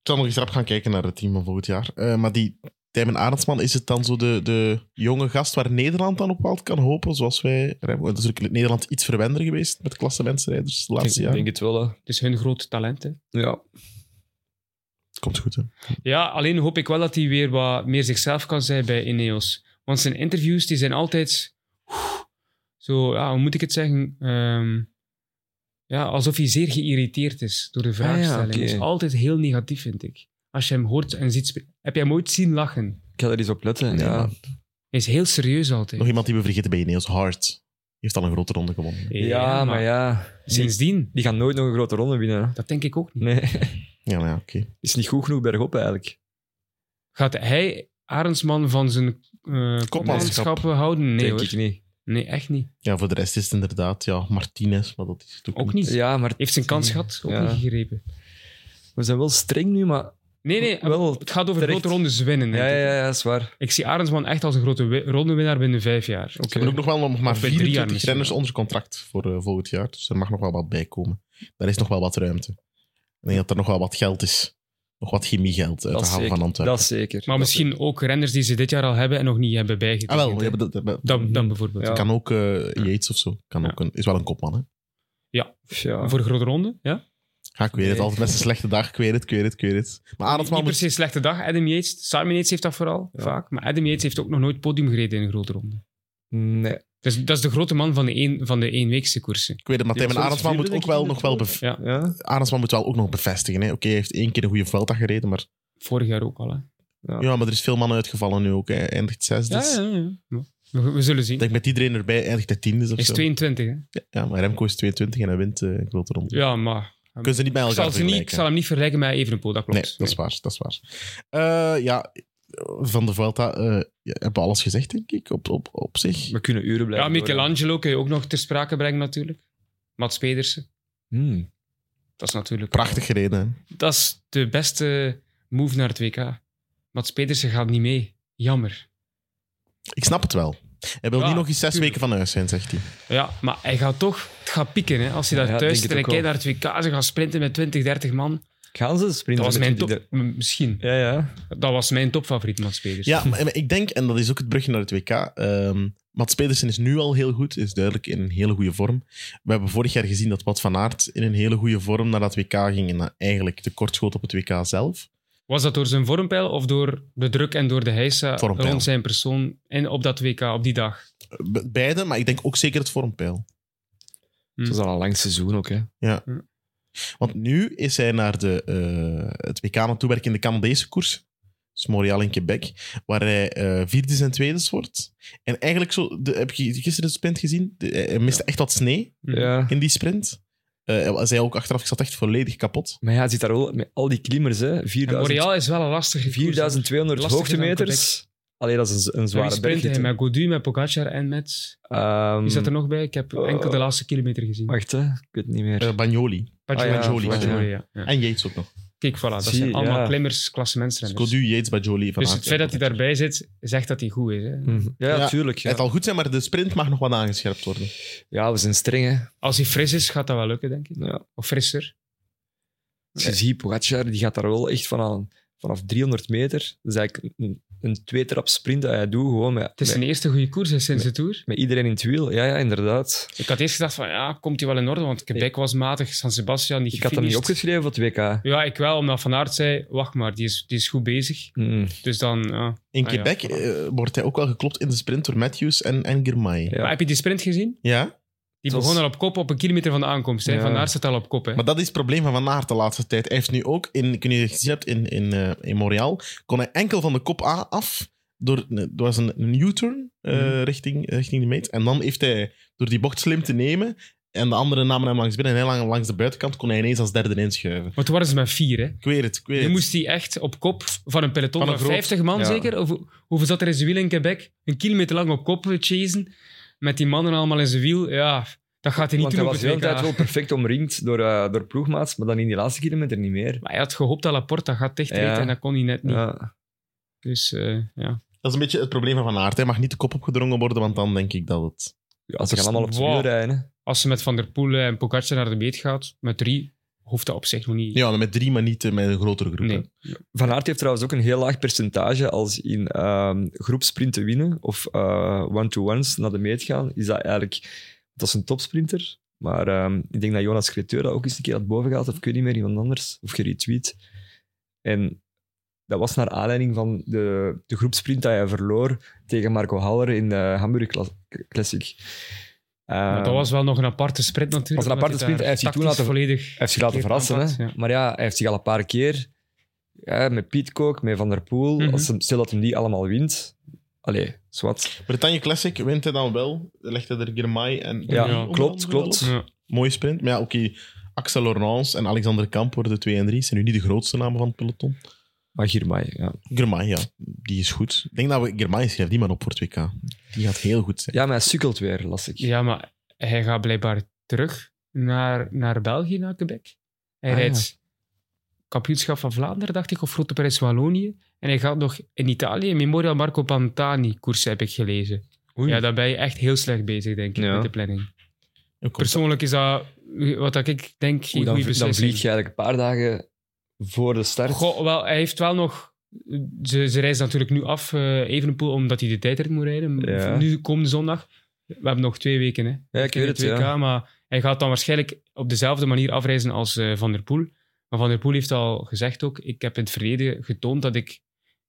[SPEAKER 2] Ik zal nog eens rap gaan kijken naar het team van volgend jaar. Eh, maar die Tijmen Arendsman, is het dan zo de, de jonge gast waar Nederland dan op wel kan hopen? Zoals wij. Dat is natuurlijk Nederland iets verwender geweest met klassementsrijders de laatste
[SPEAKER 3] Ik
[SPEAKER 2] jaren.
[SPEAKER 3] denk het wel, hè.
[SPEAKER 4] Dus hun grote talenten.
[SPEAKER 3] Ja.
[SPEAKER 2] Komt goed, hè?
[SPEAKER 4] Ja, alleen hoop ik wel dat hij weer wat meer zichzelf kan zijn bij Ineos. Want zijn interviews die zijn altijd... oeh, Zo, ja, hoe moet ik het zeggen? Ehm, ja, alsof hij zeer geïrriteerd is door de vraagstelling.
[SPEAKER 3] Ah, oké.
[SPEAKER 4] Dat is altijd heel negatief, vind ik. Als je hem hoort en ziet... spe- Heb jij hem ooit zien lachen?
[SPEAKER 3] Ik ga er eens op letten.
[SPEAKER 2] Nee,
[SPEAKER 3] ja.
[SPEAKER 2] maar
[SPEAKER 4] Hij is heel serieus altijd.
[SPEAKER 2] Nog iemand die we vergeten bij Ineos, Hart. Die heeft al een grote ronde gewonnen.
[SPEAKER 3] Ja, maar ja. Die,
[SPEAKER 4] Sindsdien,
[SPEAKER 3] die gaan nooit nog een grote ronde winnen. hè.
[SPEAKER 4] dat denk ik ook niet.
[SPEAKER 3] Nee,
[SPEAKER 2] Ja, maar ja, oké.
[SPEAKER 3] is niet goed genoeg bergop eigenlijk.
[SPEAKER 4] Gaat hij Arendsman van zijn eh kopmanschappen houden? Nee,
[SPEAKER 3] Denk
[SPEAKER 4] hoor.
[SPEAKER 3] ik niet.
[SPEAKER 4] Nee, echt niet.
[SPEAKER 2] Ja, voor de rest is het inderdaad, ja, Martinez, maar dat is het ook,
[SPEAKER 4] Ook niet.
[SPEAKER 3] Ja, maar
[SPEAKER 4] Heeft zijn kans gehad, ook
[SPEAKER 3] Ja.
[SPEAKER 4] niet gegrepen.
[SPEAKER 3] we zijn wel streng nu, maar...
[SPEAKER 4] Nee, nee,
[SPEAKER 3] Wel
[SPEAKER 4] het gaat over
[SPEAKER 3] terecht.
[SPEAKER 4] grote rondes winnen. denk
[SPEAKER 3] Ja,
[SPEAKER 4] ik.
[SPEAKER 3] ja, ja, is waar.
[SPEAKER 4] Ik zie Arendsman echt als een grote wi- rondewinnaar binnen vijf jaar.
[SPEAKER 2] Ze hebben ook nog wel nog maar
[SPEAKER 4] Of bij drie jaar
[SPEAKER 2] 24
[SPEAKER 4] misschien
[SPEAKER 2] renners
[SPEAKER 4] wel.
[SPEAKER 2] onder contract voor eh, volgend jaar. Dus er mag nog wel wat bij komen. Daar is nog wel wat ruimte. Ik denk dat er nog wel wat geld is. Nog wat chemiegeld uit
[SPEAKER 3] Dat
[SPEAKER 2] de
[SPEAKER 3] is
[SPEAKER 2] haven
[SPEAKER 3] zeker.
[SPEAKER 2] van Antwerpen.
[SPEAKER 3] Dat is zeker.
[SPEAKER 4] Maar misschien ook renners die ze dit jaar al hebben en nog niet hebben bijgetekend.
[SPEAKER 2] Ah, wel.
[SPEAKER 4] hè.
[SPEAKER 2] ja, maar dat- dat- dat
[SPEAKER 4] dan, dan bijvoorbeeld.
[SPEAKER 3] Ja.
[SPEAKER 4] Ja.
[SPEAKER 2] kan ook eh Yates of zo. Kan
[SPEAKER 4] Ja.
[SPEAKER 2] ook een, is wel een kopman, hè.
[SPEAKER 3] Ja.
[SPEAKER 4] Voor een grote ronde, ja.
[SPEAKER 2] Ga, ik weet het.
[SPEAKER 3] Nee.
[SPEAKER 2] Altijd met zijn slechte dag. Ik weet het, ik weet het, ik weet het. Maar Arendsman
[SPEAKER 4] Niet per
[SPEAKER 2] moet...
[SPEAKER 4] se een slechte dag, Adam Yates. Simon Yates heeft dat vooral,
[SPEAKER 3] Ja.
[SPEAKER 4] vaak. Maar Adam Yates heeft ook nog nooit podium gereden in een grote ronde.
[SPEAKER 3] Nee.
[SPEAKER 4] Dus dat is de grote man van de, een, van de eenweekse koersen.
[SPEAKER 2] Ik weet het, maar
[SPEAKER 3] Die
[SPEAKER 2] Tim en
[SPEAKER 3] was wel
[SPEAKER 2] Arendsman moet ook
[SPEAKER 3] vierde, denk ik,
[SPEAKER 2] wel nog wel... bev-
[SPEAKER 4] Ja,
[SPEAKER 3] Ja?
[SPEAKER 2] Arendsman moet wel ook nog bevestigen, hè. Oké, hij heeft één keer een goede Vuelta gereden, maar...
[SPEAKER 4] vorig jaar ook al. Hè.
[SPEAKER 3] Ja.
[SPEAKER 2] Ja, maar er is veel mannen uitgevallen nu ook. hè. Hij eindigt zesde. dus
[SPEAKER 4] Ja, ja, ja. We, we zullen zien.
[SPEAKER 2] Ik
[SPEAKER 4] Hij
[SPEAKER 2] denk met iedereen erbij eindigt hij tiende of
[SPEAKER 4] is
[SPEAKER 2] zo.
[SPEAKER 4] 22, hè.
[SPEAKER 2] Ja, maar Remco is 22 en hij wint eh, een grote ronde.
[SPEAKER 4] Ja, maar...
[SPEAKER 2] Kunnen ze niet bij
[SPEAKER 4] Ik
[SPEAKER 2] elkaar
[SPEAKER 4] zal, ze niet, ik
[SPEAKER 2] vergelijken.
[SPEAKER 4] zal hem niet vergelijken met Evenepoel, dat
[SPEAKER 2] Nee,
[SPEAKER 4] klopt.
[SPEAKER 2] dat is waar. Dat is waar. Eh, ja, van de Vuelta eh, ja, hebben we alles gezegd, denk ik, op, op, op zich.
[SPEAKER 3] We kunnen uren blijven.
[SPEAKER 4] Ja, Michelangelo kun je ook nog ter sprake brengen natuurlijk. Mats Pedersen,
[SPEAKER 3] doorgaan. Hmm.
[SPEAKER 4] dat is natuurlijk...
[SPEAKER 2] Prachtig gereden. hè.
[SPEAKER 4] Dat is de beste move naar het WK. Mats Pedersen gaat niet mee. Jammer.
[SPEAKER 2] Ik snap het wel. Hij wil
[SPEAKER 4] Ja,
[SPEAKER 2] niet nog eens zes
[SPEAKER 4] tuurlijk.
[SPEAKER 2] weken van huis zijn, zegt hij.
[SPEAKER 4] Ja, maar hij gaat toch... Het gaat pieken, hè. Als hij daar
[SPEAKER 3] Ja,
[SPEAKER 4] thuis
[SPEAKER 3] ik
[SPEAKER 4] zit
[SPEAKER 3] denk
[SPEAKER 4] en hij
[SPEAKER 3] het ook
[SPEAKER 4] kijkt naar het WK, ze gaan sprinten met 20, 30 man.
[SPEAKER 3] Gaan ze sprinten?
[SPEAKER 4] Dat was
[SPEAKER 3] met
[SPEAKER 4] mijn
[SPEAKER 3] die
[SPEAKER 4] top... Misschien.
[SPEAKER 3] Ja, ja.
[SPEAKER 4] Dat was mijn topfavoriet, Mats Pedersen.
[SPEAKER 2] Ja, maar maar ik denk, en dat is ook het brugje naar het WK. ehm Mats Pedersen is nu al heel goed, is duidelijk in een hele goede vorm. We hebben vorig jaar gezien dat Wat van Aert in een hele goede vorm naar dat WK ging en dan eigenlijk tekortschoot op het WK zelf.
[SPEAKER 4] Was dat door zijn vormpeil of door de druk en door de heisa
[SPEAKER 2] Vormpeil.
[SPEAKER 4] rond zijn persoon en op dat WK, op die dag?
[SPEAKER 2] Be- Beide, maar ik denk ook zeker het vormpeil.
[SPEAKER 3] Het was al een lang seizoen ook, hè.
[SPEAKER 2] Want nu is hij naar de, eh, het WK aan het toewerken in de Canadese koers. Dus Montreal in Quebec. Waar hij eh vierde en tweede wordt. En eigenlijk zo... De, heb je gisteren de sprint gezien? De- hij hij miste echt wat snee
[SPEAKER 4] Mhm.
[SPEAKER 3] Ja.
[SPEAKER 2] in die sprint. Eh hij zei ook achteraf, ik zat echt volledig kapot.
[SPEAKER 3] Maar ja, hij zit daar wel met al die klimmers, hè.
[SPEAKER 4] En
[SPEAKER 3] 4000,
[SPEAKER 4] Montreal is wel een lastige koers, hoor.
[SPEAKER 3] 4200
[SPEAKER 4] Lastiger dan
[SPEAKER 3] hoogtemeters. Alleen dat is een, een
[SPEAKER 4] Wie
[SPEAKER 3] zware
[SPEAKER 4] sprintte hij?
[SPEAKER 3] bergrit.
[SPEAKER 4] Met Godu, met Pogacar en met...
[SPEAKER 3] Ehm,
[SPEAKER 4] Wie zat er nog bij? Ik heb
[SPEAKER 3] eh,
[SPEAKER 4] enkel de laatste kilometer gezien.
[SPEAKER 3] Wacht, hè. ik weet het niet meer.
[SPEAKER 2] Eh, Bagnoli.
[SPEAKER 4] Pagioli,
[SPEAKER 3] ah ja,
[SPEAKER 4] Pagioli,
[SPEAKER 3] Pagioli,
[SPEAKER 4] ja. ja.
[SPEAKER 2] En Yates ook nog.
[SPEAKER 4] Kijk, voilà. Dat
[SPEAKER 3] Zie,
[SPEAKER 4] zijn allemaal
[SPEAKER 3] ja.
[SPEAKER 4] klimmers, klassementsrenners.
[SPEAKER 2] Dus Codu, Yates, Bagnoli. Van
[SPEAKER 4] Dus
[SPEAKER 2] Aert
[SPEAKER 4] het feit
[SPEAKER 2] en
[SPEAKER 4] dat hij daarbij zit, zegt dat hij goed is. Hè?
[SPEAKER 3] Mhm. Ja,
[SPEAKER 2] Ja,
[SPEAKER 3] tuurlijk. Ja.
[SPEAKER 2] Het zal goed zijn, maar de sprint mag nog wat aangescherpt worden.
[SPEAKER 3] ja, we zijn streng, hè.
[SPEAKER 4] Als hij fris is, gaat dat wel lukken, denk ik.
[SPEAKER 3] Ja.
[SPEAKER 4] Of frisser.
[SPEAKER 3] Als Dus je ziet, Pogacar die gaat daar wel echt vanaf, vanaf 300 meter. Dat is eigenlijk een, een tweetrap sprint dat hij doet, gewoon met,
[SPEAKER 4] Het is
[SPEAKER 3] met,
[SPEAKER 4] zijn eerste goede koers hè, sinds de Tour.
[SPEAKER 3] met iedereen in het wiel. Ja, ja inderdaad.
[SPEAKER 4] Ik had eerst gedacht van, ja, komt hij wel in orde? Want Quebec was matig, San Sebastian niet
[SPEAKER 3] Ik had hem niet
[SPEAKER 4] gefinished.
[SPEAKER 3] opgeschreven voor het WK.
[SPEAKER 4] Ja, ik wel, omdat Van Aert zei, wacht maar, die is, die is goed bezig.
[SPEAKER 3] Mm.
[SPEAKER 4] Dus dan... ja.
[SPEAKER 2] In
[SPEAKER 4] Ah, ja,
[SPEAKER 2] Quebec
[SPEAKER 4] voilà.
[SPEAKER 2] eh, wordt hij ook wel geklopt in de sprint door Matthews en, en Girmay. Ja.
[SPEAKER 3] Ja.
[SPEAKER 4] Maar heb je die sprint gezien? Die
[SPEAKER 3] Het was-
[SPEAKER 4] begon al op kop op een kilometer van de aankomst. Hè?
[SPEAKER 3] Ja.
[SPEAKER 4] Van Aert staat al op kop. Hè?
[SPEAKER 2] Maar dat is het probleem van Van Aert de laatste tijd. Hij heeft nu ook, in, ik weet niet of je het gezien hebt, in, in, eh, in Montreal, kon hij enkel van de kop A af. Door, er was een, een U-turn eh,
[SPEAKER 3] Mhm.
[SPEAKER 2] richting, richting de meet. En dan heeft hij, door die bocht slim te nemen, en de anderen namen hem langs binnen en hij lang langs de buitenkant, kon hij ineens als derde inschuiven.
[SPEAKER 4] Maar toen waren ze met vier. Hè?
[SPEAKER 2] Ik weet het, ik weet
[SPEAKER 4] Nu
[SPEAKER 2] het.
[SPEAKER 4] moest hij echt op kop van een peloton
[SPEAKER 2] Van
[SPEAKER 4] van,
[SPEAKER 2] een groot-
[SPEAKER 4] 50 man
[SPEAKER 3] ja.
[SPEAKER 4] zeker. Of, hoeveel zat er in zijn wiel in Quebec? Een kilometer lang op kop chasen. Met die mannen allemaal in zijn wiel. Ja, dat gaat hij
[SPEAKER 3] Want
[SPEAKER 4] niet
[SPEAKER 3] hij
[SPEAKER 4] doen op
[SPEAKER 3] was
[SPEAKER 4] het
[SPEAKER 3] de hele
[SPEAKER 4] WK.
[SPEAKER 3] tijd wel perfect omringd door, eh, door ploegmaats, maar dan in die laatste kilometer niet meer.
[SPEAKER 4] Maar hij had gehoopt dat Laporta gaat dichtrijden
[SPEAKER 3] Ja.
[SPEAKER 4] en dat kon hij net niet.
[SPEAKER 3] Ja.
[SPEAKER 4] Dus eh, ja.
[SPEAKER 2] Dat is een beetje het probleem van Van Aert. Hij mag niet de kop opgedrongen worden, want dan denk ik dat het...
[SPEAKER 3] Ja, ze gaan allemaal op het
[SPEAKER 4] Wow.
[SPEAKER 3] wiel rijden. hè.
[SPEAKER 4] Als ze met Van der Poel en Pogacar naar de meet gaat, met drie, hoeft dat op zich nog niet.
[SPEAKER 2] Ja, dan met drie, maar niet eh, met een grotere groep. hè.
[SPEAKER 4] nee.
[SPEAKER 3] Van Aert heeft trouwens ook een heel laag percentage als in ehm groepsprinten winnen of eh, one-to-ones naar de meet gaan. Is dat eigenlijk... Dat is een topsprinter, maar ehm, ik denk dat Jonas Creteur dat ook eens een keer had boven gehad, of ik weet niet meer, iemand anders, of geretweet. En dat was naar aanleiding van de, de groepsprint dat hij verloor tegen Marco Haller in de Hamburg Cla- Classic.
[SPEAKER 4] Maar
[SPEAKER 3] Ehm,
[SPEAKER 4] dat was wel nog een aparte sprint natuurlijk.
[SPEAKER 3] was een
[SPEAKER 4] omdat
[SPEAKER 3] aparte
[SPEAKER 4] hij
[SPEAKER 3] sprint.
[SPEAKER 4] daar
[SPEAKER 3] Hij heeft zich toen
[SPEAKER 4] tactisch
[SPEAKER 3] laten-
[SPEAKER 4] volledig...
[SPEAKER 3] hij heeft zich laten
[SPEAKER 4] Verkeerd
[SPEAKER 3] verrassen, hè.
[SPEAKER 4] aanpakt, ja.
[SPEAKER 3] Maar ja, hij heeft zich al een paar keer... Ja, met Piet Kook, met Van der Poel.
[SPEAKER 4] Mhm.
[SPEAKER 3] als hem, stel dat hem die allemaal wint. Allee, zwart.
[SPEAKER 2] Bretagne Classic wint hij dan wel. Legt hij er Girmay en...
[SPEAKER 3] Ja,
[SPEAKER 4] Ja.
[SPEAKER 3] klopt, klopt.
[SPEAKER 4] Ja.
[SPEAKER 2] Mooie sprint. Maar ja, oké. Axel Laurence en Alexander Kamp worden de 2 en 3. Zijn nu niet de grootste namen van het peloton.
[SPEAKER 3] Maar Girmay, ja.
[SPEAKER 2] Girmay, ja. Die is goed. Ik denk dat we Girmay schrijft die man op voor het WK. Die gaat heel goed zijn.
[SPEAKER 3] Ja, maar hij sukkelt weer, las ik.
[SPEAKER 4] Ja, maar hij gaat blijkbaar terug naar, naar België, naar Quebec. Hij
[SPEAKER 3] Ah, ja.
[SPEAKER 4] rijdt kampioenschap van Vlaanderen, dacht ik, of Grote Prijs Wallonië. En hij gaat nog in Italië een Memorial Marco Pantani koers, heb ik gelezen.
[SPEAKER 3] Oei.
[SPEAKER 4] Ja, daar ben je echt heel slecht bezig, denk ik,
[SPEAKER 3] Ja.
[SPEAKER 4] met de planning.
[SPEAKER 2] Ook komt-
[SPEAKER 4] Persoonlijk is dat, wat dat ik denk,
[SPEAKER 3] Oeh,
[SPEAKER 4] geen
[SPEAKER 3] dan,
[SPEAKER 4] goede
[SPEAKER 3] vlie- dan
[SPEAKER 4] beslissing.
[SPEAKER 3] vlieg je eigenlijk een paar dagen voor de start.
[SPEAKER 4] Goh, wel, hij heeft wel nog... Ze, ze reizen natuurlijk nu af, eh Evenepoel, omdat hij de tijdrit moet rijden.
[SPEAKER 3] Ja.
[SPEAKER 4] Nu, komende zondag. We hebben nog twee weken, hè.
[SPEAKER 3] ja, ik
[SPEAKER 4] in
[SPEAKER 3] weet het,
[SPEAKER 4] het WK,
[SPEAKER 3] ja.
[SPEAKER 4] maar hij gaat dan waarschijnlijk op dezelfde manier afreizen als eh, Van der Poel. Maar Van der Poel heeft al gezegd ook, ik heb in het verleden getoond dat ik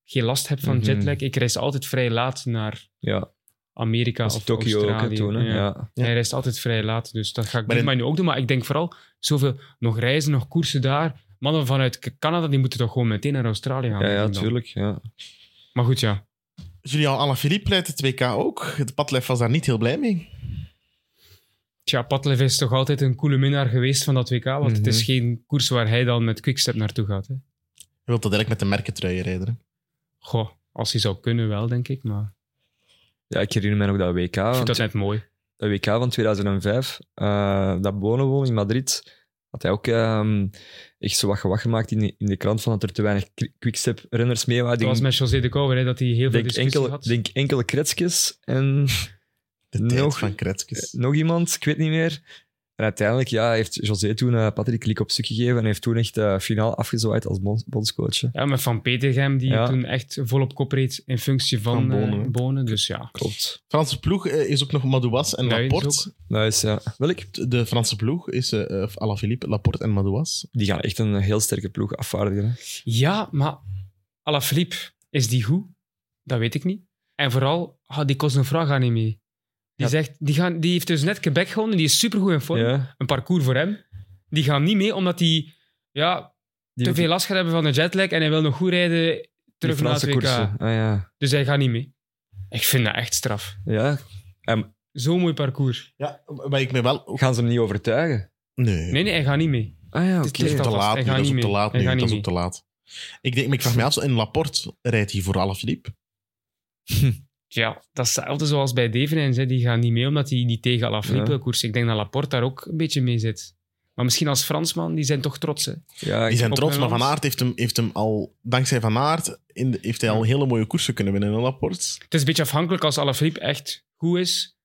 [SPEAKER 4] geen last heb van
[SPEAKER 3] Mhm.
[SPEAKER 4] jetlag. Ik reis altijd vrij laat naar
[SPEAKER 3] Ja,
[SPEAKER 4] Amerika
[SPEAKER 3] als
[SPEAKER 4] of
[SPEAKER 3] Tokio ook
[SPEAKER 4] Australië.
[SPEAKER 3] hè, toen. hè.
[SPEAKER 4] Ja.
[SPEAKER 3] Ja.
[SPEAKER 4] Hij reist altijd vrij laat, dus dat ga ik
[SPEAKER 2] Maar
[SPEAKER 4] maar
[SPEAKER 2] in-
[SPEAKER 4] nu ook doen. Maar ik denk vooral, zoveel nog reizen, nog koersen daar. Mannen vanuit K- Canada, die moeten toch gewoon meteen naar Australië gaan.
[SPEAKER 3] Ja, ja,
[SPEAKER 4] denk ik dan.
[SPEAKER 3] tuurlijk. Ja.
[SPEAKER 4] Maar goed, ja.
[SPEAKER 2] Julian Alaphilippe leidt het WK ook. Het padlef was daar niet heel blij mee.
[SPEAKER 4] Tja, Patlev is toch altijd een coole minnaar geweest van dat WK, want het
[SPEAKER 3] Mhm.
[SPEAKER 4] is geen koers waar hij dan met Quickstep naartoe gaat. Hè.
[SPEAKER 2] Hij wil dat eigenlijk met de merkentruien rijden. hè.
[SPEAKER 4] Goh, als hij zou kunnen wel, denk ik. Maar
[SPEAKER 3] ja, ik herinner mij nog dat WK.
[SPEAKER 4] ik vind
[SPEAKER 3] want-
[SPEAKER 4] dat net mooi.
[SPEAKER 3] de WK van 2005, eh, dat Bono won in Madrid, had hij ook ehm, echt zo wat gewacht gemaakt in, de- in de krant van dat er te weinig kri- quickstep-renners mee waren. Ik
[SPEAKER 4] Dat
[SPEAKER 3] Denk,
[SPEAKER 4] was met José de Kouwer, hè, dat hij heel veel
[SPEAKER 3] denk,
[SPEAKER 4] discussie
[SPEAKER 3] enkele,
[SPEAKER 4] had.
[SPEAKER 3] denk enkele kretsjes en *laughs*
[SPEAKER 2] De
[SPEAKER 3] Nog-
[SPEAKER 2] tijd van Kretskes.
[SPEAKER 3] nog iemand, ik weet niet meer. En uiteindelijk ja, heeft José toen eh, Patrick Lik op stuk gegeven en heeft toen echt eh, finaal afgezwaaid als bon- bondscoach. hè.
[SPEAKER 4] Ja, met Van Petergem, die
[SPEAKER 3] Ja.
[SPEAKER 4] toen echt vol op kop reed in functie van,
[SPEAKER 2] Van
[SPEAKER 4] eh,
[SPEAKER 2] Bonen,
[SPEAKER 4] bonen,
[SPEAKER 2] hè.
[SPEAKER 4] Dus ja,
[SPEAKER 3] Klopt.
[SPEAKER 2] Franse ploeg eh, is ook nog Madouas en
[SPEAKER 4] Luijens
[SPEAKER 2] Laporte.
[SPEAKER 3] Nice, ja. Welk?
[SPEAKER 2] De Franse ploeg is eh eh, Alaphilippe, Laporte en Madouas.
[SPEAKER 3] Die gaan echt een heel sterke ploeg afvaardigen. hè.
[SPEAKER 4] ja maar Alaphilippe, is die goed? Dat weet ik niet. En vooral, ah, die Cosnefra gaat niet mee. Die,
[SPEAKER 3] Ja.
[SPEAKER 4] zegt, die, gaan, die heeft dus net Quebec gewonnen, die is supergoed in vorm.
[SPEAKER 3] Ja,
[SPEAKER 4] Een parcours voor hem. Die gaan niet mee, omdat hij ja,
[SPEAKER 3] die
[SPEAKER 4] te veel last gaat hebben van de jetlag en hij wil nog goed rijden
[SPEAKER 3] die
[SPEAKER 4] terug naar het
[SPEAKER 3] Franse
[SPEAKER 4] WK.
[SPEAKER 3] koersen. Ah, ja.
[SPEAKER 4] Dus hij gaat niet mee. Ik vind dat echt straf.
[SPEAKER 3] ja.
[SPEAKER 4] Zo'n mooi parcours.
[SPEAKER 2] Ja, waar ik me wel...
[SPEAKER 3] Gaan ze hem niet overtuigen?
[SPEAKER 2] Nee.
[SPEAKER 4] Nee, nee, hij gaat niet mee.
[SPEAKER 3] Ah ja,
[SPEAKER 4] Het
[SPEAKER 3] oké.
[SPEAKER 4] is
[SPEAKER 2] Dat is ook te
[SPEAKER 4] Alvast,
[SPEAKER 2] laat
[SPEAKER 4] hij
[SPEAKER 2] nu.
[SPEAKER 4] gaat
[SPEAKER 2] Dat is ook
[SPEAKER 4] niet
[SPEAKER 2] te
[SPEAKER 4] mee.
[SPEAKER 2] laat
[SPEAKER 4] Hij
[SPEAKER 2] nu.
[SPEAKER 4] gaat
[SPEAKER 2] Dat is
[SPEAKER 4] niet
[SPEAKER 2] ook te laat. Ik, denk, maar ik vraag me af, zo in Laporte rijdt hij voor Alaphilippe?
[SPEAKER 4] Ja, dat is hetzelfde zoals bij Devenijns. hè. Die gaan niet mee omdat die niet tegen Alaphilippe
[SPEAKER 3] Ja.
[SPEAKER 4] koers. Ik denk dat Laporte daar ook een beetje mee zit. Maar misschien als Fransman, die zijn toch trots. Hè?
[SPEAKER 3] Ja,
[SPEAKER 2] Die
[SPEAKER 3] ik-
[SPEAKER 2] zijn
[SPEAKER 4] op
[SPEAKER 2] trots, maar
[SPEAKER 4] mijn
[SPEAKER 2] Van
[SPEAKER 4] land.
[SPEAKER 2] Aert heeft hem, heeft hem al, dankzij Van Aert, in de- heeft hij al hele mooie koersen kunnen winnen in Laporte.
[SPEAKER 4] Het is een beetje afhankelijk als Alaphilippe echt goed is.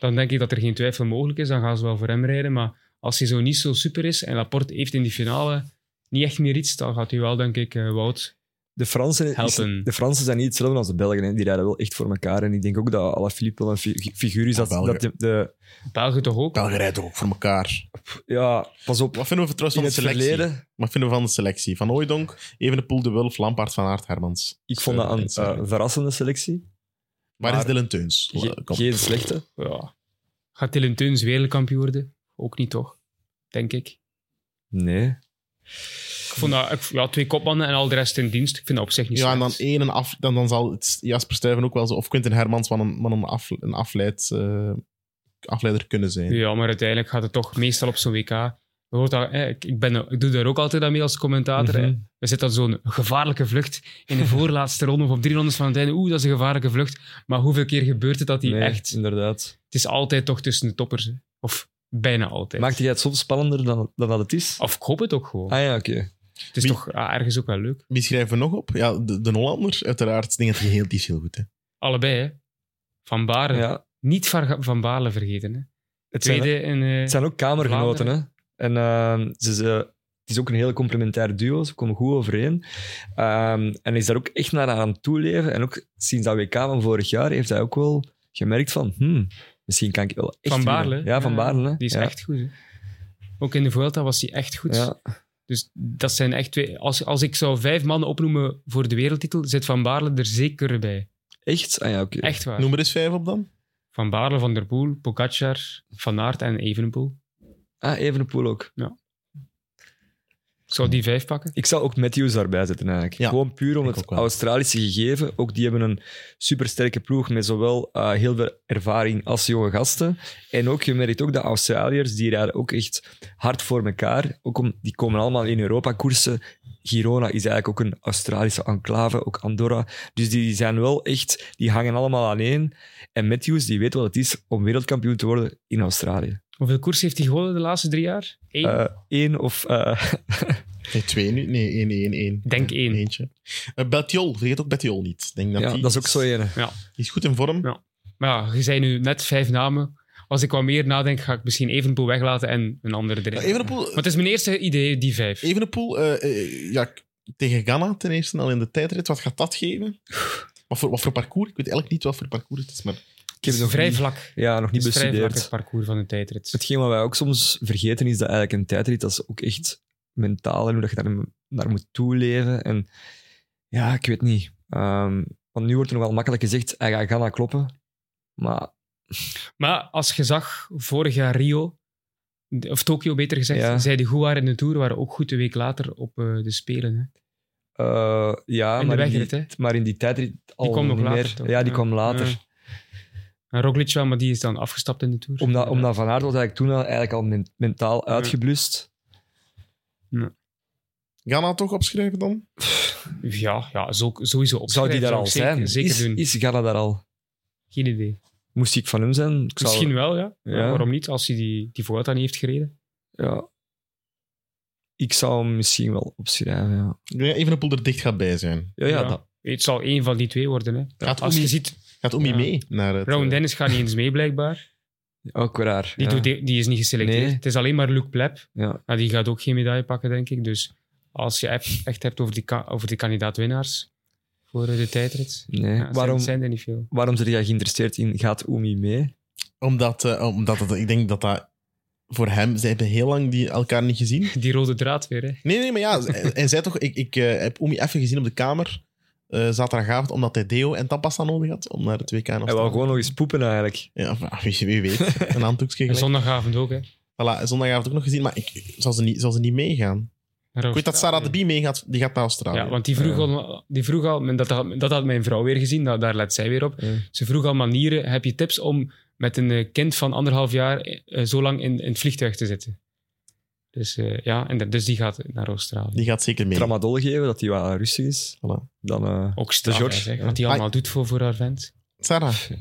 [SPEAKER 4] Dan denk ik dat er geen twijfel mogelijk is. Dan gaan ze wel voor hem rijden. Maar als hij zo niet zo super is en Laporte heeft in die finale niet echt meer iets, dan gaat hij wel, denk ik, eh, Wout.
[SPEAKER 3] de, Fransen is-
[SPEAKER 4] Helpen.
[SPEAKER 3] de Fransen zijn niet hetzelfde als de Belgen. Hè. Die rijden wel echt voor elkaar. En ik denk ook dat Alaphilippe wel een fi- figuur is.
[SPEAKER 2] Ja,
[SPEAKER 3] Dat,
[SPEAKER 2] Belgen.
[SPEAKER 3] dat de, de-
[SPEAKER 4] België toch ook?
[SPEAKER 2] Belgen rijdt toch ook voor elkaar.
[SPEAKER 3] ja, pas op.
[SPEAKER 2] Wat vinden we trouwens
[SPEAKER 3] In
[SPEAKER 2] van de
[SPEAKER 3] het
[SPEAKER 2] selectie?
[SPEAKER 3] verleden,
[SPEAKER 2] Wat vinden we van de selectie? Van Ooidonk, Evenepoel, De Wulf, Lampaard, Van Aert, Hermans.
[SPEAKER 3] ik vond dat een
[SPEAKER 2] Steun,
[SPEAKER 3] eh, een verrassende selectie.
[SPEAKER 2] Waar is
[SPEAKER 3] maar-
[SPEAKER 2] Dylan Teuns?
[SPEAKER 3] Ge-
[SPEAKER 2] Kom.
[SPEAKER 3] geen slechte.
[SPEAKER 4] Ja. Gaat Dylan Teuns wereldkampioen worden? Ook niet, toch? Denk ik.
[SPEAKER 3] Nee.
[SPEAKER 4] Ik vond dat, ik- ja, twee kopmannen en al de rest in dienst. Ik vind dat op zich niet
[SPEAKER 2] Ja, en dan
[SPEAKER 4] slecht.
[SPEAKER 2] één en af, dan, dan zal het Jasper Stuyven ook wel zo, of Quinten Hermans van een, van een, af, een afleid, eh, afleider kunnen zijn.
[SPEAKER 4] Ja, maar uiteindelijk gaat het toch meestal op zo'n WK. Je hoort dat, hè, ik, ik, ben, ik doe daar ook altijd aan mee als commentator. hè.
[SPEAKER 3] Mhm.
[SPEAKER 4] Er zit dan zo'n gevaarlijke vlucht in
[SPEAKER 3] *laughs*
[SPEAKER 4] de voorlaatste ronde of op drie rondes van het einde. Oeh, dat is een gevaarlijke vlucht. Maar hoeveel keer gebeurt het dat die
[SPEAKER 3] Nee,
[SPEAKER 4] echt...
[SPEAKER 3] Inderdaad.
[SPEAKER 4] Het is altijd toch tussen de toppers. hè. Of bijna altijd.
[SPEAKER 3] Maakte jij het soms spannender dan, dan dat het is?
[SPEAKER 4] Of ik hoop het ook gewoon.
[SPEAKER 3] Ah ja, oké.
[SPEAKER 4] het is
[SPEAKER 2] wie-
[SPEAKER 4] toch ah, ergens ook wel leuk.
[SPEAKER 2] Wie schrijven we nog op? Ja, de, de Hollander, uiteraard. Ik denk dat hij heel, die is heel goed. Hè.
[SPEAKER 4] Allebei, hè. Van Baren.
[SPEAKER 3] Ja.
[SPEAKER 4] Niet Van, van Baarle vergeten, hè.
[SPEAKER 3] Het zijn,
[SPEAKER 4] Tweede in... eh,
[SPEAKER 3] het zijn ook kamergenoten. Hè? En ehm, ze, ze- het is ook een heel complementair duo. Ze komen goed overeen. Ehm, en is daar ook echt naar aan het toeleven. En ook sinds dat WK van vorig jaar heeft hij ook wel gemerkt van... hmm, misschien kan ik wel echt...
[SPEAKER 4] Van
[SPEAKER 3] winnen.
[SPEAKER 4] Baarle,
[SPEAKER 3] Ja, Van
[SPEAKER 4] ja,
[SPEAKER 3] Baarle. hè.
[SPEAKER 4] Die is
[SPEAKER 3] Ja.
[SPEAKER 4] echt goed, hè. Ook in de Vuelta was hij echt goed.
[SPEAKER 3] Ja.
[SPEAKER 4] Dus dat zijn echt twee... Als, als ik zou vijf mannen opnoemen voor de wereldtitel, zit Van Baarle er zeker bij.
[SPEAKER 3] Echt? Ah ja, oké.
[SPEAKER 4] Echt waar.
[SPEAKER 2] Noem er eens vijf op dan.
[SPEAKER 4] Van Baarle, Van der Poel, Pogacar, Van Aert en Evenepoel.
[SPEAKER 3] Ah, Evenepoel ook.
[SPEAKER 4] Ik zou die vijf pakken.
[SPEAKER 3] Ik zou ook Matthews daarbij zetten eigenlijk.
[SPEAKER 2] Ja,
[SPEAKER 3] Gewoon puur om
[SPEAKER 2] ik
[SPEAKER 3] het
[SPEAKER 2] ook wel.
[SPEAKER 3] Australische gegeven. Ook die hebben een supersterke ploeg met zowel eh, heel veel ervaring als jonge gasten. En ook, je merkt ook de Australiërs, die rijden ook echt hard voor elkaar. Ook om, die komen allemaal in Europa koersen. Girona is eigenlijk ook een Australische enclave, ook Andorra. Dus die zijn wel echt, die hangen allemaal aan één. En Matthews, die weet wat het is om wereldkampioen te worden in Australië.
[SPEAKER 4] Hoeveel koers heeft hij gewonnen de laatste drie jaar? Eén?
[SPEAKER 3] Eén of... eh, *laughs*
[SPEAKER 2] Nee, twee nu. Nee, één, één, één.
[SPEAKER 4] Denk één.
[SPEAKER 2] Eentje. Eh, Betjol, vergeet ook Betjol niet. Ik Denk dat
[SPEAKER 3] ja,
[SPEAKER 2] die
[SPEAKER 3] dat is ook zo ene.
[SPEAKER 2] Die is goed in vorm.
[SPEAKER 4] Ja. Maar ja, je zei nu net vijf namen. Als ik wat meer nadenk, ga ik misschien Evenepoel weglaten en een andere erin.
[SPEAKER 2] Ja, Eh, Evenepoel,
[SPEAKER 4] Maar het is mijn eerste idee, die vijf.
[SPEAKER 2] Evenepoel eh, eh, ja, k- tegen Ghana ten eerste al in de tijdrit. Wat gaat dat geven? Wat voor, wat voor parcours? Ik weet eigenlijk niet wat voor parcours het is, maar
[SPEAKER 3] Ik heb
[SPEAKER 4] het
[SPEAKER 3] nog
[SPEAKER 4] is vrij
[SPEAKER 3] niet-
[SPEAKER 4] vlak.
[SPEAKER 3] Ja, nog niet
[SPEAKER 4] het is vrij vlak
[SPEAKER 3] bestudeerd.
[SPEAKER 4] het parcours van de tijdrit.
[SPEAKER 3] Hetgeen wat wij ook soms vergeten is dat eigenlijk een tijdrit, dat is ook echt mentaal en hoe dat je daar naar moet toeleven. En ja, ik weet niet. Ehm, want nu wordt er nog wel makkelijk gezegd, "Ah hij gaat Ghana kloppen. Maar
[SPEAKER 4] Maar als je zag, vorig jaar Rio, of Tokio beter gezegd,
[SPEAKER 3] Ja.
[SPEAKER 4] zij die goed waren in de Tour, waren ook goed een week later op eh, de Spelen. Hè.
[SPEAKER 3] eh, ja,
[SPEAKER 4] In de
[SPEAKER 3] maar,
[SPEAKER 4] wegrit,
[SPEAKER 3] in
[SPEAKER 4] hè.
[SPEAKER 3] die, maar in die tijdrit al
[SPEAKER 4] kwam nog
[SPEAKER 3] niet
[SPEAKER 4] later,
[SPEAKER 3] meer.
[SPEAKER 4] toch?
[SPEAKER 3] Ja, die
[SPEAKER 4] Ja.
[SPEAKER 3] kwam later.
[SPEAKER 4] Ja. En Roglic wel, maar die is dan afgestapt in de Tour.
[SPEAKER 3] Omdat, omdat Van Aert was eigenlijk toen al, eigenlijk al men- mentaal uitgeblust.
[SPEAKER 2] Ghana toch opschrijven dan?
[SPEAKER 4] Ja, ja zo, sowieso op.
[SPEAKER 3] Zou die daar al
[SPEAKER 4] zeker,
[SPEAKER 3] zijn?
[SPEAKER 4] Zeker
[SPEAKER 3] is,
[SPEAKER 4] doen.
[SPEAKER 3] is Ghana daar al?
[SPEAKER 4] Geen idee.
[SPEAKER 3] Moest ik van hem zijn? Ik zou-
[SPEAKER 4] Misschien wel, ja.
[SPEAKER 3] Ja.
[SPEAKER 4] Maar Waarom niet, als hij die, die Vuelta niet heeft gereden?
[SPEAKER 3] ja. Ik zou hem misschien wel opschrijven, ja.
[SPEAKER 2] Ik denk dat Evenepoel er dicht gaat bij zijn.
[SPEAKER 3] Ja, ja,
[SPEAKER 4] Ja.
[SPEAKER 3] dat-
[SPEAKER 4] Het zal één van die twee worden. Hè.
[SPEAKER 2] Gaat
[SPEAKER 4] Als
[SPEAKER 2] Oemi,
[SPEAKER 4] je ziet,
[SPEAKER 2] gaat Oemi
[SPEAKER 4] Ja.
[SPEAKER 2] mee naar het...
[SPEAKER 4] Rowan
[SPEAKER 2] eh,
[SPEAKER 4] Dennis gaat niet eens mee, blijkbaar.
[SPEAKER 3] Ook weer raar.
[SPEAKER 4] Die,
[SPEAKER 3] ja.
[SPEAKER 4] doet, die is niet geselecteerd.
[SPEAKER 3] Nee.
[SPEAKER 4] Het is alleen maar Luc Plep.
[SPEAKER 3] Ja.
[SPEAKER 4] Maar die gaat ook geen medaille pakken, denk ik. Dus als je echt echt hebt over die, ka- over die kandidaat-winnaars voor eh, de tijdrit,
[SPEAKER 3] Nee.
[SPEAKER 4] ja,
[SPEAKER 3] waarom,
[SPEAKER 4] zijn, zijn er niet veel. *laughs*
[SPEAKER 3] waarom zijn jij geïnteresseerd in gaat Oemi mee?
[SPEAKER 2] Omdat, eh, omdat het- ik denk dat dat voor hem... Zij hebben heel lang die elkaar niet gezien.
[SPEAKER 4] Die rode draad weer, hè.
[SPEAKER 2] Nee, nee, maar ja. en en zij toch... Ik, ik eh, heb Oemi even gezien op de kamer eh, zaterdagavond, omdat hij Deo en Tampasta nodig had om naar het WK in
[SPEAKER 3] Hij wil
[SPEAKER 2] Australië.
[SPEAKER 3] gewoon nog eens poepen eigenlijk.
[SPEAKER 2] Ja, maar wie, wie weet. Een
[SPEAKER 4] *laughs*
[SPEAKER 2] handdoekje
[SPEAKER 4] En
[SPEAKER 2] gelijk.
[SPEAKER 4] zondagavond ook, hè.
[SPEAKER 2] Voilà, zondagavond ook nog gezien, maar ik, ik- zal, ze niet, zal ze niet meegaan. Ik weet dat Sarah de Bie meegaat, die gaat naar Australië.
[SPEAKER 4] Ja, want die vroeg al, die vroeg al en dat, had- dat had mijn vrouw weer gezien, dat, daar let zij weer op.
[SPEAKER 3] Ja.
[SPEAKER 4] Ze vroeg al manieren, heb je tips om met een eh, kind van anderhalf jaar eh, zo lang in, in het vliegtuig te zitten? Dus eh, ja, en de- dus die gaat naar Australië.
[SPEAKER 2] Die gaat zeker mee.
[SPEAKER 3] Tramadol geven, dat hij wat rustig is.
[SPEAKER 2] Voilà.
[SPEAKER 3] Dan, eh,
[SPEAKER 4] Ook straf,
[SPEAKER 3] George,
[SPEAKER 4] hè, zeg,
[SPEAKER 3] ja.
[SPEAKER 4] wat die allemaal doet voor, voor haar vent.
[SPEAKER 2] Sarah?
[SPEAKER 4] Ja,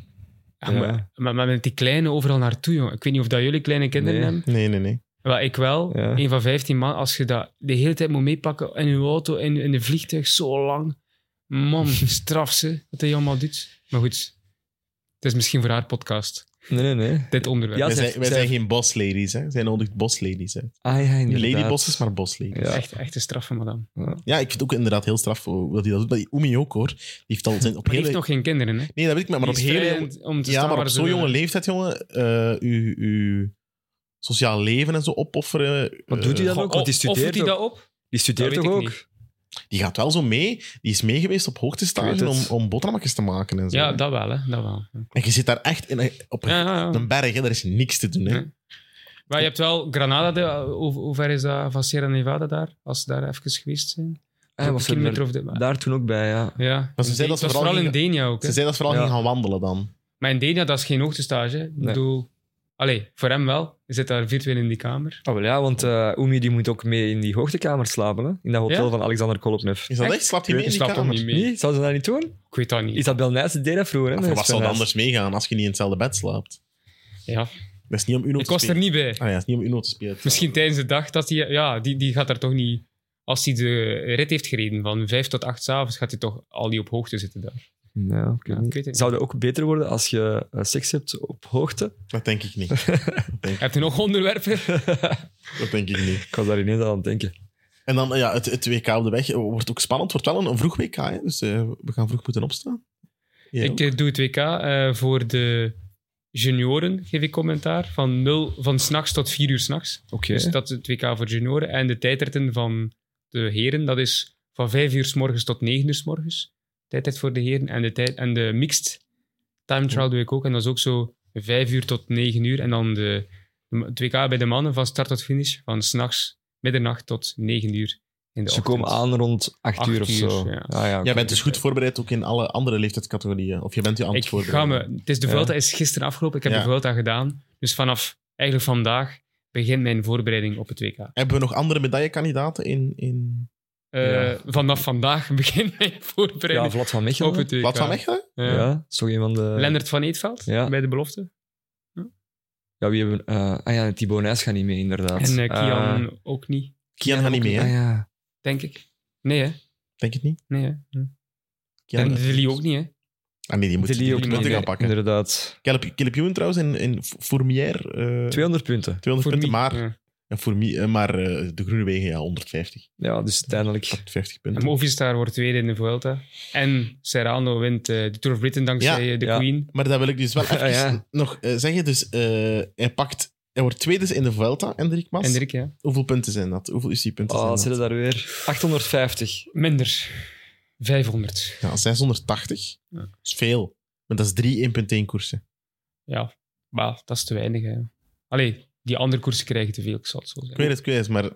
[SPEAKER 3] Ja.
[SPEAKER 4] Maar, maar- maar met die kleine overal naartoe, jongen. Ik weet niet of dat jullie kleine kinderen
[SPEAKER 3] Nee.
[SPEAKER 4] hebben.
[SPEAKER 2] Nee, nee, nee.
[SPEAKER 4] Wel, ik wel.
[SPEAKER 3] Ja.
[SPEAKER 4] Een van 15 man, als je dat de hele tijd moet meepakken in je auto, in, in de vliegtuig, zo lang.
[SPEAKER 3] *laughs*
[SPEAKER 4] Man, straf ze, wat hij allemaal doet. Maar goed, het is misschien voor haar podcast,
[SPEAKER 3] nee, nee, nee.
[SPEAKER 4] dit onderwerp.
[SPEAKER 3] Ja,
[SPEAKER 2] wij
[SPEAKER 3] zij-
[SPEAKER 2] zijn, wij
[SPEAKER 3] zij-
[SPEAKER 2] zijn geen bosladies, hè. Wij zijn nodig bosladies, hè.
[SPEAKER 3] Ah, ja,
[SPEAKER 2] Niet
[SPEAKER 3] inderdaad.
[SPEAKER 2] ladybosses, maar bosladies.
[SPEAKER 3] Ja.
[SPEAKER 4] Echt, echt een straf van madame. Maar
[SPEAKER 2] Ja, ik vind het ook inderdaad heel straf hoe dat hij dat doet. Maar die Oemi ook, hoor. Die heeft al zijn op
[SPEAKER 4] die
[SPEAKER 2] hele...
[SPEAKER 4] heeft nog geen kinderen, hè?
[SPEAKER 2] Nee, dat weet ik, maar, maar op
[SPEAKER 4] Die is vrij
[SPEAKER 2] hele...
[SPEAKER 4] om- om te
[SPEAKER 2] Ja,
[SPEAKER 4] staan
[SPEAKER 2] maar
[SPEAKER 4] waar
[SPEAKER 2] op
[SPEAKER 4] ze
[SPEAKER 2] zo'n
[SPEAKER 4] willen.
[SPEAKER 2] jonge leeftijd, jongen, eh uw, uw sociaal leven en zo opofferen...
[SPEAKER 3] Maar doet hij dat
[SPEAKER 2] eh,
[SPEAKER 3] ook? Want die
[SPEAKER 4] Of-
[SPEAKER 3] studeert,
[SPEAKER 4] offert hij
[SPEAKER 3] ook.
[SPEAKER 4] dat op?
[SPEAKER 3] Die studeert
[SPEAKER 4] Dat
[SPEAKER 3] toch
[SPEAKER 4] weet ik
[SPEAKER 3] ook?
[SPEAKER 4] niet.
[SPEAKER 2] Die gaat wel zo mee. Die is mee geweest op hoogtestage
[SPEAKER 3] Ik weet
[SPEAKER 2] om,
[SPEAKER 3] het.
[SPEAKER 2] om boterhammetjes te maken en zo.
[SPEAKER 4] Ja, dat wel, hè. Dat wel.
[SPEAKER 2] En je zit daar echt in, een- op een,
[SPEAKER 4] Ja, ja, ja.
[SPEAKER 2] een berg, hè. Daar is niks te doen, hè.
[SPEAKER 4] Nee. Maar je hebt wel Granada, de- hoe, hoe ver is dat van Sierra Nevada daar? Als ze daar even geweest zijn?
[SPEAKER 3] Ah, was
[SPEAKER 4] een
[SPEAKER 3] er
[SPEAKER 4] kilometer of de...
[SPEAKER 3] daar toen ook bij, ja.
[SPEAKER 4] Ja.
[SPEAKER 2] Maar ze zei dat
[SPEAKER 4] In Den-
[SPEAKER 2] ze
[SPEAKER 4] was
[SPEAKER 2] vooral
[SPEAKER 4] vooral in
[SPEAKER 2] niet-
[SPEAKER 4] Denia ook. hè.
[SPEAKER 2] Ze zei dat ze vooral
[SPEAKER 3] Ja.
[SPEAKER 2] ging gaan wandelen dan.
[SPEAKER 4] Maar in Denia, dat is geen hoogtestage. hè. Ik
[SPEAKER 3] Nee.
[SPEAKER 4] bedoel... Allee, voor hem wel. Hij zit daar virtueel in die kamer.
[SPEAKER 3] Oh, wel ja, want eh Oemi die moet ook mee in die hoogtekamer slapen, hè? in dat hotel
[SPEAKER 4] Ja?
[SPEAKER 3] van Alexander Kolopnev.
[SPEAKER 2] Is dat echt?
[SPEAKER 4] Echt?
[SPEAKER 2] Slaapt hij mee
[SPEAKER 4] Ik
[SPEAKER 2] in die
[SPEAKER 4] snap hem
[SPEAKER 2] kamer?
[SPEAKER 4] niet mee.
[SPEAKER 3] Nee, zou ze dat niet doen?
[SPEAKER 4] Ik weet dat niet.
[SPEAKER 3] Isabel Nijs deed dat vroeger. Hè?
[SPEAKER 2] Maar
[SPEAKER 3] met
[SPEAKER 2] voor wat zou
[SPEAKER 3] Sven
[SPEAKER 2] het
[SPEAKER 3] Nys.
[SPEAKER 2] anders meegaan als je niet in hetzelfde bed slaapt?
[SPEAKER 4] Ja.
[SPEAKER 2] Dat is niet om Uno
[SPEAKER 4] Ik
[SPEAKER 2] te
[SPEAKER 4] was er
[SPEAKER 2] spelen.
[SPEAKER 4] niet bij.
[SPEAKER 2] Ah ja, het is niet om Uno te spelen.
[SPEAKER 4] Misschien tijdens de dag dat hij... Ja, die, die gaat daar toch niet... Als hij de rit heeft gereden van vijf tot acht 's avonds, gaat hij toch al die op hoogte zitten daar.
[SPEAKER 3] Ja, ik weet
[SPEAKER 4] Ja,
[SPEAKER 3] niet.
[SPEAKER 4] ik weet het niet.
[SPEAKER 3] Zou dat ook beter worden als je eh, seks hebt op hoogte?
[SPEAKER 2] Dat denk ik niet. Dat denk,
[SPEAKER 4] Heb je nog onderwerpen?
[SPEAKER 2] dat denk ik niet.
[SPEAKER 3] Ik was daar ineens aan het denken.
[SPEAKER 2] En dan ja, het, het WK op de weg eh, wordt ook spannend. Het wordt wel een, een vroeg WK, hè? dus eh, we gaan vroeg moeten opstaan. Ja.
[SPEAKER 4] Ik eh, doe het WK eh, voor de junioren, geef ik commentaar. Van, 0 van s'nachts tot 4 uur s'nachts.
[SPEAKER 3] Oké.
[SPEAKER 4] Dus dat is het WK voor junioren. En de tijdritten van de heren, dat is van 5 uur s morgens tot 9 uur s morgens. Tijdrit voor de heren. En de, tijd, en de mixed time trial doe ik ook. En dat is ook zo 5 uur tot 9 uur. En dan de, het WK bij de mannen van start tot finish. Van s'nachts, middernacht tot 9 uur. In de
[SPEAKER 3] Ze
[SPEAKER 4] ochtend.
[SPEAKER 3] komen aan rond 8
[SPEAKER 4] Acht
[SPEAKER 3] uur of
[SPEAKER 4] uur,
[SPEAKER 3] zo.
[SPEAKER 4] ja.
[SPEAKER 3] Ah, ja, oké.
[SPEAKER 2] Jij bent dus goed voorbereid ook in alle andere leeftijdscategorieën. Of je bent je ambt
[SPEAKER 4] Ik
[SPEAKER 2] voorbereid.
[SPEAKER 4] ga me, het is de
[SPEAKER 3] Ja.
[SPEAKER 4] Vuelta is gisteren afgelopen. Ik heb
[SPEAKER 2] Ja.
[SPEAKER 4] de Vuelta gedaan. Dus vanaf eigenlijk vandaag begint mijn voorbereiding op het Eh, WK.
[SPEAKER 2] Hebben we nog andere medaillekandidaten in, in...
[SPEAKER 4] Eh,
[SPEAKER 3] Ja.
[SPEAKER 4] Vanaf vandaag *laughs* begint mijn
[SPEAKER 3] Ja,
[SPEAKER 4] voorbereiding
[SPEAKER 3] Vlad van Mechelen.
[SPEAKER 4] op het WK.
[SPEAKER 2] Plaats van Mechelen?
[SPEAKER 4] Ja.
[SPEAKER 3] Ja, ja zo een van de...
[SPEAKER 4] Lennart van Eetveld
[SPEAKER 3] Ja.
[SPEAKER 4] bij de belofte.
[SPEAKER 3] Ja, wie hebben... eh, ah ja, Thibaut Nijs gaat niet mee, inderdaad.
[SPEAKER 4] En eh,
[SPEAKER 3] Eh,
[SPEAKER 4] Kian ook niet,
[SPEAKER 2] Kian gaat niet mee, hè?
[SPEAKER 3] ah ja.
[SPEAKER 4] denk ik. Nee, hè?
[SPEAKER 2] Denk het niet?
[SPEAKER 4] Nee, hè? Hm.
[SPEAKER 2] Kian...
[SPEAKER 4] en Dilly ook niet, hè?
[SPEAKER 2] Ah nee, die moet
[SPEAKER 3] De
[SPEAKER 2] die
[SPEAKER 3] Lee ook
[SPEAKER 2] moet
[SPEAKER 3] niet
[SPEAKER 2] punten
[SPEAKER 3] mee,
[SPEAKER 2] gaan pakken.
[SPEAKER 3] Inderdaad.
[SPEAKER 2] Caleb- Caleb Ewan trouwens in, in Fourmière. eh
[SPEAKER 3] 200 punten.
[SPEAKER 2] 200 punten,
[SPEAKER 4] Fourmi,
[SPEAKER 2] maar,
[SPEAKER 4] ja.
[SPEAKER 2] en Fourmi- eh, maar eh, de Groene Wegen, ja, 150.
[SPEAKER 3] Ja, dus uiteindelijk...
[SPEAKER 2] 50
[SPEAKER 4] En
[SPEAKER 2] punten.
[SPEAKER 4] Movistar wordt tweede in de Vuelta. En Serrano wint eh, de Tour of Britain dankzij eh, de
[SPEAKER 3] ja.
[SPEAKER 4] Queen.
[SPEAKER 2] Maar dat wil ik dus wel even
[SPEAKER 3] *laughs* Ah, ja.
[SPEAKER 2] nog eh, zeggen. Dus eh, hij pakt... Hij wordt tweede in de Vuelta, Hendrik Mas.
[SPEAKER 4] En Dirk, ja.
[SPEAKER 2] Hoeveel punten zijn dat? Hoeveel UC-punten
[SPEAKER 3] Oh,
[SPEAKER 2] zijn
[SPEAKER 3] zitten
[SPEAKER 2] dat?
[SPEAKER 3] daar weer. 850.
[SPEAKER 4] Minder. 500.
[SPEAKER 2] Ja, 680.
[SPEAKER 4] Ja.
[SPEAKER 2] Dat is veel. Maar dat is drie 1.1 koersen.
[SPEAKER 4] ja, maar dat is te weinig. Hè. Allee, die andere koersen krijgen te veel, ik zal het zo
[SPEAKER 2] Ik
[SPEAKER 4] zeggen.
[SPEAKER 2] weet het, ik weet het, maar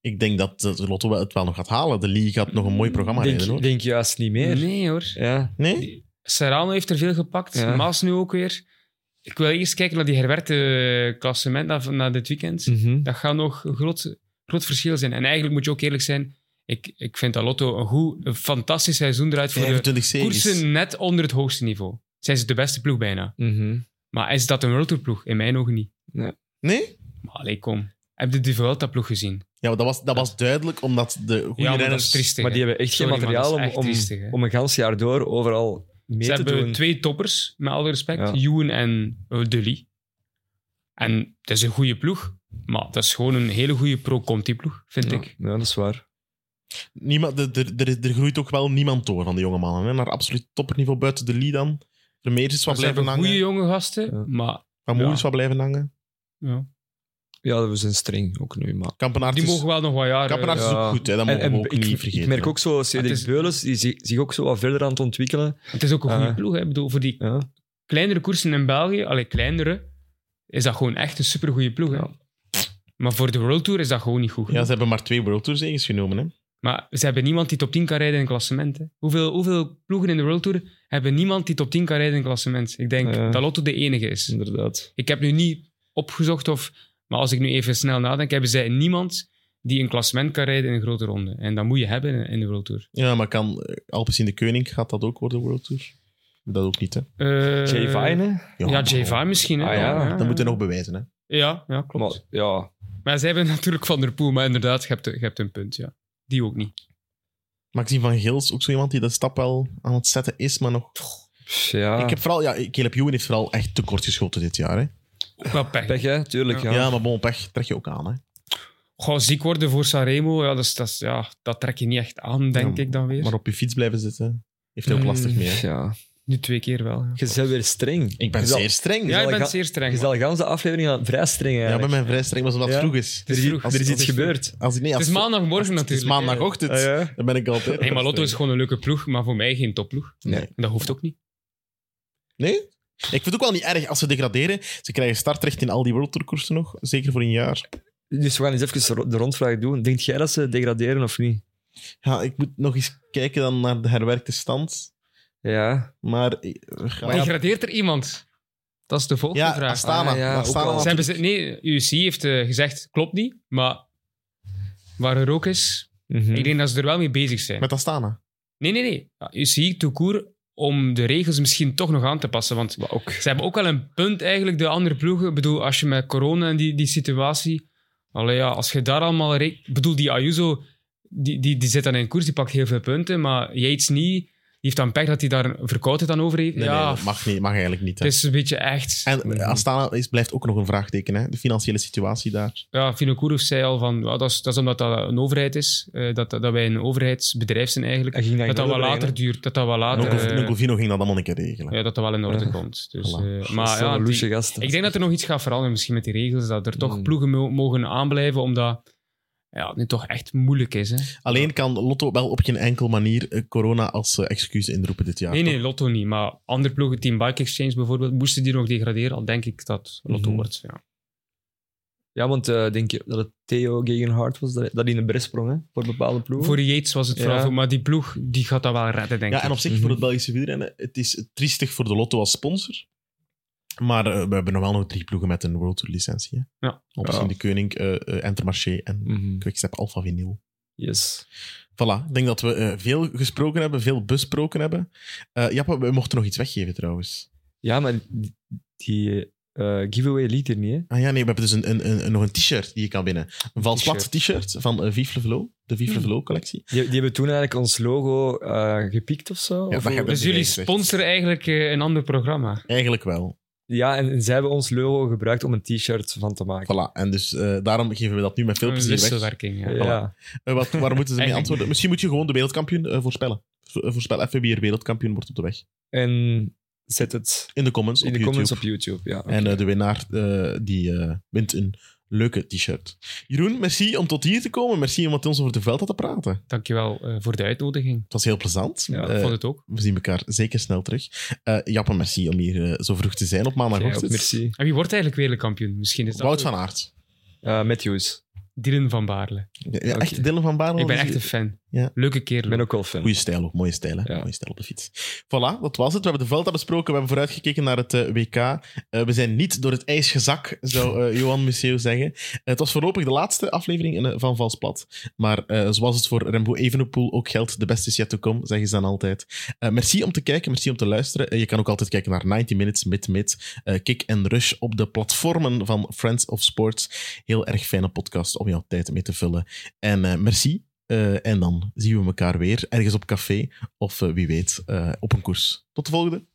[SPEAKER 2] ik denk dat eh, Lotto wel- het wel nog gaat halen. De Lee gaat nog een mooi programma
[SPEAKER 3] denk,
[SPEAKER 2] rijden, hoor.
[SPEAKER 3] denk juist niet meer.
[SPEAKER 4] Nee hoor.
[SPEAKER 3] Ja.
[SPEAKER 2] Nee?
[SPEAKER 4] Serrano heeft er veel gepakt,
[SPEAKER 3] Ja.
[SPEAKER 4] Maas nu ook weer. Ik wil eerst kijken naar die herwerkte eh, klassement na, na dit weekend.
[SPEAKER 2] Hm.
[SPEAKER 3] Mhm.
[SPEAKER 4] Dat gaat nog een groot, groot verschil zijn. En eigenlijk moet je ook eerlijk zijn, ik, ik vind dat Lotto een, goed, een fantastisch seizoen eruit voor de
[SPEAKER 2] 25 series.
[SPEAKER 4] eh, koersen net onder het hoogste niveau. Zijn ze de beste ploeg bijna.
[SPEAKER 3] Mhm.
[SPEAKER 4] Maar is dat een World Tour ploeg? In mijn ogen niet.
[SPEAKER 2] Nee?
[SPEAKER 4] Maar allee, kom. Heb je de Vuelta ploeg gezien?
[SPEAKER 2] Ja, maar dat was, dat was duidelijk, omdat de goede
[SPEAKER 4] Ja, maar dat is
[SPEAKER 2] renners...
[SPEAKER 4] triestig.
[SPEAKER 3] Maar die
[SPEAKER 4] hè.
[SPEAKER 3] hebben echt geen
[SPEAKER 4] Sorry, maar
[SPEAKER 3] materiaal
[SPEAKER 4] dat is
[SPEAKER 3] om,
[SPEAKER 4] echt
[SPEAKER 3] om,
[SPEAKER 4] triestig, hè.
[SPEAKER 3] om een gans jaar door overal mee
[SPEAKER 4] Ze
[SPEAKER 3] te
[SPEAKER 4] hebben
[SPEAKER 3] doen.
[SPEAKER 4] twee toppers, met alle respect.
[SPEAKER 3] Ja.
[SPEAKER 4] Ewan en eh, Dully. En het is een goede ploeg. Maar dat is gewoon een hele goede pro-Conti-ploeg, vind
[SPEAKER 3] Ja.
[SPEAKER 4] ik.
[SPEAKER 3] Ja, dat is waar.
[SPEAKER 2] Niemand, er, er- er, er groeit ook wel niemand door van de jonge mannen. Hè? Naar absoluut topperniveau buiten de Lee dan. Vermeer is wat
[SPEAKER 4] Ze
[SPEAKER 2] blijven
[SPEAKER 4] hebben
[SPEAKER 2] hangen.
[SPEAKER 4] goede jonge gasten,
[SPEAKER 3] Ja.
[SPEAKER 4] maar
[SPEAKER 2] Van Moer
[SPEAKER 4] ja.
[SPEAKER 2] is wat blijven hangen.
[SPEAKER 4] ja.
[SPEAKER 3] Ja, we zijn streng ook nu, maar...
[SPEAKER 2] Kampenaert
[SPEAKER 4] die
[SPEAKER 2] is,
[SPEAKER 4] mogen wel nog wat jaren... eh,
[SPEAKER 2] Kampenaert is
[SPEAKER 3] Ja.
[SPEAKER 2] ook goed, hè? dat
[SPEAKER 3] En,
[SPEAKER 2] mogen
[SPEAKER 3] en
[SPEAKER 2] we ook
[SPEAKER 3] ik,
[SPEAKER 2] niet
[SPEAKER 3] ik
[SPEAKER 2] vergeten.
[SPEAKER 3] merk ook zo
[SPEAKER 4] Het
[SPEAKER 3] Cedric
[SPEAKER 4] is-
[SPEAKER 3] Beulens, die zich, zich ook zo wat verder aan het ontwikkelen.
[SPEAKER 4] Het is ook een goede
[SPEAKER 3] Ah.
[SPEAKER 4] ploeg. Hè. Ik bedoel, voor die
[SPEAKER 3] Ja.
[SPEAKER 4] kleinere koersen in België, allee, kleinere, is dat gewoon echt een supergoeie ploeg. Hè.
[SPEAKER 3] Ja.
[SPEAKER 4] Maar voor de World Tour is dat gewoon niet goed.
[SPEAKER 2] Ja,
[SPEAKER 4] genoeg.
[SPEAKER 2] ze hebben maar twee World Tour zegens genomen. Hè?
[SPEAKER 4] Maar ze hebben niemand die top 10 kan rijden in klassement. Hè. Hoeveel, hoeveel ploegen in de World Tour hebben niemand die top 10 kan rijden in klassement? Ik denk
[SPEAKER 3] Ja.
[SPEAKER 4] dat Lotto de enige is.
[SPEAKER 3] Inderdaad.
[SPEAKER 4] Ik heb nu niet opgezocht of. Maar als ik nu even snel nadenk, hebben zij niemand die een klassement kan rijden in een grote ronde. En dat moet je hebben in de World Tour.
[SPEAKER 2] Ja, maar kan eh, Alpecin de Koning, gaat dat ook worden, World Tour? Dat ook niet, hè?
[SPEAKER 4] Eh,
[SPEAKER 3] Jay Vine,
[SPEAKER 4] Ja, J5 misschien. Hè?
[SPEAKER 3] Ah, ja.
[SPEAKER 2] Dat moet hij nog bewijzen, hè?
[SPEAKER 4] Ja, ja,
[SPEAKER 3] hè?
[SPEAKER 4] klopt.
[SPEAKER 3] Maar, ja,
[SPEAKER 4] Maar zij hebben *laughs* natuurlijk Van der Poel, maar inderdaad, je hebt, je hebt een punt, ja. Die ook niet.
[SPEAKER 2] Maxime van Gils, ook zo iemand die dat stap wel aan het zetten is, maar nog...
[SPEAKER 3] pff, ja.
[SPEAKER 2] Ik heb vooral... Ja, Caleb Ewan heeft vooral echt tekort geschoten dit jaar, hè?
[SPEAKER 4] Ook wel pech.
[SPEAKER 3] pech, hè? Tuurlijk,
[SPEAKER 4] Ja.
[SPEAKER 3] ja.
[SPEAKER 2] Ja, maar bon, pech trek je ook aan, hè?
[SPEAKER 4] Goh, ziek worden voor Sanremo, ja, dat, is- dat, is- ja, dat trek je niet echt aan, denk
[SPEAKER 2] Ja,
[SPEAKER 4] ik dan weer.
[SPEAKER 2] Maar op je fiets blijven zitten, heeft hij ook
[SPEAKER 4] Mm,
[SPEAKER 2] lastig mee, hè?
[SPEAKER 3] Ja.
[SPEAKER 4] Nu twee keer wel. Ja,
[SPEAKER 3] Je bent weer streng.
[SPEAKER 2] Ik ben
[SPEAKER 3] Je zal-
[SPEAKER 2] zeer streng.
[SPEAKER 4] ja
[SPEAKER 2] Ja,
[SPEAKER 4] je
[SPEAKER 3] ik
[SPEAKER 4] bent
[SPEAKER 3] ga-
[SPEAKER 4] zeer streng.
[SPEAKER 3] Je zal de ganse aflevering aan- vrij streng,
[SPEAKER 2] ik ben
[SPEAKER 3] eigenlijk.
[SPEAKER 2] mijn vrij streng, maar omdat het
[SPEAKER 3] Ja.
[SPEAKER 2] vroeg is.
[SPEAKER 4] Het is vroeg.
[SPEAKER 2] Als-
[SPEAKER 3] Er is
[SPEAKER 2] als
[SPEAKER 3] iets
[SPEAKER 2] ik-
[SPEAKER 3] gebeurd.
[SPEAKER 2] Als, nee,
[SPEAKER 4] Het
[SPEAKER 2] als,
[SPEAKER 4] is maandagmorgen
[SPEAKER 2] Het is
[SPEAKER 4] natuurlijk.
[SPEAKER 2] maandagochtend.
[SPEAKER 3] Ah, ja.
[SPEAKER 2] Dan ben ik altijd...
[SPEAKER 4] Nee, maar Lotto is gewoon een leuke ploeg, maar voor mij geen topploeg.
[SPEAKER 2] Nee.
[SPEAKER 4] En Dat hoeft ook niet.
[SPEAKER 2] Nee? Ik vind het ook wel niet erg als ze degraderen. Ze krijgen startrecht in al die World Tour koersen nog. Zeker voor een jaar.
[SPEAKER 3] Dus we gaan eens even ro- de rondvraag doen. Denkt jij dat ze degraderen of niet?
[SPEAKER 2] Ja, ik moet nog eens kijken dan naar de herwerkte stand.
[SPEAKER 3] Ja.
[SPEAKER 2] Maar... eh, we gaan-
[SPEAKER 4] Degradeert er iemand? Dat is de volgende
[SPEAKER 2] Ja,
[SPEAKER 4] vraag.
[SPEAKER 2] Astana.
[SPEAKER 3] Ah, ja,
[SPEAKER 2] Astana
[SPEAKER 3] ook wel.
[SPEAKER 4] Ze
[SPEAKER 2] had-
[SPEAKER 4] hebben ze, nee, UC heeft eh, gezegd, klopt niet, maar waar er ook is,
[SPEAKER 3] Mhm.
[SPEAKER 4] ik denk dat ze er wel mee bezig zijn.
[SPEAKER 2] Met Astana.
[SPEAKER 4] Nee, nee, nee. Ja, UCI, toekoer, om de regels misschien toch nog aan te passen. Want
[SPEAKER 3] Maar ook.
[SPEAKER 4] ze hebben ook wel een punt eigenlijk, de andere ploegen. Ik bedoel, als je met corona en die, die situatie... Allee, ja, als je daar allemaal... re- Ik bedoel, die Ayuso, die, die, die zit dan in koers, die pakt heel veel punten. Maar Yates niet. Die heeft dan pech dat hij daar een verkoudheid aan over heeft.
[SPEAKER 2] Nee,
[SPEAKER 4] ja,
[SPEAKER 2] nee, dat mag, niet, mag eigenlijk niet. hè.
[SPEAKER 4] het is een beetje echt...
[SPEAKER 2] En eh, Astana is, blijft ook nog een vraagteken. Hè? De financiële situatie daar.
[SPEAKER 4] Ja, Vinokourov zei al van... ja, dat, is, dat is omdat dat een overheid is. eh, dat, dat wij een overheidsbedrijf zijn eigenlijk.
[SPEAKER 3] Hij ging
[SPEAKER 4] Dat dat wel
[SPEAKER 3] brengen.
[SPEAKER 4] later duurt. Dat dat wel later...
[SPEAKER 2] Nunco-
[SPEAKER 4] eh,
[SPEAKER 2] Nuncovino ging dat allemaal een keer regelen.
[SPEAKER 4] ja, dat dat wel in orde
[SPEAKER 3] Ja.
[SPEAKER 4] komt. Dus,
[SPEAKER 2] Voilà.
[SPEAKER 4] eh,
[SPEAKER 3] Dat
[SPEAKER 4] maar
[SPEAKER 3] is wel
[SPEAKER 4] ja,
[SPEAKER 3] een
[SPEAKER 4] die-
[SPEAKER 3] loesje gast.
[SPEAKER 4] ik denk dat er nog iets gaat veranderen, misschien met die regels, dat er
[SPEAKER 2] Hmm.
[SPEAKER 4] toch
[SPEAKER 3] Mm.
[SPEAKER 4] ploegen mo- mogen aanblijven, omdat ja, het nu toch echt moeilijk is. Hè?
[SPEAKER 2] Alleen kan Lotto wel op geen enkel manier eh, corona als eh, excuus inroepen dit jaar.
[SPEAKER 4] nee,
[SPEAKER 2] toch?
[SPEAKER 4] nee, Lotto niet, maar andere ploegen, Team Bike Exchange bijvoorbeeld, moesten die nog degraderen, al denk ik dat Lotto
[SPEAKER 2] Hmm.
[SPEAKER 3] Mhm.
[SPEAKER 4] wordt. Ja.
[SPEAKER 3] Ja, want eh, denk je dat het Theo Gegenhard was? Dat dat hij in de bres sprong, hè? Voor bepaalde ploegen?
[SPEAKER 4] Voor Yates was het vooral,
[SPEAKER 3] Ja.
[SPEAKER 4] voor- maar die ploeg die gaat dat wel redden, denk
[SPEAKER 2] Ja,
[SPEAKER 4] ik.
[SPEAKER 2] en op zich voor het Belgische wielrennen, het is triestig voor de Lotto als sponsor. Maar eh, we hebben nog wel nog drie ploegen met een World Tour licentie. Hè?
[SPEAKER 4] Ja.
[SPEAKER 2] Op zich
[SPEAKER 3] Ja.
[SPEAKER 2] de Koning, eh eh, Intermarché en
[SPEAKER 3] Mhm.
[SPEAKER 2] Quickstep Alpha Vinyl.
[SPEAKER 3] Yes.
[SPEAKER 2] Voilà, ik denk dat we eh, veel gesproken hebben, veel besproken hebben. Eh Jappe, we mochten nog iets weggeven trouwens.
[SPEAKER 3] Ja, maar die, die, eh, giveaway liet er niet, hè?
[SPEAKER 2] Ah ja, nee, we hebben dus een, een, een- een- nog een t-shirt die je kan winnen. Een vals plat
[SPEAKER 3] T-shirt.
[SPEAKER 2] t-shirt van eh, Vive le Velo, de Vive le
[SPEAKER 4] Mhm.
[SPEAKER 2] Velo collectie.
[SPEAKER 3] Die, die hebben toen eigenlijk ons logo eh, gepikt of zo.
[SPEAKER 2] Ja,
[SPEAKER 3] Of-
[SPEAKER 2] dat hebben
[SPEAKER 4] Dus
[SPEAKER 2] we
[SPEAKER 4] jullie
[SPEAKER 2] niet gezegd.
[SPEAKER 4] sponsoren eigenlijk eh, een ander programma.
[SPEAKER 2] Eigenlijk wel.
[SPEAKER 3] ja en, en zij hebben ons logo gebruikt om een t-shirt van te maken.
[SPEAKER 2] Voilà, en dus eh, daarom geven we dat nu met veel
[SPEAKER 4] Een
[SPEAKER 2] plezier weg.
[SPEAKER 4] wisselwerking. Ja.
[SPEAKER 3] ja.
[SPEAKER 2] Eh, wat, waar moeten ze mee
[SPEAKER 3] *laughs*
[SPEAKER 4] Eigenlijk
[SPEAKER 2] antwoorden? Misschien moet je gewoon de wereldkampioen eh, voorspellen. Vo- eh, voorspel even wie er wereldkampioen wordt op de weg.
[SPEAKER 3] En zet het
[SPEAKER 2] In de comments
[SPEAKER 3] in
[SPEAKER 2] op
[SPEAKER 3] de
[SPEAKER 2] YouTube.
[SPEAKER 3] comments op YouTube, ja.
[SPEAKER 2] En eh, de winnaar eh, die eh, wint een leuke t-shirt. Jeroen, merci om tot hier te komen. Merci om met ons over de veld te praten.
[SPEAKER 4] Dankjewel eh, voor de uitnodiging.
[SPEAKER 2] Het was heel plezant.
[SPEAKER 3] Ja,
[SPEAKER 4] Ik
[SPEAKER 2] Eh,
[SPEAKER 4] vond het ook.
[SPEAKER 2] we zien elkaar zeker snel terug. Eh Jappe, merci om hier eh, zo vroeg te zijn op
[SPEAKER 3] Ja,
[SPEAKER 2] maandagochtend.
[SPEAKER 3] merci.
[SPEAKER 4] En wie wordt eigenlijk wereldkampioen? Misschien is dat
[SPEAKER 2] Wout van Aert.
[SPEAKER 3] Eh, Matthews.
[SPEAKER 4] Dylan van Baarle.
[SPEAKER 2] Ja,
[SPEAKER 3] Oké.
[SPEAKER 2] Echt Dylan van Baarle.
[SPEAKER 4] Ik ben echt een fan.
[SPEAKER 2] Oh, dus Ja.
[SPEAKER 4] Leuke kerel.
[SPEAKER 3] Ik ben ook wel fan.
[SPEAKER 2] Goeie stijl ook, mooie stijl. Hè?
[SPEAKER 3] Ja.
[SPEAKER 2] Mooie stijl op de fiets. Voilà, dat was het. We hebben de Vuelta besproken, we hebben vooruitgekeken naar het eh, WK. Eh, we zijn niet door het ijs gezakt, zou eh, Johan Museeuw zeggen. Eh, het was voorlopig de laatste aflevering eh, van Vals Plat. Maar eh, zoals het voor Rembo Evenepoel ook geldt, de beste is yet to come, zeggen ze dan altijd. Eh, merci om te kijken, merci om te luisteren. Eh, je kan ook altijd kijken naar 90 Minutes, Mid Mid, eh, Kick en Rush op de platformen van Friends of Sports. Heel erg fijne podcast om jouw tijd mee te vullen. En eh, merci. Eh, en dan zien we elkaar weer ergens op café of eh, wie weet eh, op een koers. Tot de volgende.